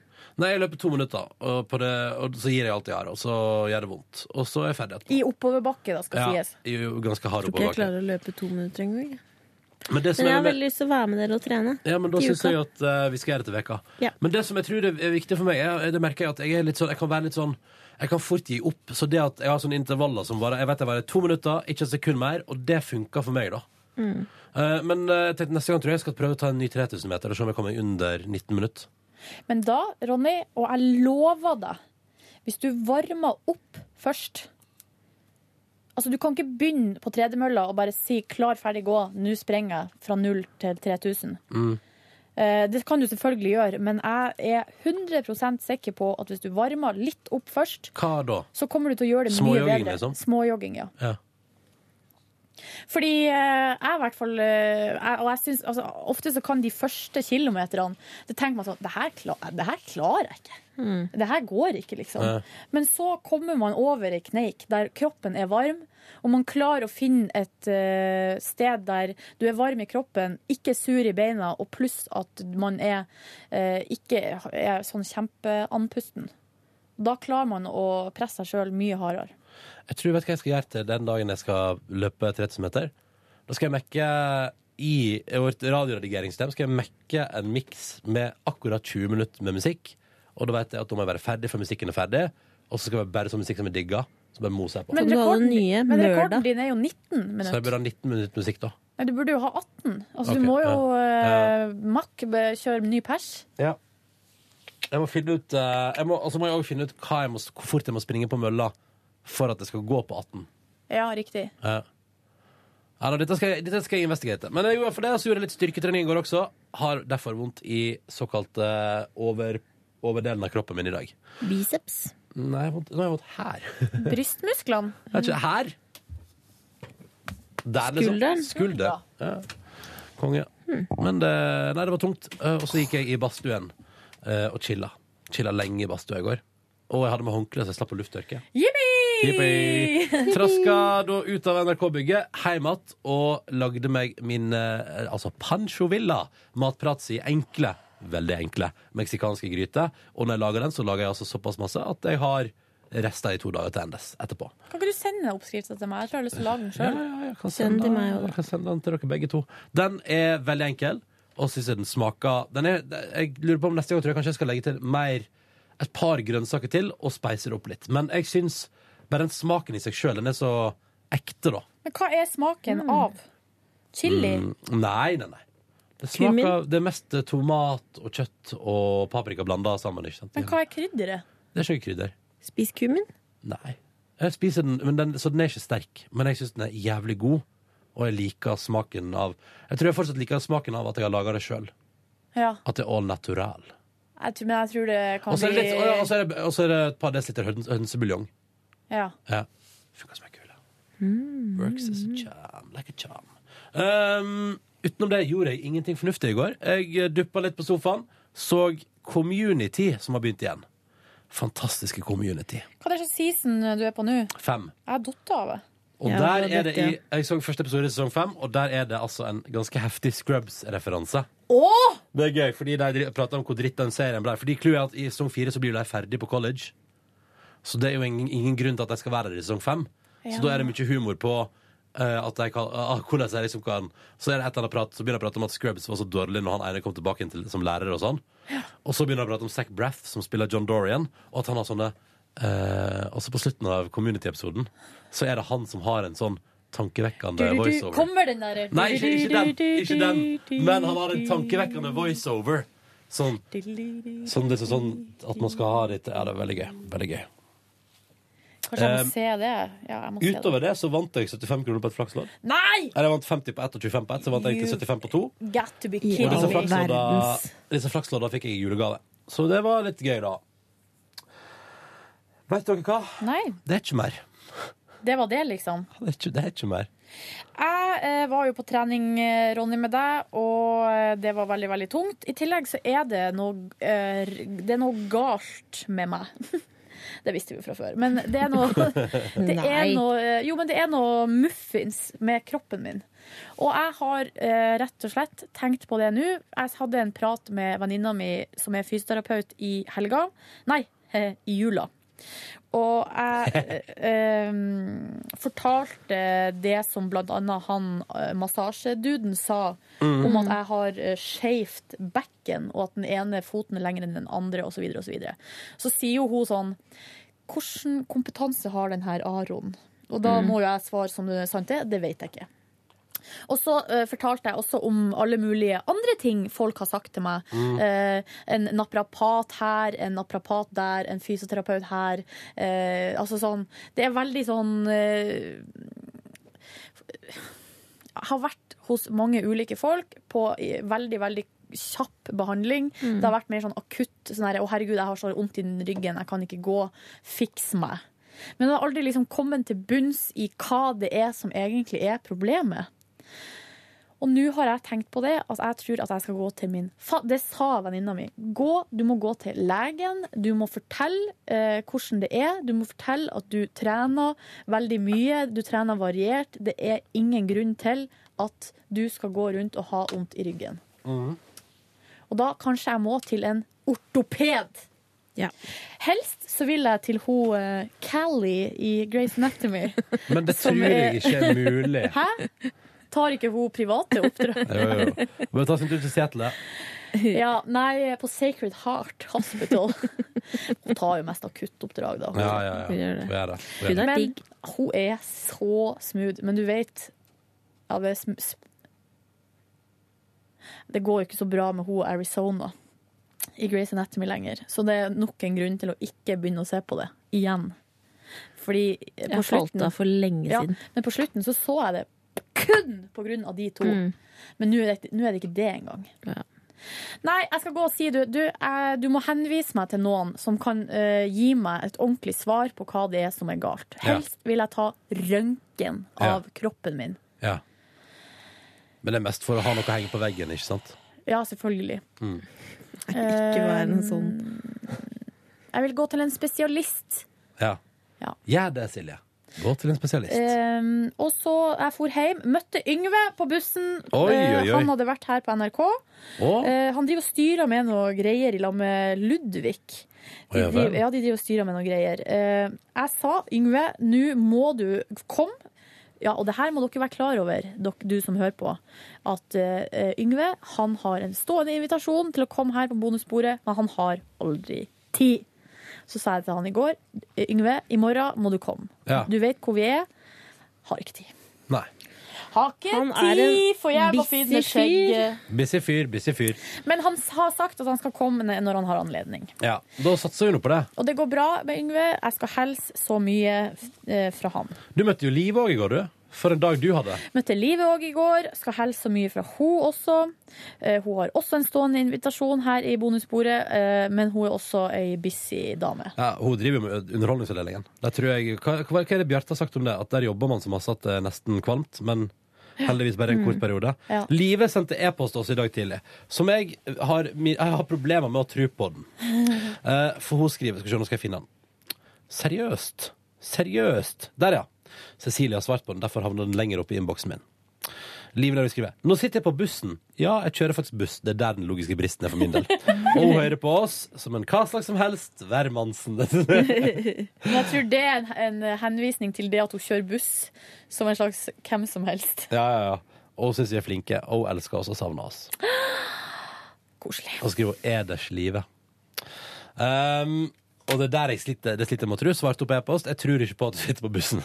Speaker 2: Nei, jeg løper to minutter, og, på det, og så gir jeg alt jeg har, og så gjør det vondt. Og så er jeg ferdig etterpå.
Speaker 3: I oppoverbakke, da, skal
Speaker 2: Ja,
Speaker 3: sies.
Speaker 2: jeg er jo ganske hard
Speaker 15: Tror ikke jeg
Speaker 2: oppoverbakke.
Speaker 15: klarer å løpe to minutter engang. jeg.
Speaker 2: Men det som
Speaker 15: Men
Speaker 2: er
Speaker 15: jeg har
Speaker 2: med-
Speaker 15: veldig lyst til å være med dere og trene.
Speaker 2: Ja, men da
Speaker 15: i
Speaker 2: syns
Speaker 15: uka.
Speaker 2: jeg at eh, vi skal gjøre det til veka.
Speaker 15: Ja.
Speaker 2: Men det som jeg tror er viktig for meg, er, det merker jeg at jeg er litt sånn, jeg kan være litt sånn jeg kan fort gi opp. Så det at jeg har sånne intervaller som varer Jeg vet jeg varer to minutter, ikke et sekund mer, og det funker for meg, da.
Speaker 3: Mm.
Speaker 2: Eh, men eh, jeg tenkte, neste gang tror jeg jeg skal prøve å ta en ny 3000 meter og se om jeg kommer under 19 minutter.
Speaker 3: Men da, Ronny, og jeg lover deg, hvis du varmer opp først Altså, Du kan ikke begynne på tredemølla og bare si 'klar, ferdig, gå', nå sprenger jeg fra 0 til 3000.
Speaker 2: Mm.
Speaker 3: Eh, Det kan du selvfølgelig gjøre, men jeg er 100 sikker på at hvis du varmer litt opp først,
Speaker 2: Hva da?
Speaker 3: så kommer du til å gjøre det mye
Speaker 2: Småjogging,
Speaker 3: bedre.
Speaker 2: liksom?
Speaker 3: Småjogging, ja.
Speaker 2: Ja.
Speaker 3: Fordi eh, jeg i hvert fall eh, jeg, Og jeg synes, altså, ofte så kan de første kilometerne Det tenker man sånn Det her, kla, det her klarer jeg ikke. Det her går ikke, liksom.
Speaker 15: Nei.
Speaker 3: Men så kommer man over ei kneik der kroppen er varm, og man klarer å finne et eh, sted der du er varm i kroppen, ikke sur i beina, og pluss at man er eh, ikke er sånn kjempeandpusten. Da klarer man å presse seg sjøl mye hardere.
Speaker 2: Jeg tror jeg vet hva jeg skal gjøre til den dagen jeg skal løpe 30 meter. Da skal jeg mekke i vårt radioredigeringssystem skal jeg mekke en miks med akkurat 20 minutter med musikk. Og da vet jeg at da må jeg være ferdig før musikken er ferdig. Og så skal det være bare sånn musikk som jeg digger. Så bare moser jeg på.
Speaker 15: Men du har den nye
Speaker 3: men rekorden
Speaker 15: lørdag.
Speaker 3: din er jo 19
Speaker 2: Så jeg
Speaker 3: minutter.
Speaker 2: burde ha 19 minutter musikk da.
Speaker 3: Nei, du burde jo ha 18. Altså,
Speaker 2: Ok,
Speaker 3: du må jo
Speaker 2: ja.
Speaker 3: eh, Mack be- kjøre ny pers.
Speaker 2: Ja. Jeg må finne ut eh, jeg må, Og så må jeg også finne ut hva jeg må, hvor fort jeg må springe på mølla for at jeg skal gå på 18.
Speaker 3: Ja, riktig.
Speaker 2: Ja. Ja, da, dette, skal jeg, dette skal jeg investigate. Men jeg gjorde for det, så gjorde jeg litt styrketrening i går også. Har derfor vondt i såkalt eh, over, overdelen av kroppen min i dag.
Speaker 15: Biceps.
Speaker 2: Nei, jeg har vondt- nå har jeg vondt her.
Speaker 3: Brystmusklene.
Speaker 2: Jeg vet ikke, her? Der, liksom.
Speaker 3: Skulderen.
Speaker 2: Skulder. Ja. Konge. Men det, nei, det var tungt. Eh, Og så gikk jeg i badstuen eh, og chilla. Chilla lenge i badstua i går. Og jeg hadde med håndkle, så jeg slapp å lufttørke. Jippi!
Speaker 3: Jippi!
Speaker 2: Traska da ut av NRK-bygget, hjem igjen, og lagde meg min eh, altså pancho villa matpratsi enkle, veldig enkle, meksikanske gryter. Og når jeg lager den, så lager jeg altså såpass masse at jeg har rester i to dager til endes etterpå.
Speaker 3: Kan ikke du sende oppskrifta til meg? Jeg tror jeg har lyst til å lage den sjøl.
Speaker 2: Kan sende, jeg kan sende den til dere begge to. Den er veldig enkel, og syns jeg den smaker den er, Jeg lurer på om neste gang tror jeg kanskje jeg skal legge til mer et par grønnsaker til og speise det opp litt. Men jeg syns bare den smaken i seg sjøl, den er så ekte, da.
Speaker 3: Men hva er smaken av chili?
Speaker 2: Mm, nei, nei, nei. Det
Speaker 3: Kummin?
Speaker 2: smaker det er mest eh, tomat og kjøtt og paprika blanda sammen. Ikke sant?
Speaker 3: Men hva er krydderet?
Speaker 2: Det er ikke krydder.
Speaker 15: Spis kummin.
Speaker 2: Nei. Jeg spiser den, men den, så den er ikke sterk. Men jeg syns den er jævlig god, og jeg liker smaken av Jeg tror jeg fortsatt liker smaken av at jeg har laga det sjøl.
Speaker 3: Ja,
Speaker 2: At det er all natural.
Speaker 3: jeg tror, men jeg tror det
Speaker 2: Og
Speaker 3: kan
Speaker 2: så er det
Speaker 3: bli
Speaker 2: litt- og ja, altså- og så er det- og så er det et par desiliter høns, hønsebuljong.
Speaker 3: Ja.
Speaker 2: Ja. Works as a charm, like a charm. Um, utenom det gjorde jeg ingenting fornuftig i går. Jeg duppa litt på sofaen, så Community, som har begynt igjen. Fantastiske Community.
Speaker 3: Hva er det slags season du er på nå? Jeg
Speaker 2: Fem.
Speaker 3: har datt av det.
Speaker 2: Og der er det i, Jeg så første episode i sesong fem, og der er det altså en ganske heftig Scrubs-referanse.
Speaker 3: Åh!
Speaker 2: Det er gøy, fordi de dri- prater om hvor dritt den serien ble. Fordi clouet er at I sesong fire så blir jo de ferdig på college. Så det er jo ingen, ingen grunn til at de skal være der i sesong fem.
Speaker 4: Ja.
Speaker 2: Så da er det mye humor på eh, at de kan, ah, hvordan de liksom kan Så er det et eller annet prat Så begynner de å prate om at Scrubs var så dårlig når han ene kom tilbake inn til, som lærer. Og sånn Og så begynner de å prate om Zac Braff, som spiller John Dorian, og at han har sånne eh, Også på slutten av Community-episoden så er det han som har en sånn
Speaker 3: Du,
Speaker 2: tankevekkende
Speaker 3: du, du.
Speaker 2: voiceover.
Speaker 3: Kommer den der
Speaker 2: Nei, ikke, ikke den. Ikke den. Men han har en tankevekkende voiceover Sånn, sånn, liksom sånn at man skal ha litt Ja, det er veldig gøy. Veldig gøy.
Speaker 3: Kanskje jeg
Speaker 2: Eh,
Speaker 3: må se det. Ja, jeg må se
Speaker 2: Utover det så vant jeg 75 kroner på et flakslodd.
Speaker 3: Nei!
Speaker 2: Eller jeg vant 50 på ett og 25 på ett, så vant jeg egentlig 75 på to.
Speaker 3: Got to be
Speaker 2: Og disse
Speaker 3: kidding me.
Speaker 2: flakslodda, disse flakslodda fikk jeg i julegave. Så det var litt gøy, da. Vet dere hva?
Speaker 3: Nei,
Speaker 2: Det er ikke mer.
Speaker 3: det var det, liksom.
Speaker 2: Det er ikke, det er ikke mer.
Speaker 3: Jeg eh, var jo på trening, eh, Ronny, med deg, og eh, det var veldig, veldig tungt. I tillegg så er det noe, eh, r- det er noe galt med meg. Det visste vi jo fra før. Men det er noe, det er
Speaker 15: Nei.
Speaker 3: noe, eh, jo, men det er noe muffins med kroppen min. Og jeg har eh, rett og slett tenkt på det nå. Jeg hadde en prat med venninna mi som er fysioterapeut i helga. Nei, eh, i jula. Og jeg eh, em, fortalte det som blant annet han eh, massasjeduden sa,
Speaker 15: Mm.
Speaker 3: om at jeg har eh, skeivt bekken, og at den ene foten er lengre enn den andre, osv. Så, videre, og så, videre. så sier jo hun sånn Hvordan kompetanse har den her Aron? Og da
Speaker 15: Mm.
Speaker 3: må jo jeg svare som det er sant er, det vet jeg ikke. Og så eh, fortalte jeg også om alle mulige andre ting folk har sagt til meg.
Speaker 15: Mm.
Speaker 3: Eh, en naprapat her, en naprapat der, en fysioterapeut her. Eh, altså sånn Det er veldig sånn eh, har vært hos mange ulike folk på i- veldig, veldig kjapp behandling.
Speaker 15: Mm.
Speaker 3: Det har vært mer sånn akutt sånn her, 'Å, herregud, jeg har så vondt i den ryggen, jeg kan ikke gå. Fiks meg.' Men det har aldri liksom kommet til bunns i hva det er som egentlig er problemet. Og nå har jeg tenkt på det, at jeg tror at jeg skal gå til min fa Det sa venninna mi. Gå, du må gå til legen. Du må fortelle eh, hvordan det er. Du må fortelle at du trener veldig mye. Du trener variert. Det er ingen grunn til at du skal gå rundt og ha vondt i ryggen.
Speaker 2: Mm.
Speaker 3: Og da kanskje jeg må til en ortoped. Helst så vil jeg til hun eh, Callie i Grace Anatomy.
Speaker 2: Men det
Speaker 3: som
Speaker 2: tror jeg ikke er mulig.
Speaker 3: Hæ? Tar ikke hun private oppdrag?
Speaker 2: Jo, jo. Bare ta sin tur til Seattle.
Speaker 3: Ja, nei, på Sacred Heart Hospital. Hun tar jo mest akuttoppdrag, da.
Speaker 2: Ja, ja, ja. Hun gjør det. Hun gjør det. Hun gjør det.
Speaker 3: Men
Speaker 2: digg.
Speaker 3: hun er så smooth. Men du vet ja, det, er sm sp det går jo ikke så bra med hun Arizona i Grace Anatomy lenger. Så det er nok en grunn til å ikke begynne å se på det igjen. Fordi eh, på
Speaker 15: Jeg falt
Speaker 3: slutten-
Speaker 15: av for lenge
Speaker 3: Ja,
Speaker 15: siden.
Speaker 3: Men på slutten så så jeg det kun på grunn av de to.
Speaker 15: Mm.
Speaker 3: Men nå er, det- nå er det ikke det engang. Nei, jeg skal gå og si du, du, eh, du må henvise meg til noen som kan eh, gi meg et ordentlig svar på hva det er som er galt.
Speaker 2: Ja.
Speaker 3: Helst vil jeg ta røntgen
Speaker 2: Ja.
Speaker 3: av kroppen min.
Speaker 2: Ja. Men det er mest for å ha noe å henge på veggen, ikke sant?
Speaker 3: Ja, selvfølgelig.
Speaker 2: Mm.
Speaker 3: Ikke
Speaker 15: være noe
Speaker 3: sånn. Jeg vil gå til en spesialist.
Speaker 2: Ja.
Speaker 3: Ja.
Speaker 2: Gjør det, Silje. Gå til en spesialist.
Speaker 3: Um, og så jeg for hjem, møtte Yngve på bussen.
Speaker 2: Oi,
Speaker 3: Eh,
Speaker 2: oi, oi.
Speaker 3: Han hadde vært her på NRK.
Speaker 2: Å?
Speaker 3: Eh, han driver og styrer med noe greier i lag med Ludvig. De
Speaker 15: Å, ja vel.
Speaker 3: driver, ja, de driver og styrer med noe greier. Eh, jeg sa, Yngve, nå må du komme. Ja, og det her må dere være klar over, dok- du som hører på, at eh, Yngve han har en stående invitasjon til å komme her på bonusbordet, men han har aldri tid. Så sa jeg til han i går, Yngve, i morgen må du komme.
Speaker 2: Ja.
Speaker 3: Du vet hvor vi er. Har ikke tid.
Speaker 4: Eh.
Speaker 2: Nei.
Speaker 3: Har ikke
Speaker 15: Han er en
Speaker 3: tid, for jeg må finne
Speaker 15: busy fyr.
Speaker 3: skjegget.
Speaker 2: Busy fyr, busy fyr.
Speaker 3: Men han har sagt at han skal komme når han har anledning.
Speaker 2: Ja, da satser vi nå på det.
Speaker 3: Og det går bra med Yngve. Jeg skal helse så mye eh, fra han.
Speaker 2: Du møtte jo Liv òg i går, du. For en dag du hadde.
Speaker 3: Møtte Live òg i går. Skal helse så mye fra hun også. Eh, Hun har også en stående invitasjon her i bonusbordet, eh, men hun er også ei busy dame.
Speaker 2: Ja, hun driver jo med Underholdningsavdelingen. Der tror jeg, hva, hva er det Bjarte har sagt om det? At der jobber man så masse at det er eh, nesten kvalmt. Men heldigvis bare en
Speaker 4: Mm.
Speaker 2: kort periode.
Speaker 4: Ja.
Speaker 2: Live sendte e-post til oss i dag tidlig, som jeg har, mi- jeg har problemer med å tro på den. Eh, for hun skriver Skal vi se, nå skal jeg finne den. Seriøst. Seriøst. Der, ja. Cecilie har svart på den, derfor havner den lenger opp i innboksen min. Liv Lauri skriver Nå sitter jeg på bussen. Ja, jeg kjører faktisk buss. Det er der den logiske bristen er for min del. Og hun hører på oss som en hva slags som helst hvermannsen.
Speaker 3: Men jeg tror det er en, en henvisning til det at hun kjører buss som en slags hvem som helst.
Speaker 2: Ja, ja, ja. Og hun syns vi er flinke, og hun elsker oss og savner oss.
Speaker 3: Koselig.
Speaker 2: Og skriver hun 'Eders livet'. Um, og det er der jeg sliter, det sliter jeg med å tro. Svarte hun på e-post. Jeg tror ikke på at du sitter på bussen.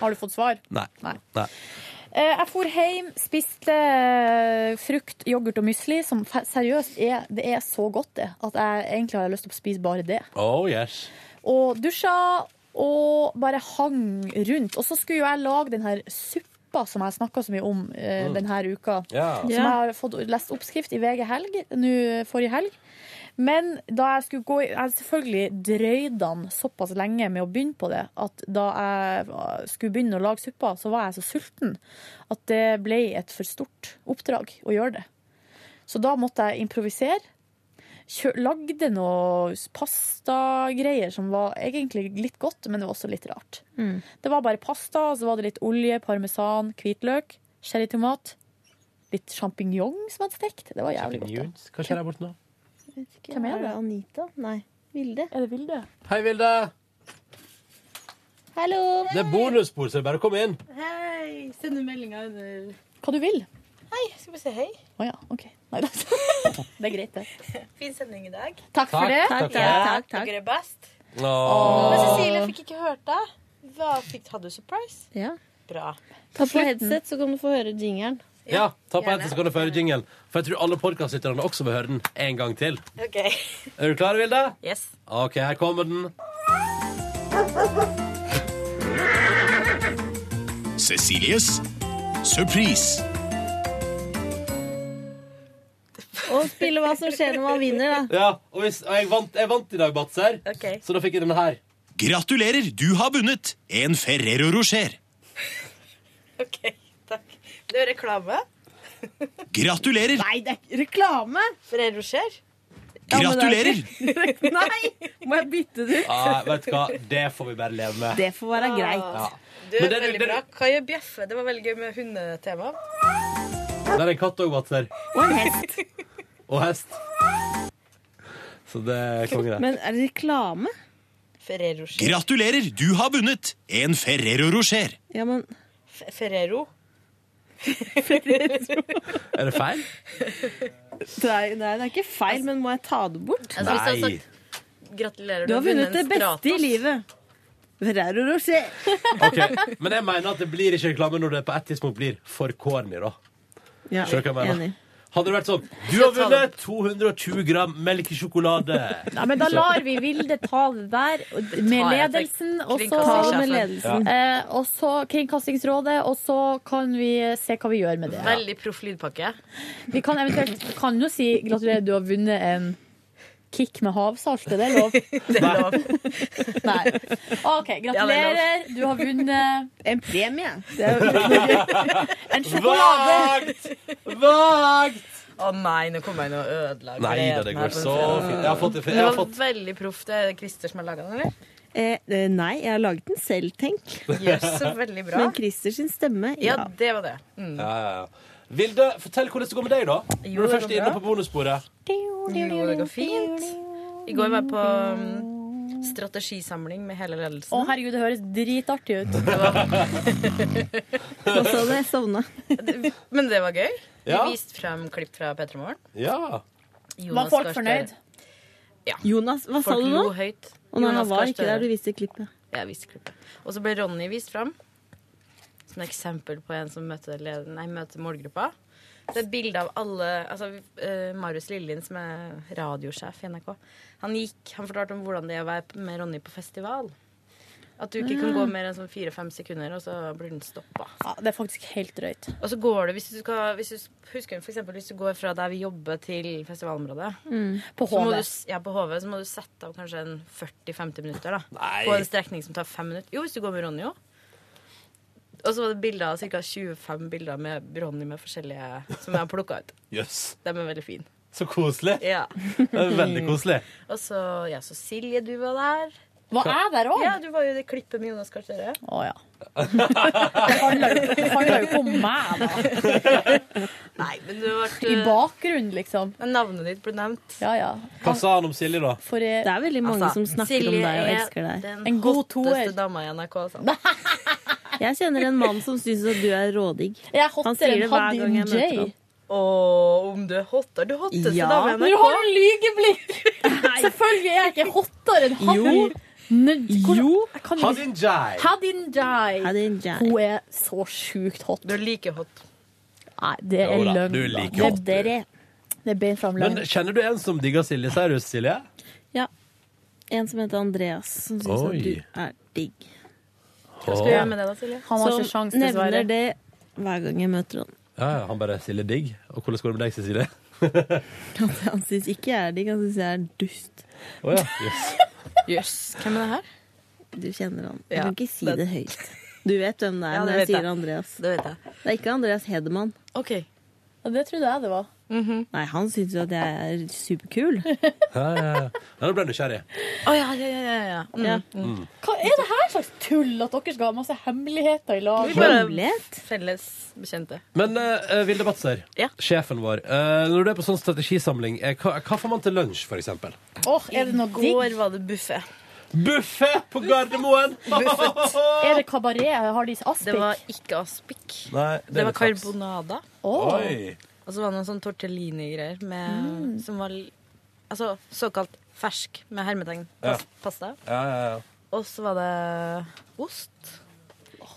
Speaker 3: Har du fått svar?
Speaker 2: Nei.
Speaker 3: Nei. Eh, Jeg for hjem, spiste eh, frukt, yoghurt og müsli, som fe- seriøst er, det er så godt det, at jeg egentlig har jeg lyst til å spise bare det.
Speaker 2: Oh yes.
Speaker 3: Og dusja og bare hang rundt. Og så skulle jo jeg lage den her suppa som jeg snakka så mye om eh,
Speaker 15: Mm.
Speaker 3: denne uka.
Speaker 15: Ja.
Speaker 3: Som
Speaker 15: Ja.
Speaker 3: jeg har fått lest oppskrift i VG helg, nå forrige helg. Men da jeg skulle gå i Jeg selvfølgelig drøyde han såpass lenge med å begynne på det at da jeg skulle begynne å lage suppa, så var jeg så sulten at det ble et for stort oppdrag å gjøre det. Så da måtte jeg improvisere. Kjø lagde noe pastagreier som var egentlig litt godt, men det var også litt rart.
Speaker 15: Mm.
Speaker 3: Det var bare pasta, så var det litt olje, parmesan, hvitløk, cherrytomat, litt sjampinjong som hadde stekt. Det var jævlig godt. da.
Speaker 2: Hva skjer der borte nå?
Speaker 3: Hvem er det?
Speaker 15: Anita? Nei. Vilde?
Speaker 3: Er det Vilde?
Speaker 2: Hei, Vilde.
Speaker 15: Hallo!
Speaker 2: Det er bonusbord, så det er bare å komme inn.
Speaker 15: Hei! Send meldinga under
Speaker 3: Hva du vil.
Speaker 15: Hei, skal vi si hei?
Speaker 3: Å ja, OK. Nei da. Det er greit, det.
Speaker 15: Fin sending i dag.
Speaker 3: Takk for det.
Speaker 15: Takk,
Speaker 3: Ja.
Speaker 15: takk, takk. Dere er best.
Speaker 2: Åh.
Speaker 15: Men Cecilie fikk ikke hørt deg. Hva fikk, hadde du surprise?
Speaker 3: Ja.
Speaker 15: Bra.
Speaker 3: Ta
Speaker 15: på headset,
Speaker 3: så kan du få høre jingeren.
Speaker 2: Ja, ta på headset, så kan du få høre jingelen. For jeg tror alle podkastlytterne også vil høre den en gang til.
Speaker 15: OK.
Speaker 2: Er du klar, Vilde?
Speaker 15: Yes.
Speaker 2: OK, her kommer den.
Speaker 16: Cecilies surprise.
Speaker 15: Og spille hva som skjer når man vinner, da.
Speaker 2: Ja, og, hvis, og jeg, vant, jeg vant i dag, Batser.
Speaker 15: Ok.
Speaker 2: Så da fikk jeg denne her.
Speaker 16: Gratulerer, du har vunnet en Ferrero Rocher.
Speaker 15: OK, takk. Det er reklame.
Speaker 16: Gratulerer,
Speaker 15: Nei, det er ikke reklame! Ferrero Rocher.
Speaker 16: gratulerer,
Speaker 15: Nei! Må jeg bytte det ut?
Speaker 2: Ah, vet du hva, det får vi bare leve med.
Speaker 15: Det får være greit.
Speaker 2: Ah. Ja.
Speaker 15: Du,
Speaker 2: Men det er-
Speaker 15: veldig
Speaker 2: det er-
Speaker 15: bra. Kan jeg bjeffe? Det var veldig gøy med hundetema.
Speaker 2: Der er en katt òg, Batser.
Speaker 15: Og en hest.
Speaker 2: Og hest. Så det er konge, det.
Speaker 15: er det reklame? Ferrero Rocher.
Speaker 16: gratulerer, du har vunnet en Ferrero Rocher.
Speaker 15: Ja, men Ferrero? Ferrero.
Speaker 2: Er det feil?
Speaker 15: Nei, nei, det er ikke feil, men må jeg ta det bort?
Speaker 2: Altså, Nei.
Speaker 18: Gratulerer.
Speaker 15: Du har vunnet det beste i livet. Ferrero Rocher.
Speaker 2: Ok, Men jeg mener at det blir ikke reklame når det på et tidspunkt blir for corny, da.
Speaker 15: Ja,
Speaker 2: Skjønner du hva jeg mener?
Speaker 15: enig.
Speaker 2: Hadde det vært sånn Du har vunnet 220 gram melkesjokolade.
Speaker 3: Ja, men da lar vi Vilde ta det der med
Speaker 15: tar jeg til
Speaker 3: ledelsen. Og så,
Speaker 15: kringkastingssjefen. Ta det med ledelsen.
Speaker 3: Eh, og så Kringkastingsrådet, og så kan vi se hva vi gjør med det.
Speaker 18: Veldig proff lydpakke.
Speaker 3: Vi kan eventuelt kan jo si gratulerer, du har vunnet en kick med havsalt. Er det lov?
Speaker 15: Det er lov.
Speaker 3: Nei. OK, gratulerer. Du har vunnet
Speaker 15: En premie.
Speaker 3: En sjokolade.
Speaker 2: Vagt!
Speaker 18: Å nei, nå kommer jeg inn og ødelegger
Speaker 2: Nei da, det
Speaker 18: gleden
Speaker 2: går
Speaker 18: her på en
Speaker 2: så
Speaker 18: fredag.
Speaker 2: fint. Jeg har fått det- jeg
Speaker 18: Det
Speaker 2: har
Speaker 18: var
Speaker 2: fått-
Speaker 18: veldig proft. Det er Christer som har laga den, eller?
Speaker 15: Eh, eh, nei, jeg har laget den selv, tenk.
Speaker 18: Yes, så veldig bra.
Speaker 15: Men Christer sin stemme,
Speaker 18: Ja,
Speaker 15: ja.
Speaker 18: det var det. Mm.
Speaker 2: Ja, ja, ja. Vilde, fortell hvordan det går med deg, da.
Speaker 18: Jo,
Speaker 2: Når du
Speaker 18: det
Speaker 2: først
Speaker 18: går
Speaker 2: er inne
Speaker 18: bra.
Speaker 2: på bonussporet.
Speaker 18: Jo, det går fint. I går var jeg på um, strategisamling med hele ledelsen.
Speaker 3: Å, herregud, det høres dritartig ut.
Speaker 15: Hva sa du? Jeg sovna.
Speaker 18: Men det var gøy. Vi
Speaker 15: Ja.
Speaker 18: viste frem klipp fra P3 Morgen.
Speaker 2: Ja.
Speaker 18: Jonas Gahr Støre. Ja.
Speaker 15: Jonas, hva sa
Speaker 18: Folk
Speaker 15: du nå?
Speaker 18: lo høyt.
Speaker 15: Og nei, han
Speaker 18: Jonas
Speaker 15: var
Speaker 18: Gahr
Speaker 15: ikke der
Speaker 18: Støre.
Speaker 15: du viste klippet.
Speaker 18: Jeg viste klippet. Og så ble Ronny vist fram. Som et eksempel på en som møter, leder, nei, møter målgruppa. Det er et bilde av alle altså, eh, Marius Lillien, som er radiosjef i NRK, han gikk, han fortalte om hvordan det er å være med Ronny på festival. At du ikke kan gå mer enn sånn fire-fem sekunder, og så blir den stoppa.
Speaker 3: Ja, det er faktisk helt drøyt.
Speaker 18: Og så går det, hvis du skal hvis du, Husker du for eksempel hvis du går fra der vi jobber, til festivalområdet?
Speaker 3: Mm. På
Speaker 18: så må
Speaker 3: HV.
Speaker 18: Du, ja, på HV så må du sette av kanskje en 40-50 minutter da
Speaker 3: Nei.
Speaker 18: på en strekning som tar fem minutter. Jo, hvis du går med Ronny òg. Og så var det bilder, ca. 25 bilder med Ronny med forskjellige som jeg har plukka ut.
Speaker 2: Jøss.
Speaker 18: De er veldig fine.
Speaker 2: Så koselig.
Speaker 18: Ja.
Speaker 2: Det er Veldig koselig.
Speaker 18: Og så ja, så Silje, du var der.
Speaker 3: Var jeg der også?
Speaker 18: Ja, du var jo i det klippet med Jonas Gahr Støre.
Speaker 3: Å ja. Det handler jo- det handler jo ikke om meg, da.
Speaker 18: Nei, men du ble
Speaker 3: I bakgrunnen, liksom.
Speaker 18: Navnet ditt ble nevnt.
Speaker 3: Ja, ja.
Speaker 2: Hva sa han om Silje, da?
Speaker 3: det
Speaker 15: er veldig mange
Speaker 18: Altså,
Speaker 15: som snakker om
Speaker 18: Silje
Speaker 15: deg og
Speaker 18: er
Speaker 15: elsker deg.
Speaker 18: den
Speaker 15: En god toer.
Speaker 18: Hotteste dama i NRK, altså. sa han.
Speaker 15: Jeg kjenner en mann som syns at du er rådigg.
Speaker 3: Jeg er
Speaker 15: Han sier det hver gang jeg møter ham.
Speaker 18: Og om du er hotter Du er hotteste
Speaker 15: Ja.
Speaker 18: dame i
Speaker 15: Men
Speaker 18: NRK.
Speaker 15: du har
Speaker 3: jo lygeblikk! Selvfølgelig er jeg ikke hottere enn han.
Speaker 15: Jo,
Speaker 3: Jo.
Speaker 19: Hadinjai.
Speaker 3: Hadinjai. Hun er så sjukt hot.
Speaker 18: Du er like hot.
Speaker 3: Nei, det er
Speaker 2: Jo da,
Speaker 3: løgn.
Speaker 2: du er like
Speaker 3: Det er
Speaker 2: hot, du.
Speaker 3: dere. Det er beint fram løgn.
Speaker 2: Men kjenner du en som digger Silje Seriøs, Silje?
Speaker 15: Ja. En som heter Andreas, som syns
Speaker 2: Oi.
Speaker 15: at du er digg.
Speaker 2: Hva skal du gjøre
Speaker 6: med det da, Silje?
Speaker 15: Han har ikke sjans, dessverre.
Speaker 3: dessverre.
Speaker 15: Nevner det hver gang jeg møter han.
Speaker 2: Ja, ja, han bare Silje digg. Og hvordan går det med deg, Cecilie?
Speaker 15: Han syns ikke jeg er digg, han syns jeg er dust.
Speaker 2: Å ja. Yes.
Speaker 18: Jøss, hvem er det her?
Speaker 15: Du kjenner han.
Speaker 18: Ja,
Speaker 15: du kan ikke si
Speaker 18: det-
Speaker 15: det høyt. Du vet hvem det er
Speaker 18: Ja, det
Speaker 15: når jeg
Speaker 18: vet jeg.
Speaker 15: sier Andreas.
Speaker 18: Det vet jeg.
Speaker 15: Det er ikke Andreas Hedemann.
Speaker 3: det trodde jeg det var.
Speaker 15: Nei, han syns jo at jeg er superkul.
Speaker 2: Ja, ja, ja. Nei, Nå ble jeg nysgjerrig.
Speaker 18: Å ja, ja, ja. ja, ja. Mm.
Speaker 15: Ja.
Speaker 2: Mm.
Speaker 3: Hva er det her slags tull at dere skal ha masse hemmeligheter i lag?
Speaker 18: Felles bekjente.
Speaker 2: Men eh, Vilde Batzer,
Speaker 18: Ja.
Speaker 2: sjefen vår. eh, når du er på sånn strategisamling, eh, hva, hva får man til lunsj, for eksempel?
Speaker 3: Åh, er det noe
Speaker 6: I går var det buffé.
Speaker 2: Buffé på Gardermoen!
Speaker 6: Buffet.
Speaker 3: Er det kabaret? Har de aspik?
Speaker 18: Det var ikke aspik.
Speaker 2: Nei,
Speaker 18: Det, var carbonada.
Speaker 2: Oi.
Speaker 18: Og så var det noen sånn tortellini-greier med,
Speaker 2: Mm.
Speaker 18: som var l- altså, såkalt fersk, med hermetegn,
Speaker 2: Ja.
Speaker 18: pas- pasta.
Speaker 2: Ja, ja, ja.
Speaker 18: Og så var det ost.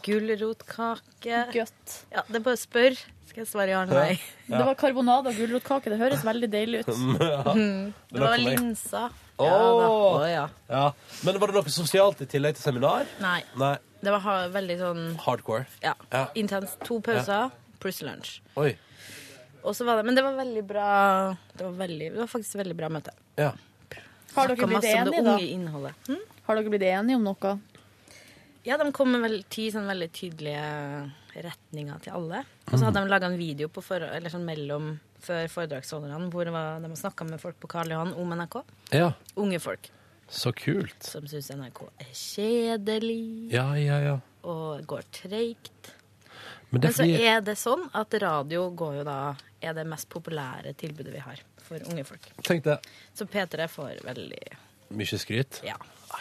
Speaker 18: Gulrotkake.
Speaker 3: Godt.
Speaker 18: Ja, det er bare å spørre. Skal jeg svare ja eller nei?
Speaker 2: Ja.
Speaker 3: Det var karbonade og gulrotkake. Det høres veldig deilig ut.
Speaker 2: Ja.
Speaker 18: Mm.
Speaker 2: Det
Speaker 18: Det
Speaker 2: var
Speaker 18: var
Speaker 2: for meg.
Speaker 18: linser.
Speaker 2: Åh.
Speaker 18: Ja, da. Å, ja.
Speaker 2: Ja. Men var det noe sosialt i tillegg til seminar?
Speaker 18: Nei.
Speaker 2: Nei.
Speaker 18: Det var ha veldig sånn
Speaker 2: Hardcore.
Speaker 18: ja,
Speaker 2: Ja.
Speaker 18: intenst. To pauser pluss lunsj.
Speaker 2: Oi.
Speaker 18: Og så var det, men det var veldig bra Det var, veldig, det var faktisk veldig bra møte.
Speaker 2: Ja.
Speaker 3: Har dere
Speaker 18: Snakket
Speaker 3: blitt
Speaker 18: masse om det
Speaker 3: enige, da?
Speaker 18: unge innholdet. Hm?
Speaker 3: Har dere blitt enige om noe?
Speaker 18: Ja, de kom med vel, ti sånn veldig tydelige retninger til alle. Og
Speaker 2: Mhm.
Speaker 18: så hadde de laga en video på for, eller sånn mellom før foredragsholderne hvor det var, de snakka med folk på Karl Johan om NRK.
Speaker 2: Ja.
Speaker 18: Unge folk
Speaker 2: Så kult.
Speaker 18: som syns NRK er kjedelig
Speaker 2: Ja, ja, ja.
Speaker 18: og går treigt.
Speaker 2: Men
Speaker 18: Men,
Speaker 2: det er
Speaker 18: så
Speaker 2: fordi-
Speaker 18: er det sånn at radio går jo da er det mest populære tilbudet vi har for unge folk.
Speaker 2: Tenk det.
Speaker 18: Så P3 får veldig
Speaker 2: Mye skryt.
Speaker 18: Ja.
Speaker 2: Ah,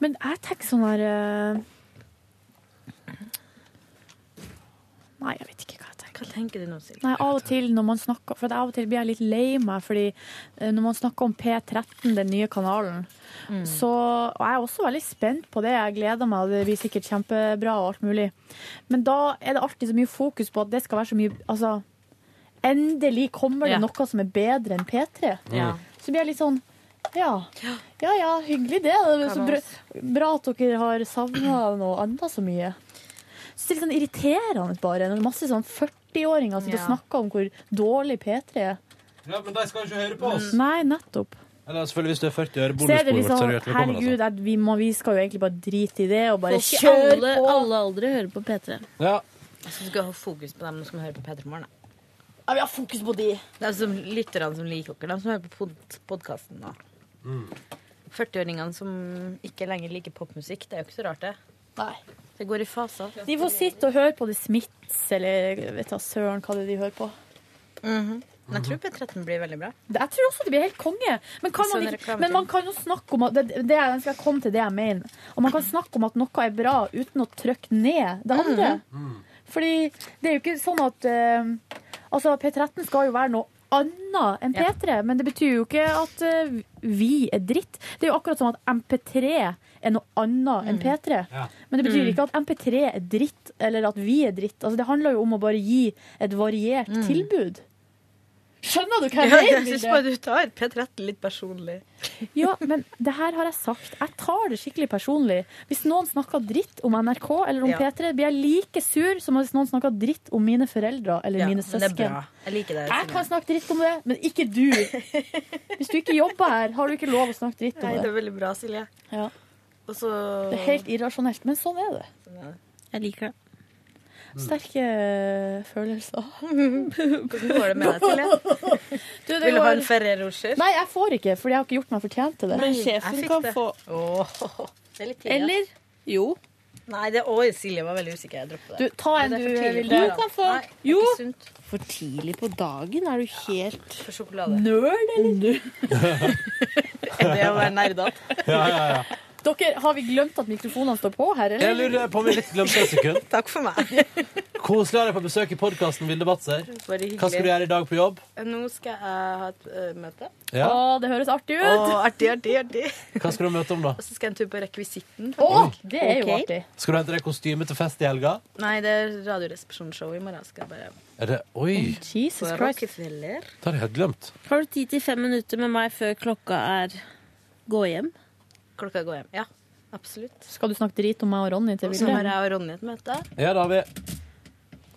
Speaker 3: Men jeg tenker sånn her eh, Nei, jeg vet ikke hva jeg tenker.
Speaker 18: Hva tenker du nå, Silje?
Speaker 3: Nei, av og til når man snakker For at av og til blir jeg litt lei meg, fordi eh, når man snakker om P13, den nye kanalen, så Og jeg er også veldig spent på det. Jeg gleder meg, og det blir sikkert kjempebra og alt mulig. Men da er det alltid så mye fokus på at det skal være så mye Altså, endelig kommer det
Speaker 18: Ja.
Speaker 3: noe som er bedre enn P3.
Speaker 18: Ja.
Speaker 3: Så blir jeg litt sånn ja. ja ja, hyggelig det. det er så bra, bra at dere har savna noe annet så mye. Så det er litt sånn irriterende bare. Når masse sånn 40-åringer sitter
Speaker 2: Ja.
Speaker 3: og snakker om hvor dårlig P3 er.
Speaker 2: Ja, Men de skal jo ikke høre på oss.
Speaker 3: Nei, nettopp.
Speaker 2: Eller selvfølgelig hvis du er 40 øre
Speaker 3: Så er det
Speaker 2: bonusbordet vårt,
Speaker 3: liksom,
Speaker 2: så er du hjertelig velkommen.
Speaker 3: herregud,
Speaker 2: Altså.
Speaker 3: at vi, må, vi skal jo egentlig bare drite i det og bare
Speaker 15: Får ikke
Speaker 3: kjøre
Speaker 15: alle-
Speaker 3: på.
Speaker 15: alle aldre hører på P3.
Speaker 2: altså. Ja.
Speaker 18: Jeg synes du skal ha fokus på dem som hører på P3 Morgen. da.
Speaker 3: Ja, vi har fokus på de.
Speaker 18: De som lytterne som liker dere, de som hører på pod podkasten.
Speaker 2: Mm.
Speaker 3: Mm.
Speaker 18: 40-åringene som ikke lenger liker popmusikk. Det er jo ikke så rart, det. Det går i faser.
Speaker 3: De får sitte og høre på The Smiths eller vet du hva, søren hva det er de hører på.
Speaker 18: Mhm. Men jeg tror P13 blir veldig bra.
Speaker 3: Det- Jeg tror også det blir helt konge. Men, kan man,
Speaker 18: Sånn
Speaker 3: ikke,
Speaker 18: reklamefilm.
Speaker 3: men man kan jo snakke om at det, det er, jeg skal komme til det jeg mener. Og man kan snakke om at noe er bra uten å trykke ned det andre.
Speaker 2: Mm.
Speaker 3: Fordi det er jo ikke sånn at eh, Altså, P13 skal jo være noe annet enn P3, men det betyr jo ikke at eh, vi er dritt. Det er jo akkurat som at MP3 er noe annet
Speaker 18: Mm.
Speaker 3: enn P3.
Speaker 15: Ja.
Speaker 3: Men det betyr
Speaker 15: Mm.
Speaker 3: ikke at MP3 er dritt, eller at vi er dritt. Altså, det handler jo om å bare gi et variert tilbud. Skjønner du hva
Speaker 18: Mm.
Speaker 3: jeg
Speaker 18: Ja,
Speaker 3: mener?
Speaker 18: jeg synes
Speaker 3: Vilde?
Speaker 18: bare du tar P13 litt personlig.
Speaker 3: Ja, men det her har jeg sagt. Jeg tar det skikkelig personlig. Hvis noen snakker dritt om NRK eller om
Speaker 18: Ja.
Speaker 3: P3, blir jeg like sur som hvis noen snakker dritt om mine foreldre eller
Speaker 18: Ja,
Speaker 3: mine
Speaker 18: men det er
Speaker 3: søsken.
Speaker 18: bra. Jeg liker det.
Speaker 3: Jeg
Speaker 18: Silje.
Speaker 3: kan snakke dritt om det, men ikke du. Hvis du ikke jobber her, har du ikke lov å snakke dritt om
Speaker 18: Nei, det
Speaker 3: det.
Speaker 18: er veldig bra, Silje.
Speaker 3: Ja.
Speaker 18: Og så
Speaker 3: Det er helt irrasjonelt, men sånn er det.
Speaker 15: Jeg liker det.
Speaker 3: Sterke eh, følelser.
Speaker 18: Mm. Hvordan går det med deg, Silje?
Speaker 3: Du, det
Speaker 18: Vil du ha
Speaker 3: går-
Speaker 18: en Ferrero Rocher?
Speaker 3: Nei, jeg får ikke, fordi jeg har ikke gjort meg fortjent til det.
Speaker 18: Men sjefen Jeg fikk kan det. få- Det er litt tidlig.
Speaker 3: Eller? Jo.
Speaker 18: Nei, det Oi, Silje var veldig usikker. Jeg dropper det.
Speaker 3: Du, ta en
Speaker 18: Det er for
Speaker 3: du,
Speaker 18: tidlig.
Speaker 3: Vilde.
Speaker 18: Du kan få-
Speaker 3: Nei, det er
Speaker 18: Jo.
Speaker 3: ikke
Speaker 18: sunt.
Speaker 15: For tidlig på dagen er du helt
Speaker 18: For sjokolade.
Speaker 3: Nerd, eller?
Speaker 18: Det å være nerdete.
Speaker 2: Ja, ja, ja.
Speaker 3: Dere, har vi glemt at mikrofonene står på her,
Speaker 2: Jeg
Speaker 3: eller?
Speaker 2: lurer på om vi litt glemte et sekund.
Speaker 15: Takk for meg.
Speaker 2: Koselig å ha deg på besøk i podkasten Vilde Batzer. Hva skal du gjøre i dag på jobb?
Speaker 18: Nå skal jeg ha et eh, møte.
Speaker 2: Ja.
Speaker 3: Å, det høres artig ut.
Speaker 18: Å, artig, artig, artig.
Speaker 2: Hva skal du møte om, da?
Speaker 18: Og så skal jeg en tur på rekvisitten.
Speaker 3: Å,
Speaker 18: faktisk.
Speaker 3: det er jo
Speaker 18: Ok.
Speaker 3: artig.
Speaker 2: Skal du hente deg kostyme til fest i helga?
Speaker 18: Nei, det er Radioresepsjonsshow i morgen. Skal jeg bare
Speaker 2: Er det Oi!
Speaker 3: Jesus
Speaker 18: På
Speaker 3: Christ.
Speaker 18: Rockefeller.
Speaker 2: Det har jeg helt glemt.
Speaker 15: Har du tid til fem minutter med meg før klokka er gå hjem?
Speaker 18: Klokka går hjem. Ja, absolutt.
Speaker 3: Skal du snakke drit om meg og Ronny til
Speaker 18: Og så har
Speaker 3: Vilde?
Speaker 18: jeg og Ronny et møte.
Speaker 2: Ja, da har vi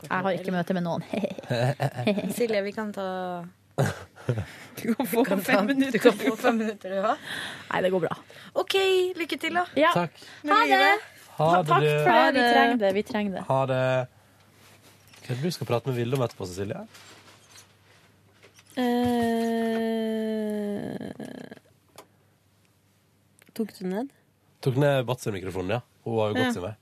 Speaker 3: Jeg har ikke møte med noen.
Speaker 18: Silje, vi kan ta
Speaker 3: Du kan få
Speaker 18: kan ta- Du kan få fem minutter, du òg.
Speaker 3: Nei, det går bra.
Speaker 18: OK, lykke til, da.
Speaker 2: Takk.
Speaker 3: Ha det!
Speaker 2: Ha det,
Speaker 3: Takk
Speaker 2: du.
Speaker 3: for det. Vi trenger det. Vi trenger det.
Speaker 2: Ha det. Hva er det du skal prate med Vilde om etterpå, Cecilie?
Speaker 15: Eh, Tok du ned?
Speaker 2: Tok ned Batzer-mikrofonen, ja. Hun har jo gått
Speaker 15: Ja.
Speaker 2: sin vei.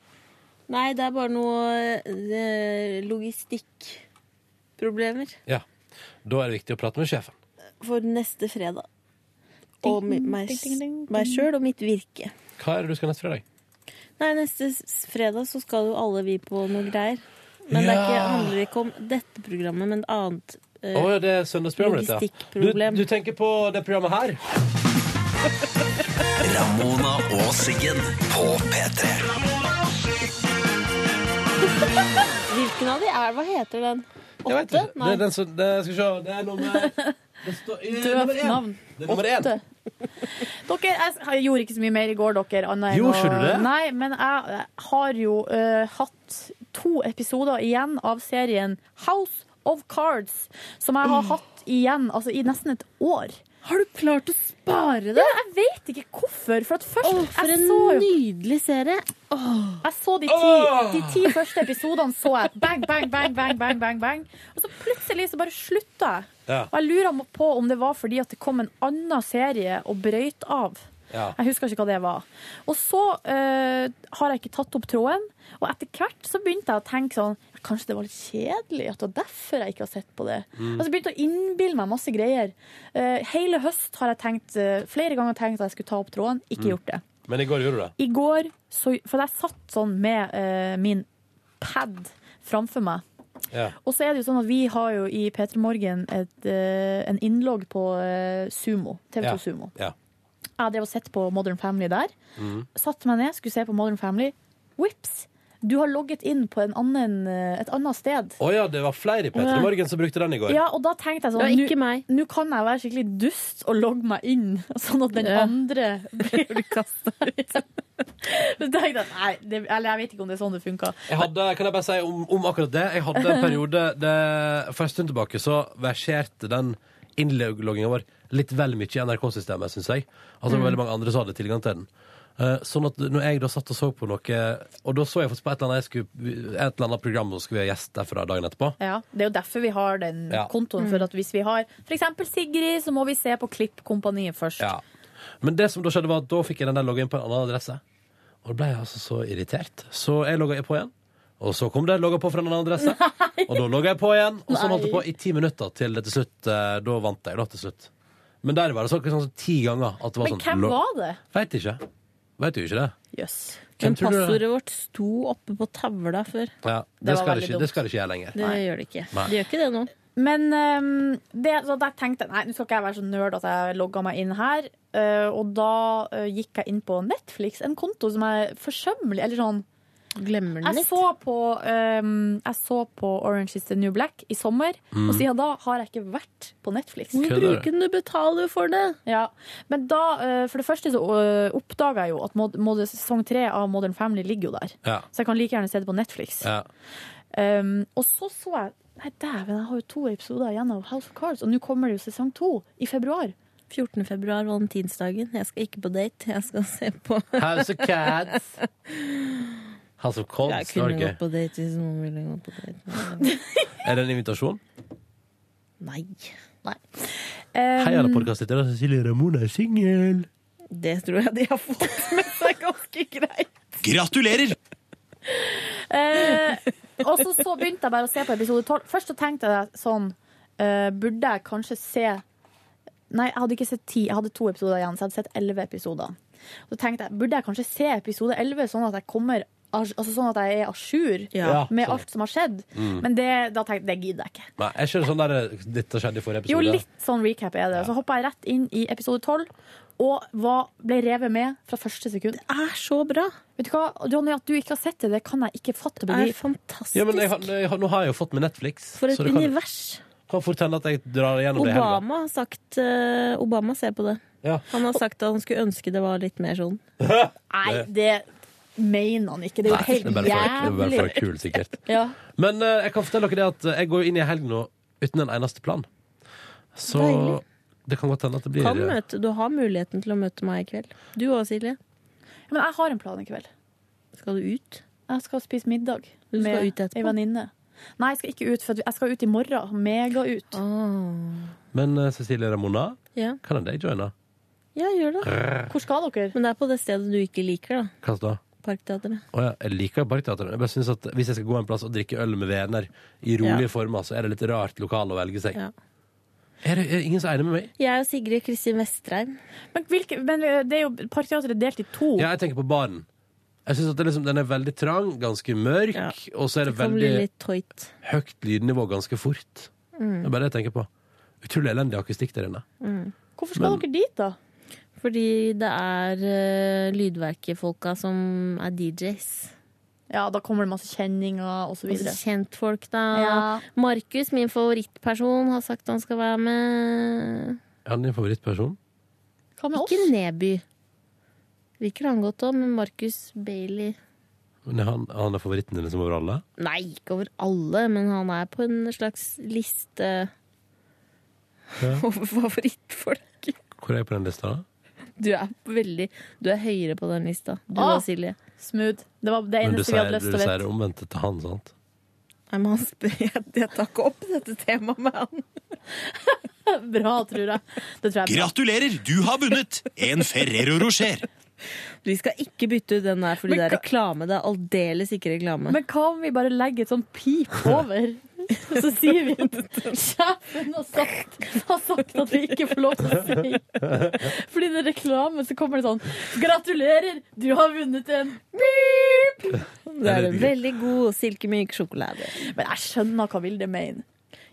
Speaker 15: Nei, det er bare noe eh, logistikkproblemer
Speaker 2: Ja. Da er det viktig å prate med sjefen.
Speaker 15: for neste fredag. Og mi- meg,
Speaker 3: ding, ding, ding, ding.
Speaker 15: meg sjøl og mitt virke.
Speaker 2: Hva er det du skal neste fredag?
Speaker 15: Nei, neste s- fredag så skal jo alle vi på noe greier. Men det er ikke,
Speaker 2: Ja.
Speaker 15: handler ikke om dette programmet, men et annet. eh,
Speaker 2: Å ja, det er søndagsprogrammet ditt, ja. Du,
Speaker 15: Logistikkproblem.
Speaker 2: du tenker på det programmet her?
Speaker 1: Ramona og Siggen på P3.
Speaker 15: Hvilken av de er? Hva heter den?
Speaker 2: Jeg vet ikke. Det er den som det, Skal vi se. Det er nummer det står, eh, nummer
Speaker 3: Døvt
Speaker 2: én.
Speaker 3: navn.
Speaker 2: Det er nummer én.
Speaker 3: Åtte. Dere, jeg, s- jeg gjorde ikke så mye mer i går, dere. Annet enn
Speaker 2: Gjorde ikke du det?
Speaker 3: Nei, men jeg eh, har jo eh, hatt to episoder igjen av serien House of Cards, som jeg har hatt igjen altså, i nesten et år.
Speaker 15: Har du klart å spare det?
Speaker 3: Ja, jeg vet ikke hvorfor. For at først
Speaker 15: for
Speaker 3: jeg
Speaker 15: en
Speaker 3: så jo
Speaker 15: nydelig serie.
Speaker 3: Jeg så de ti,
Speaker 15: Åh!
Speaker 3: de ti første episodene så jeg bang, bang, bang, bang, bang, bang, bang. Og så plutselig så bare slutta jeg.
Speaker 2: Ja.
Speaker 3: Og jeg lurer på om det var fordi at det kom en annen serie og brøyt av.
Speaker 2: Ja.
Speaker 3: Jeg husker ikke hva det var. Og så eh, har jeg ikke tatt opp tråden. Og etter hvert så begynte jeg å tenke sånn ja, Kanskje det var litt kjedelig? At det var derfor jeg ikke har sett på det?
Speaker 15: Mm.
Speaker 3: Og så begynte jeg å innbille meg masse greier. Eh, hele høst har jeg tenkt, eh, flere ganger tenkt at jeg skulle ta opp tråden. Ikke gjort det.
Speaker 2: Mm. Men i går gjorde du det.
Speaker 3: I går, så, for jeg satt sånn med eh, min pad framfor meg.
Speaker 2: Ja.
Speaker 3: Og så er det jo sånn at vi har jo i P3 Morgen et, eh, en innlogg på eh, Sumo, TV2
Speaker 2: ja.
Speaker 3: Sumo.
Speaker 2: Ja.
Speaker 3: Jeg drev og sett på Modern Family der.
Speaker 2: Mm.
Speaker 3: Satte meg ned, skulle se på Modern Family. Whips! Du har logget inn på en annen, eh, et annet sted.
Speaker 2: Å ja, det var flere i P3 Morgen som brukte den i går.
Speaker 3: Ja, og da tenkte jeg
Speaker 15: Det var
Speaker 3: sånn
Speaker 15: ikke
Speaker 3: "Nå- Nå kan jeg være skikkelig dust og logge meg inn, sånn at den
Speaker 15: Ja.
Speaker 3: andre blir kasta ut. Så tenkte jeg nei, det, eller jeg vet ikke om det er sånn det funka.
Speaker 2: Jeg hadde, kan jeg bare si om, om akkurat det? Jeg hadde en periode det, For en stund tilbake så verserte den innlogginga vår litt vel mye i NRK-systemet, syns jeg. Altså det var
Speaker 6: Mm.
Speaker 2: veldig mange andre som hadde tilgang til den. Eh, Sånn at når jeg da satt og så på noe Og da så jeg faktisk på et eller annet, jeg skulle, et eller annet program som skulle være gjest derfra dagen etterpå.
Speaker 3: Ja, Det er jo derfor vi har den
Speaker 2: Ja.
Speaker 3: kontoen.
Speaker 15: Mm.
Speaker 3: For at hvis vi har f.eks. Sigrid, så må vi se på Klippkompaniet først.
Speaker 2: Ja. Men det som da skjedde, var at da fikk jeg den der logga inn på en annen adresse. Og da ble jeg altså så irritert. Så jeg logga på igjen. Og så kom det logga på fra en annen adresse. Og da logga jeg på igjen. Og sånn holdt det på i ti minutter til det til slutt eh, Da vant jeg, da, til slutt. Men der var det sånn, sånn ti ganger at det var
Speaker 15: Men
Speaker 2: sånn
Speaker 15: hvem
Speaker 2: log-
Speaker 15: var det?
Speaker 2: Veit ikke. Veit jo ikke det.
Speaker 3: Jøss.
Speaker 2: Hvem
Speaker 15: Men
Speaker 2: tror du det er?
Speaker 15: passordet vårt sto oppe på tavla før.
Speaker 2: Ja, det,
Speaker 15: var
Speaker 2: skal
Speaker 15: veldig
Speaker 2: det, ikke,
Speaker 15: dumt.
Speaker 2: det skal det ikke gjøre lenger.
Speaker 15: Det gjør det ikke.
Speaker 2: Nei.
Speaker 15: Det gjør ikke det nå.
Speaker 3: Men ehm, det, så der tenkte jeg nei, nå skal ikke jeg være så nerd at jeg logga meg inn her. Eh, og da eh, gikk jeg inn på Netflix, en konto som er forsømmelig. Eller sånn.
Speaker 15: Glemmer den
Speaker 3: Jeg
Speaker 15: litt.
Speaker 3: så, på, ehm, jeg så på Orange is the New Black i sommer,
Speaker 15: Mm.
Speaker 3: og siden da har jeg ikke vært på Netflix.
Speaker 15: Hvor Kødder du? bruker
Speaker 3: du betaler for det? Ja, Men da, eh, for det første så uh, oppdaga jeg jo at mod, mod, sesong tre av Modern Family ligger jo der.
Speaker 2: Ja.
Speaker 3: Så jeg kan like gjerne se det på Netflix.
Speaker 2: Ja.
Speaker 3: Um, og så så jeg Nei, dæven, jeg har jo to episoder igjen av House of Cards, og nå kommer det jo sesong to i februar.
Speaker 15: 14. februar, valentinsdagen. Jeg skal ikke på date, jeg skal se på
Speaker 2: House of Cards. House of
Speaker 15: Jeg
Speaker 2: Cods,
Speaker 15: kunne
Speaker 2: var det
Speaker 15: gått
Speaker 2: ikke?
Speaker 15: på date hvis noen ville gått på date.
Speaker 2: Er det en invitasjon?
Speaker 15: Nei.
Speaker 2: Hei, alle podkastlyttere. Cecilie Ramona er singel.
Speaker 15: Det tror jeg de har fått med seg ganske greit.
Speaker 1: Gratulerer!
Speaker 3: Eh, og så, så begynte jeg bare å se på episode 12. Først så tenkte jeg sånn eh, Burde jeg kanskje se Nei, jeg hadde ikke sett ti. Jeg hadde to episoder igjen, så jeg hadde sett elleve episoder. Så tenkte jeg, burde jeg kanskje se episode 11, sånn at jeg kommer Altså sånn at jeg er à jour
Speaker 2: Ja,
Speaker 3: med
Speaker 2: sånn.
Speaker 3: alt som har skjedd.
Speaker 2: Mm.
Speaker 3: Men det, da tenkte jeg det gidder jeg ikke.
Speaker 2: Nei, jeg skjønner sånn der eh, Dette skjedde i forrige episode.
Speaker 3: Jo, litt sånn recap er det. Så hoppa jeg rett inn i episode 12 og var, ble revet med fra første sekund. Det
Speaker 15: er så bra!
Speaker 3: Vet du hva, Ronny, at du ikke har sett det, det kan jeg ikke fatte og
Speaker 15: Det er
Speaker 3: begripe.
Speaker 15: fantastisk.
Speaker 2: Ja, men jeg, har- jeg, har- nå har jeg jo fått med Netflix.
Speaker 15: For et
Speaker 2: så det kan,
Speaker 15: univers.
Speaker 2: kan fort hende at jeg drar igjennom det i helga.
Speaker 15: Obama har sagt eh, Obama ser på det.
Speaker 2: Ja.
Speaker 15: Han har sagt at han skulle ønske det var litt mer sånn.
Speaker 3: Nei, det mener han ikke. Det er jo
Speaker 2: Nei, det er bare for,
Speaker 3: helt
Speaker 2: det er bare for å være
Speaker 3: jævlig.
Speaker 2: kul, sikkert.
Speaker 3: Ja.
Speaker 2: Men eh, jeg kan fortelle dere det at eh, jeg går jo inn i helgen nå uten en eneste plan. Så
Speaker 15: Deilig.
Speaker 2: det kan godt hende at det blir eh,
Speaker 15: Kan møte, du har muligheten til å møte meg i kveld. Du òg, Silje.
Speaker 3: Men jeg har en plan i kveld.
Speaker 15: Skal du ut?
Speaker 3: Jeg skal spise middag
Speaker 15: Du skal
Speaker 3: med
Speaker 15: ut
Speaker 3: ei
Speaker 15: etterpå?
Speaker 3: venninne. Nei, jeg skal ikke ut, for jeg skal ut i morgen. Mega ut.
Speaker 2: Men eh, Cecilie Ramona,
Speaker 15: Ah. Ja.
Speaker 2: kan jeg deg joine?
Speaker 15: Ja, gjør det.
Speaker 2: Rrr.
Speaker 3: Hvor skal dere?
Speaker 15: Men det er på det stedet du ikke liker, da.
Speaker 2: Hva da?
Speaker 15: Parkteatret.
Speaker 2: Å ja, jeg liker Parkteatret. men Jeg bare synes at Hvis jeg skal gå en plass og drikke øl med venner i rolige
Speaker 15: Ja.
Speaker 2: former, så er det litt rart lokale å velge seg.
Speaker 15: Ja.
Speaker 2: Er det er det ingen som er enig med meg?
Speaker 15: Jeg og Sigrid Kristin Vestreim.
Speaker 3: Men, hvilke, men eh, det er jo Parkteatret er delt i to.
Speaker 2: Ja, jeg tenker på baren. Jeg synes at det liksom, Den er veldig trang, ganske mørk, og så er det,
Speaker 15: Det kan bli
Speaker 2: veldig
Speaker 15: litt tøyt.
Speaker 2: høyt lydnivå ganske fort. Det
Speaker 15: Mm.
Speaker 2: er bare det jeg tenker på. Utrolig elendig akustikk der inne.
Speaker 3: Hvorfor
Speaker 2: skal Men-
Speaker 3: dere dit, da?
Speaker 15: Fordi det er uh, lydverkefolka som er DJs.
Speaker 3: Ja, da kommer det masse kjenninger og så
Speaker 15: Også
Speaker 3: videre.
Speaker 15: kjentfolk, da.
Speaker 3: Ja.
Speaker 15: Markus, min favorittperson, har sagt han skal være med.
Speaker 2: Er han din favorittperson?
Speaker 15: Ikke Neby. Liker han godt òg, men Markus Bailey
Speaker 2: Men er han, han er favoritten din som over alle?
Speaker 15: Nei, ikke over alle, men han er på en slags liste
Speaker 2: Ja.
Speaker 15: over favorittfolk.
Speaker 2: Hvor er jeg på den lista, da?
Speaker 15: Du er veldig Du er høyere på den lista. Du
Speaker 3: Ah,
Speaker 15: og Silje.
Speaker 3: Smooth. Det var det
Speaker 2: Men du
Speaker 3: eneste vi
Speaker 2: sier,
Speaker 3: hadde lyst
Speaker 2: du
Speaker 3: til å
Speaker 2: sier det
Speaker 3: vite.
Speaker 2: omvendte til han, sant?
Speaker 15: Nei, men han spør, jeg, jeg tar ikke opp dette temaet med han.
Speaker 3: Bra, tror jeg. Det tror jeg er bra.
Speaker 16: Gratulerer, du har vunnet en Ferrero Rocher.
Speaker 15: Vi skal ikke bytte ut den der, fordi det er reklame. Det er aldeles ikke reklame.
Speaker 3: Men hva om vi bare legger et sånn pip over? Og så sier vi at sjefen har sagt, har sagt at vi ikke får lov til å si. Fordi det er reklame, så kommer det sånn Gratulerer, du har vunnet en beep!
Speaker 15: det er en veldig god silkemyk sjokolade.
Speaker 3: Men jeg skjønner hva Vilde mener.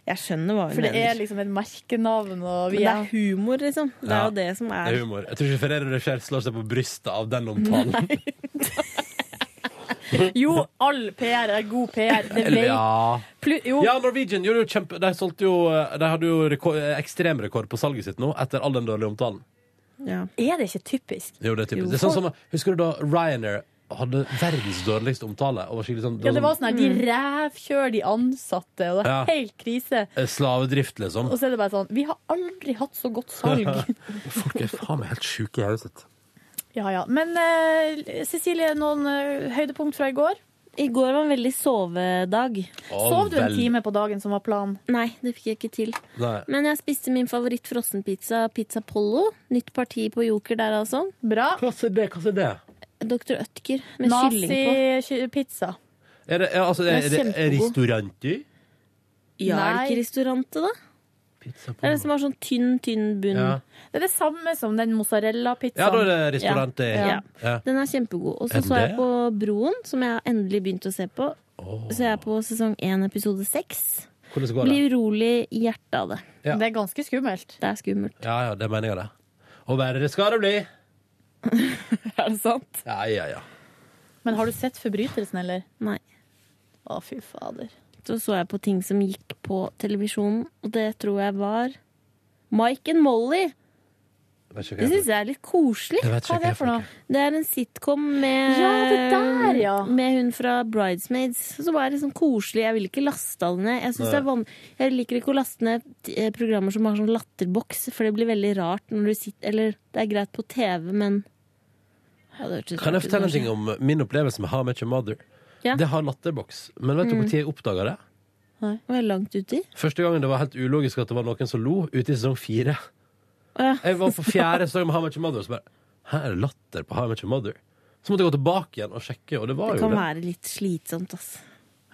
Speaker 15: Jeg skjønner hva hun
Speaker 3: For det er
Speaker 15: mener.
Speaker 3: liksom et merkenavn, og vi
Speaker 15: Men det er humor, liksom. Det er jo det som
Speaker 2: Det er
Speaker 15: er
Speaker 2: humor. Jeg tror ikke Ferrero Rocher slår seg på brystet av den omtalen.
Speaker 3: Jo, all PR er god PR. Det
Speaker 2: Eller,
Speaker 3: vet
Speaker 2: ja.
Speaker 3: Plu- jo.
Speaker 2: ja, Norwegian gjorde jo kjempe... De, solgte jo, eh, de hadde jo rekord, ekstremrekord på salget sitt nå, etter all den dårlige omtalen.
Speaker 3: Er det ikke typisk?
Speaker 2: Jo, det er typisk.
Speaker 3: Jo.
Speaker 2: Det er sånn som, husker du da Ryanair hadde verdens dårligste omtale? Og var skikkelig sånn,
Speaker 3: Ja, det var sånn her,
Speaker 15: Mm.
Speaker 3: De rævkjører de ansatte, og det er
Speaker 2: Ja.
Speaker 3: helt krise.
Speaker 2: Eh, Slavedrift, liksom.
Speaker 3: Og så er det bare sånn Vi har aldri hatt så godt salg.
Speaker 2: Folk er faen meg helt sjuke i hodet sitt.
Speaker 3: Ja, ja. Men eh, Cecilie, noen eh, høydepunkt fra i går?
Speaker 15: I går var en veldig sovedag.
Speaker 2: Å,
Speaker 3: Sov du en
Speaker 2: veldig.
Speaker 3: time på dagen som var planen?
Speaker 15: Nei, det fikk jeg ikke til.
Speaker 2: Nei.
Speaker 15: Men jeg spiste min favoritt frossenpizza, Pizza Pollo. Nytt parti på Joker der, altså.
Speaker 3: Bra.
Speaker 2: Hva er det? Hva er det?
Speaker 15: Dr. Ødker med kylling på.
Speaker 3: Nazi-pizza.
Speaker 2: Er det, ja, altså, er, er det
Speaker 15: Den er
Speaker 2: er
Speaker 15: kjempegod.
Speaker 2: restauranter?
Speaker 15: Ja, er det
Speaker 3: Nei.
Speaker 15: ikke restaurantet, da? Det er det som har sånn tynn, tynn bunn.
Speaker 2: Ja.
Speaker 3: Det er det samme som den mozzarella-pizzaen.
Speaker 2: Ja, da er det restauranter.
Speaker 15: Ja. Ja.
Speaker 2: Ja.
Speaker 15: Den er kjempegod.
Speaker 2: Er
Speaker 15: Og så
Speaker 2: den
Speaker 15: så jeg
Speaker 2: det?
Speaker 15: på Broen, som jeg har endelig begynt å se på. Så jeg er på sesong én, episode seks.
Speaker 2: Hvordan går det?
Speaker 15: Blir urolig i hjertet av det.
Speaker 2: Ja.
Speaker 3: Det er ganske skummelt.
Speaker 15: Det er skummelt.
Speaker 2: Ja, ja, det mener jeg det. Og verre skal det bli.
Speaker 15: er det sant?
Speaker 2: Ja, ja, ja.
Speaker 3: Men har du sett forbrytelsen, eller?
Speaker 15: Nei.
Speaker 3: Å, fy fader.
Speaker 15: Så så jeg på ting som gikk på televisjonen, og det tror jeg var Mike and Molly.
Speaker 2: Jeg vet ikke hva
Speaker 15: Det
Speaker 2: jeg
Speaker 15: syns jeg er litt koselig.
Speaker 2: Jeg vet ikke Hva er det hva jeg for noe?
Speaker 15: Det er en sitcom med,
Speaker 3: Ja, det der, ja.
Speaker 15: med hun fra Bridesmaids. Som er liksom koselig. Jeg vil ikke laste alle ned. Jeg, synes
Speaker 3: Nei.
Speaker 15: det er van jeg liker ikke å laste ned eh, programmer som har sånn latterboks, for det blir veldig rart når du sitter Eller det er greit på TV, men ja, det hørtes
Speaker 2: Kan jeg
Speaker 15: rart ut,
Speaker 2: fortelle en
Speaker 15: kanskje.
Speaker 2: ting om min opplevelse med How I Met Your Mother?
Speaker 15: Ja.
Speaker 2: Det har latterboks. Men vet du
Speaker 15: Mm.
Speaker 2: når jeg oppdaga det?
Speaker 15: Nei, var jeg langt uti?
Speaker 2: Første gangen det var helt ulogisk at det var noen som lo, ute i sesong fire.
Speaker 15: Ja.
Speaker 2: Jeg var på fjerde sesong med How I Met Your Mother, og så bare Her er det latter på How I Met Your Mother. Så måtte jeg gå tilbake igjen og sjekke, og det var jo
Speaker 15: Det kan
Speaker 2: det.
Speaker 15: være litt slitsomt, ass.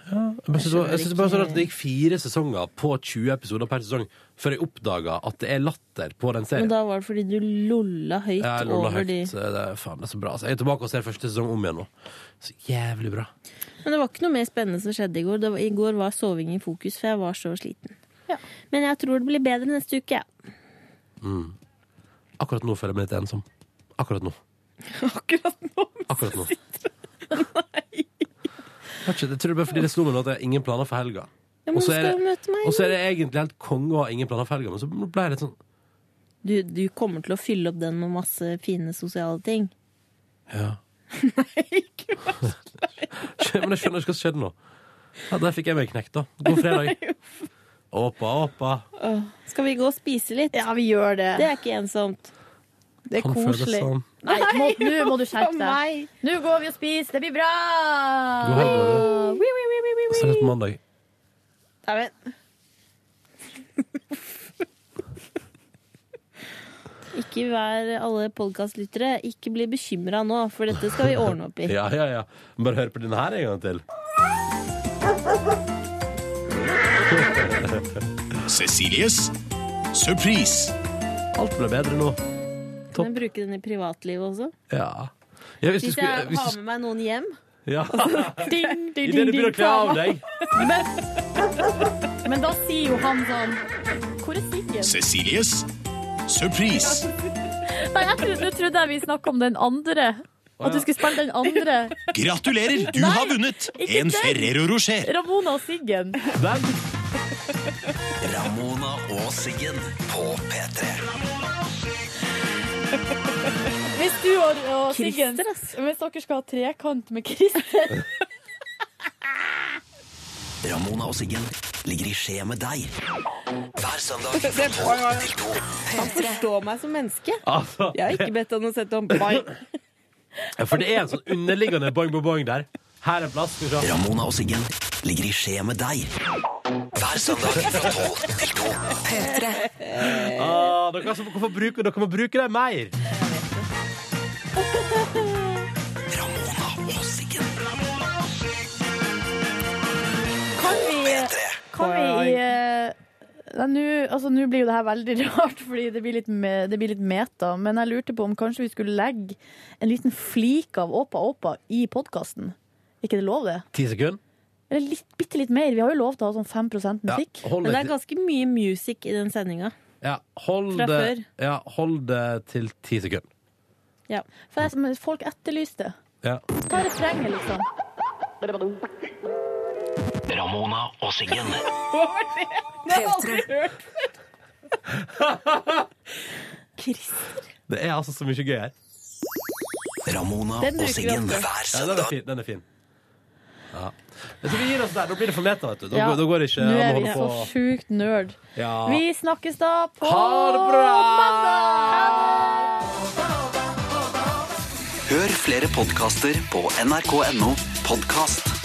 Speaker 2: Men jeg synes det var- jeg synes det bare var så rart at det gikk fire sesonger på 20 episoder per sesong før jeg oppdaga at det er latter på den serien.
Speaker 15: Men da var det fordi du lolla høyt
Speaker 2: Jeg er
Speaker 15: over
Speaker 2: lolla høyt.
Speaker 15: de
Speaker 2: så eh, Det er, faen, det er så bra. Så jeg er tilbake og ser første sesong om igjen nå. Så jævlig bra.
Speaker 15: Men det var ikke noe mer spennende som skjedde i går. Det var, I går var soving i fokus, for jeg var så sliten. Men jeg tror det blir bedre neste uke. jeg.
Speaker 2: Mm. Akkurat nå føler jeg meg litt ensom. Akkurat nå. Akkurat nå? Akkurat nå. Nei. Jeg tror det er bare fordi det slo meg nå at jeg har ingen planer for helga.
Speaker 15: Ja, men
Speaker 2: Og
Speaker 15: du
Speaker 2: så
Speaker 15: skal
Speaker 2: er,
Speaker 15: jo
Speaker 2: det-
Speaker 15: møte meg.
Speaker 2: og så er det egentlig helt konge å ha ingen planer for helga, men så ble jeg litt sånn
Speaker 15: Du, du kommer til å fylle opp den med masse fine sosiale ting.
Speaker 2: Ja. sånn- Men jeg skjønner ikke hva som skjedde nå. Ja, der fikk jeg meg knekt, da. God fredag. Åpa, åpa.
Speaker 15: Åh. Skal vi gå og spise litt? Ja, vi gjør det. Det er ikke ensomt.
Speaker 2: Det er Kan føles koselig. sånn.
Speaker 3: Nei, må- nå må du skjerpe
Speaker 15: for
Speaker 3: deg.
Speaker 15: meg.
Speaker 3: Nå går vi og spiser, det blir bra!
Speaker 2: God helg, Norge.
Speaker 3: Wee, wee, wee, wee, wee,
Speaker 2: Og så er det på mandag.
Speaker 3: wee.
Speaker 15: Ikke vær alle podkastlyttere. Ikke bli bekymra nå, for dette skal vi ordne opp i.
Speaker 2: Ja, ja, ja. Bare hør på denne her en gang til.
Speaker 16: Cecilies surprise.
Speaker 2: Alt ble bedre nå.
Speaker 15: Kan jeg bruke den i privatlivet også?
Speaker 2: Ja. ja hvis du
Speaker 15: Hvis
Speaker 2: skulle
Speaker 15: jeg
Speaker 2: hvis
Speaker 15: har
Speaker 2: du,
Speaker 15: med meg noen hjem?
Speaker 2: ja.
Speaker 15: Altså,
Speaker 3: Ding,
Speaker 2: Idet
Speaker 3: ding,
Speaker 2: du
Speaker 3: ding, ding,
Speaker 2: begynner å kle av
Speaker 3: ta.
Speaker 2: deg.
Speaker 3: Men da sier jo han sånn Hvor er Siggen?
Speaker 16: Cecilies surprise.
Speaker 3: Nei, jeg trodde, nå trodde jeg vi snakket om den andre. At du skulle spille den andre.
Speaker 16: Gratulerer, du
Speaker 3: Nei,
Speaker 16: har vunnet
Speaker 3: ikke
Speaker 16: en
Speaker 3: den.
Speaker 16: Ferrero Rocher.
Speaker 3: Ramona og Siggen.
Speaker 1: Ramona og Siggen på P3.
Speaker 3: Hvis du og, og Siggen Hvis dere skal ha trekant med Christer
Speaker 1: Ramona og Siggen ligger i skje med deg. Hver søndag
Speaker 15: Det
Speaker 1: fra
Speaker 15: er
Speaker 1: 12
Speaker 15: bra, ja.
Speaker 1: til 2.
Speaker 15: Han forstår meg som menneske.
Speaker 2: Altså.
Speaker 15: Jeg har ikke bedt han å sette om Bye.
Speaker 2: Ja, for det er en sånn underliggende boing, boing, boing der. Her er en plass. Skal vi se.
Speaker 1: Ramona og Siggen ligger i skje med deg. Hver søndag fra 12 til 2.
Speaker 2: Ah, dere, altså, hvorfor bruker, dere må bruke det mer.
Speaker 3: Kan vi, kan vi eh, Nei, nå altså, nå blir jo det her veldig rart, fordi det blir, litt me, det blir litt meta. Men jeg lurte på om kanskje vi skulle legge en liten flik av Åpa Åpa i podkasten. Er ikke det lov, det?
Speaker 2: Ti sekunder.
Speaker 3: Eller litt, bitte litt mer. Vi har jo lov til å ha sånn 5 musikk.
Speaker 2: Ja, hold
Speaker 15: Men det
Speaker 2: deg
Speaker 15: er
Speaker 2: til-
Speaker 15: ganske mye music i den sendinga.
Speaker 2: Ja, hold
Speaker 15: Fra
Speaker 2: det, ja, hold det til ti sekunder.
Speaker 15: Ja.
Speaker 3: For jeg, men folk etterlyste.
Speaker 2: Ja.
Speaker 3: Ta refrenget, liksom.
Speaker 1: Ramona og Siggen.
Speaker 2: Det er altså så mye gøy her. Den
Speaker 1: Ramona og
Speaker 2: bruker vi
Speaker 1: Siggen
Speaker 2: ofte.
Speaker 1: hver
Speaker 2: Ja, den er
Speaker 1: søndag.
Speaker 2: fin. Den er fin. Ja. Jeg tror vi gir oss der. Nå blir det for meta, vet du. Da,
Speaker 3: Ja.
Speaker 2: da går det ikke
Speaker 3: Nå
Speaker 2: an å
Speaker 3: er vi
Speaker 2: holde
Speaker 3: så
Speaker 2: på.
Speaker 3: sjukt nerd.
Speaker 2: Ja.
Speaker 3: Vi snakkes da på
Speaker 2: Ha det bra!
Speaker 1: Hør flere podkaster på nrk.no podkast.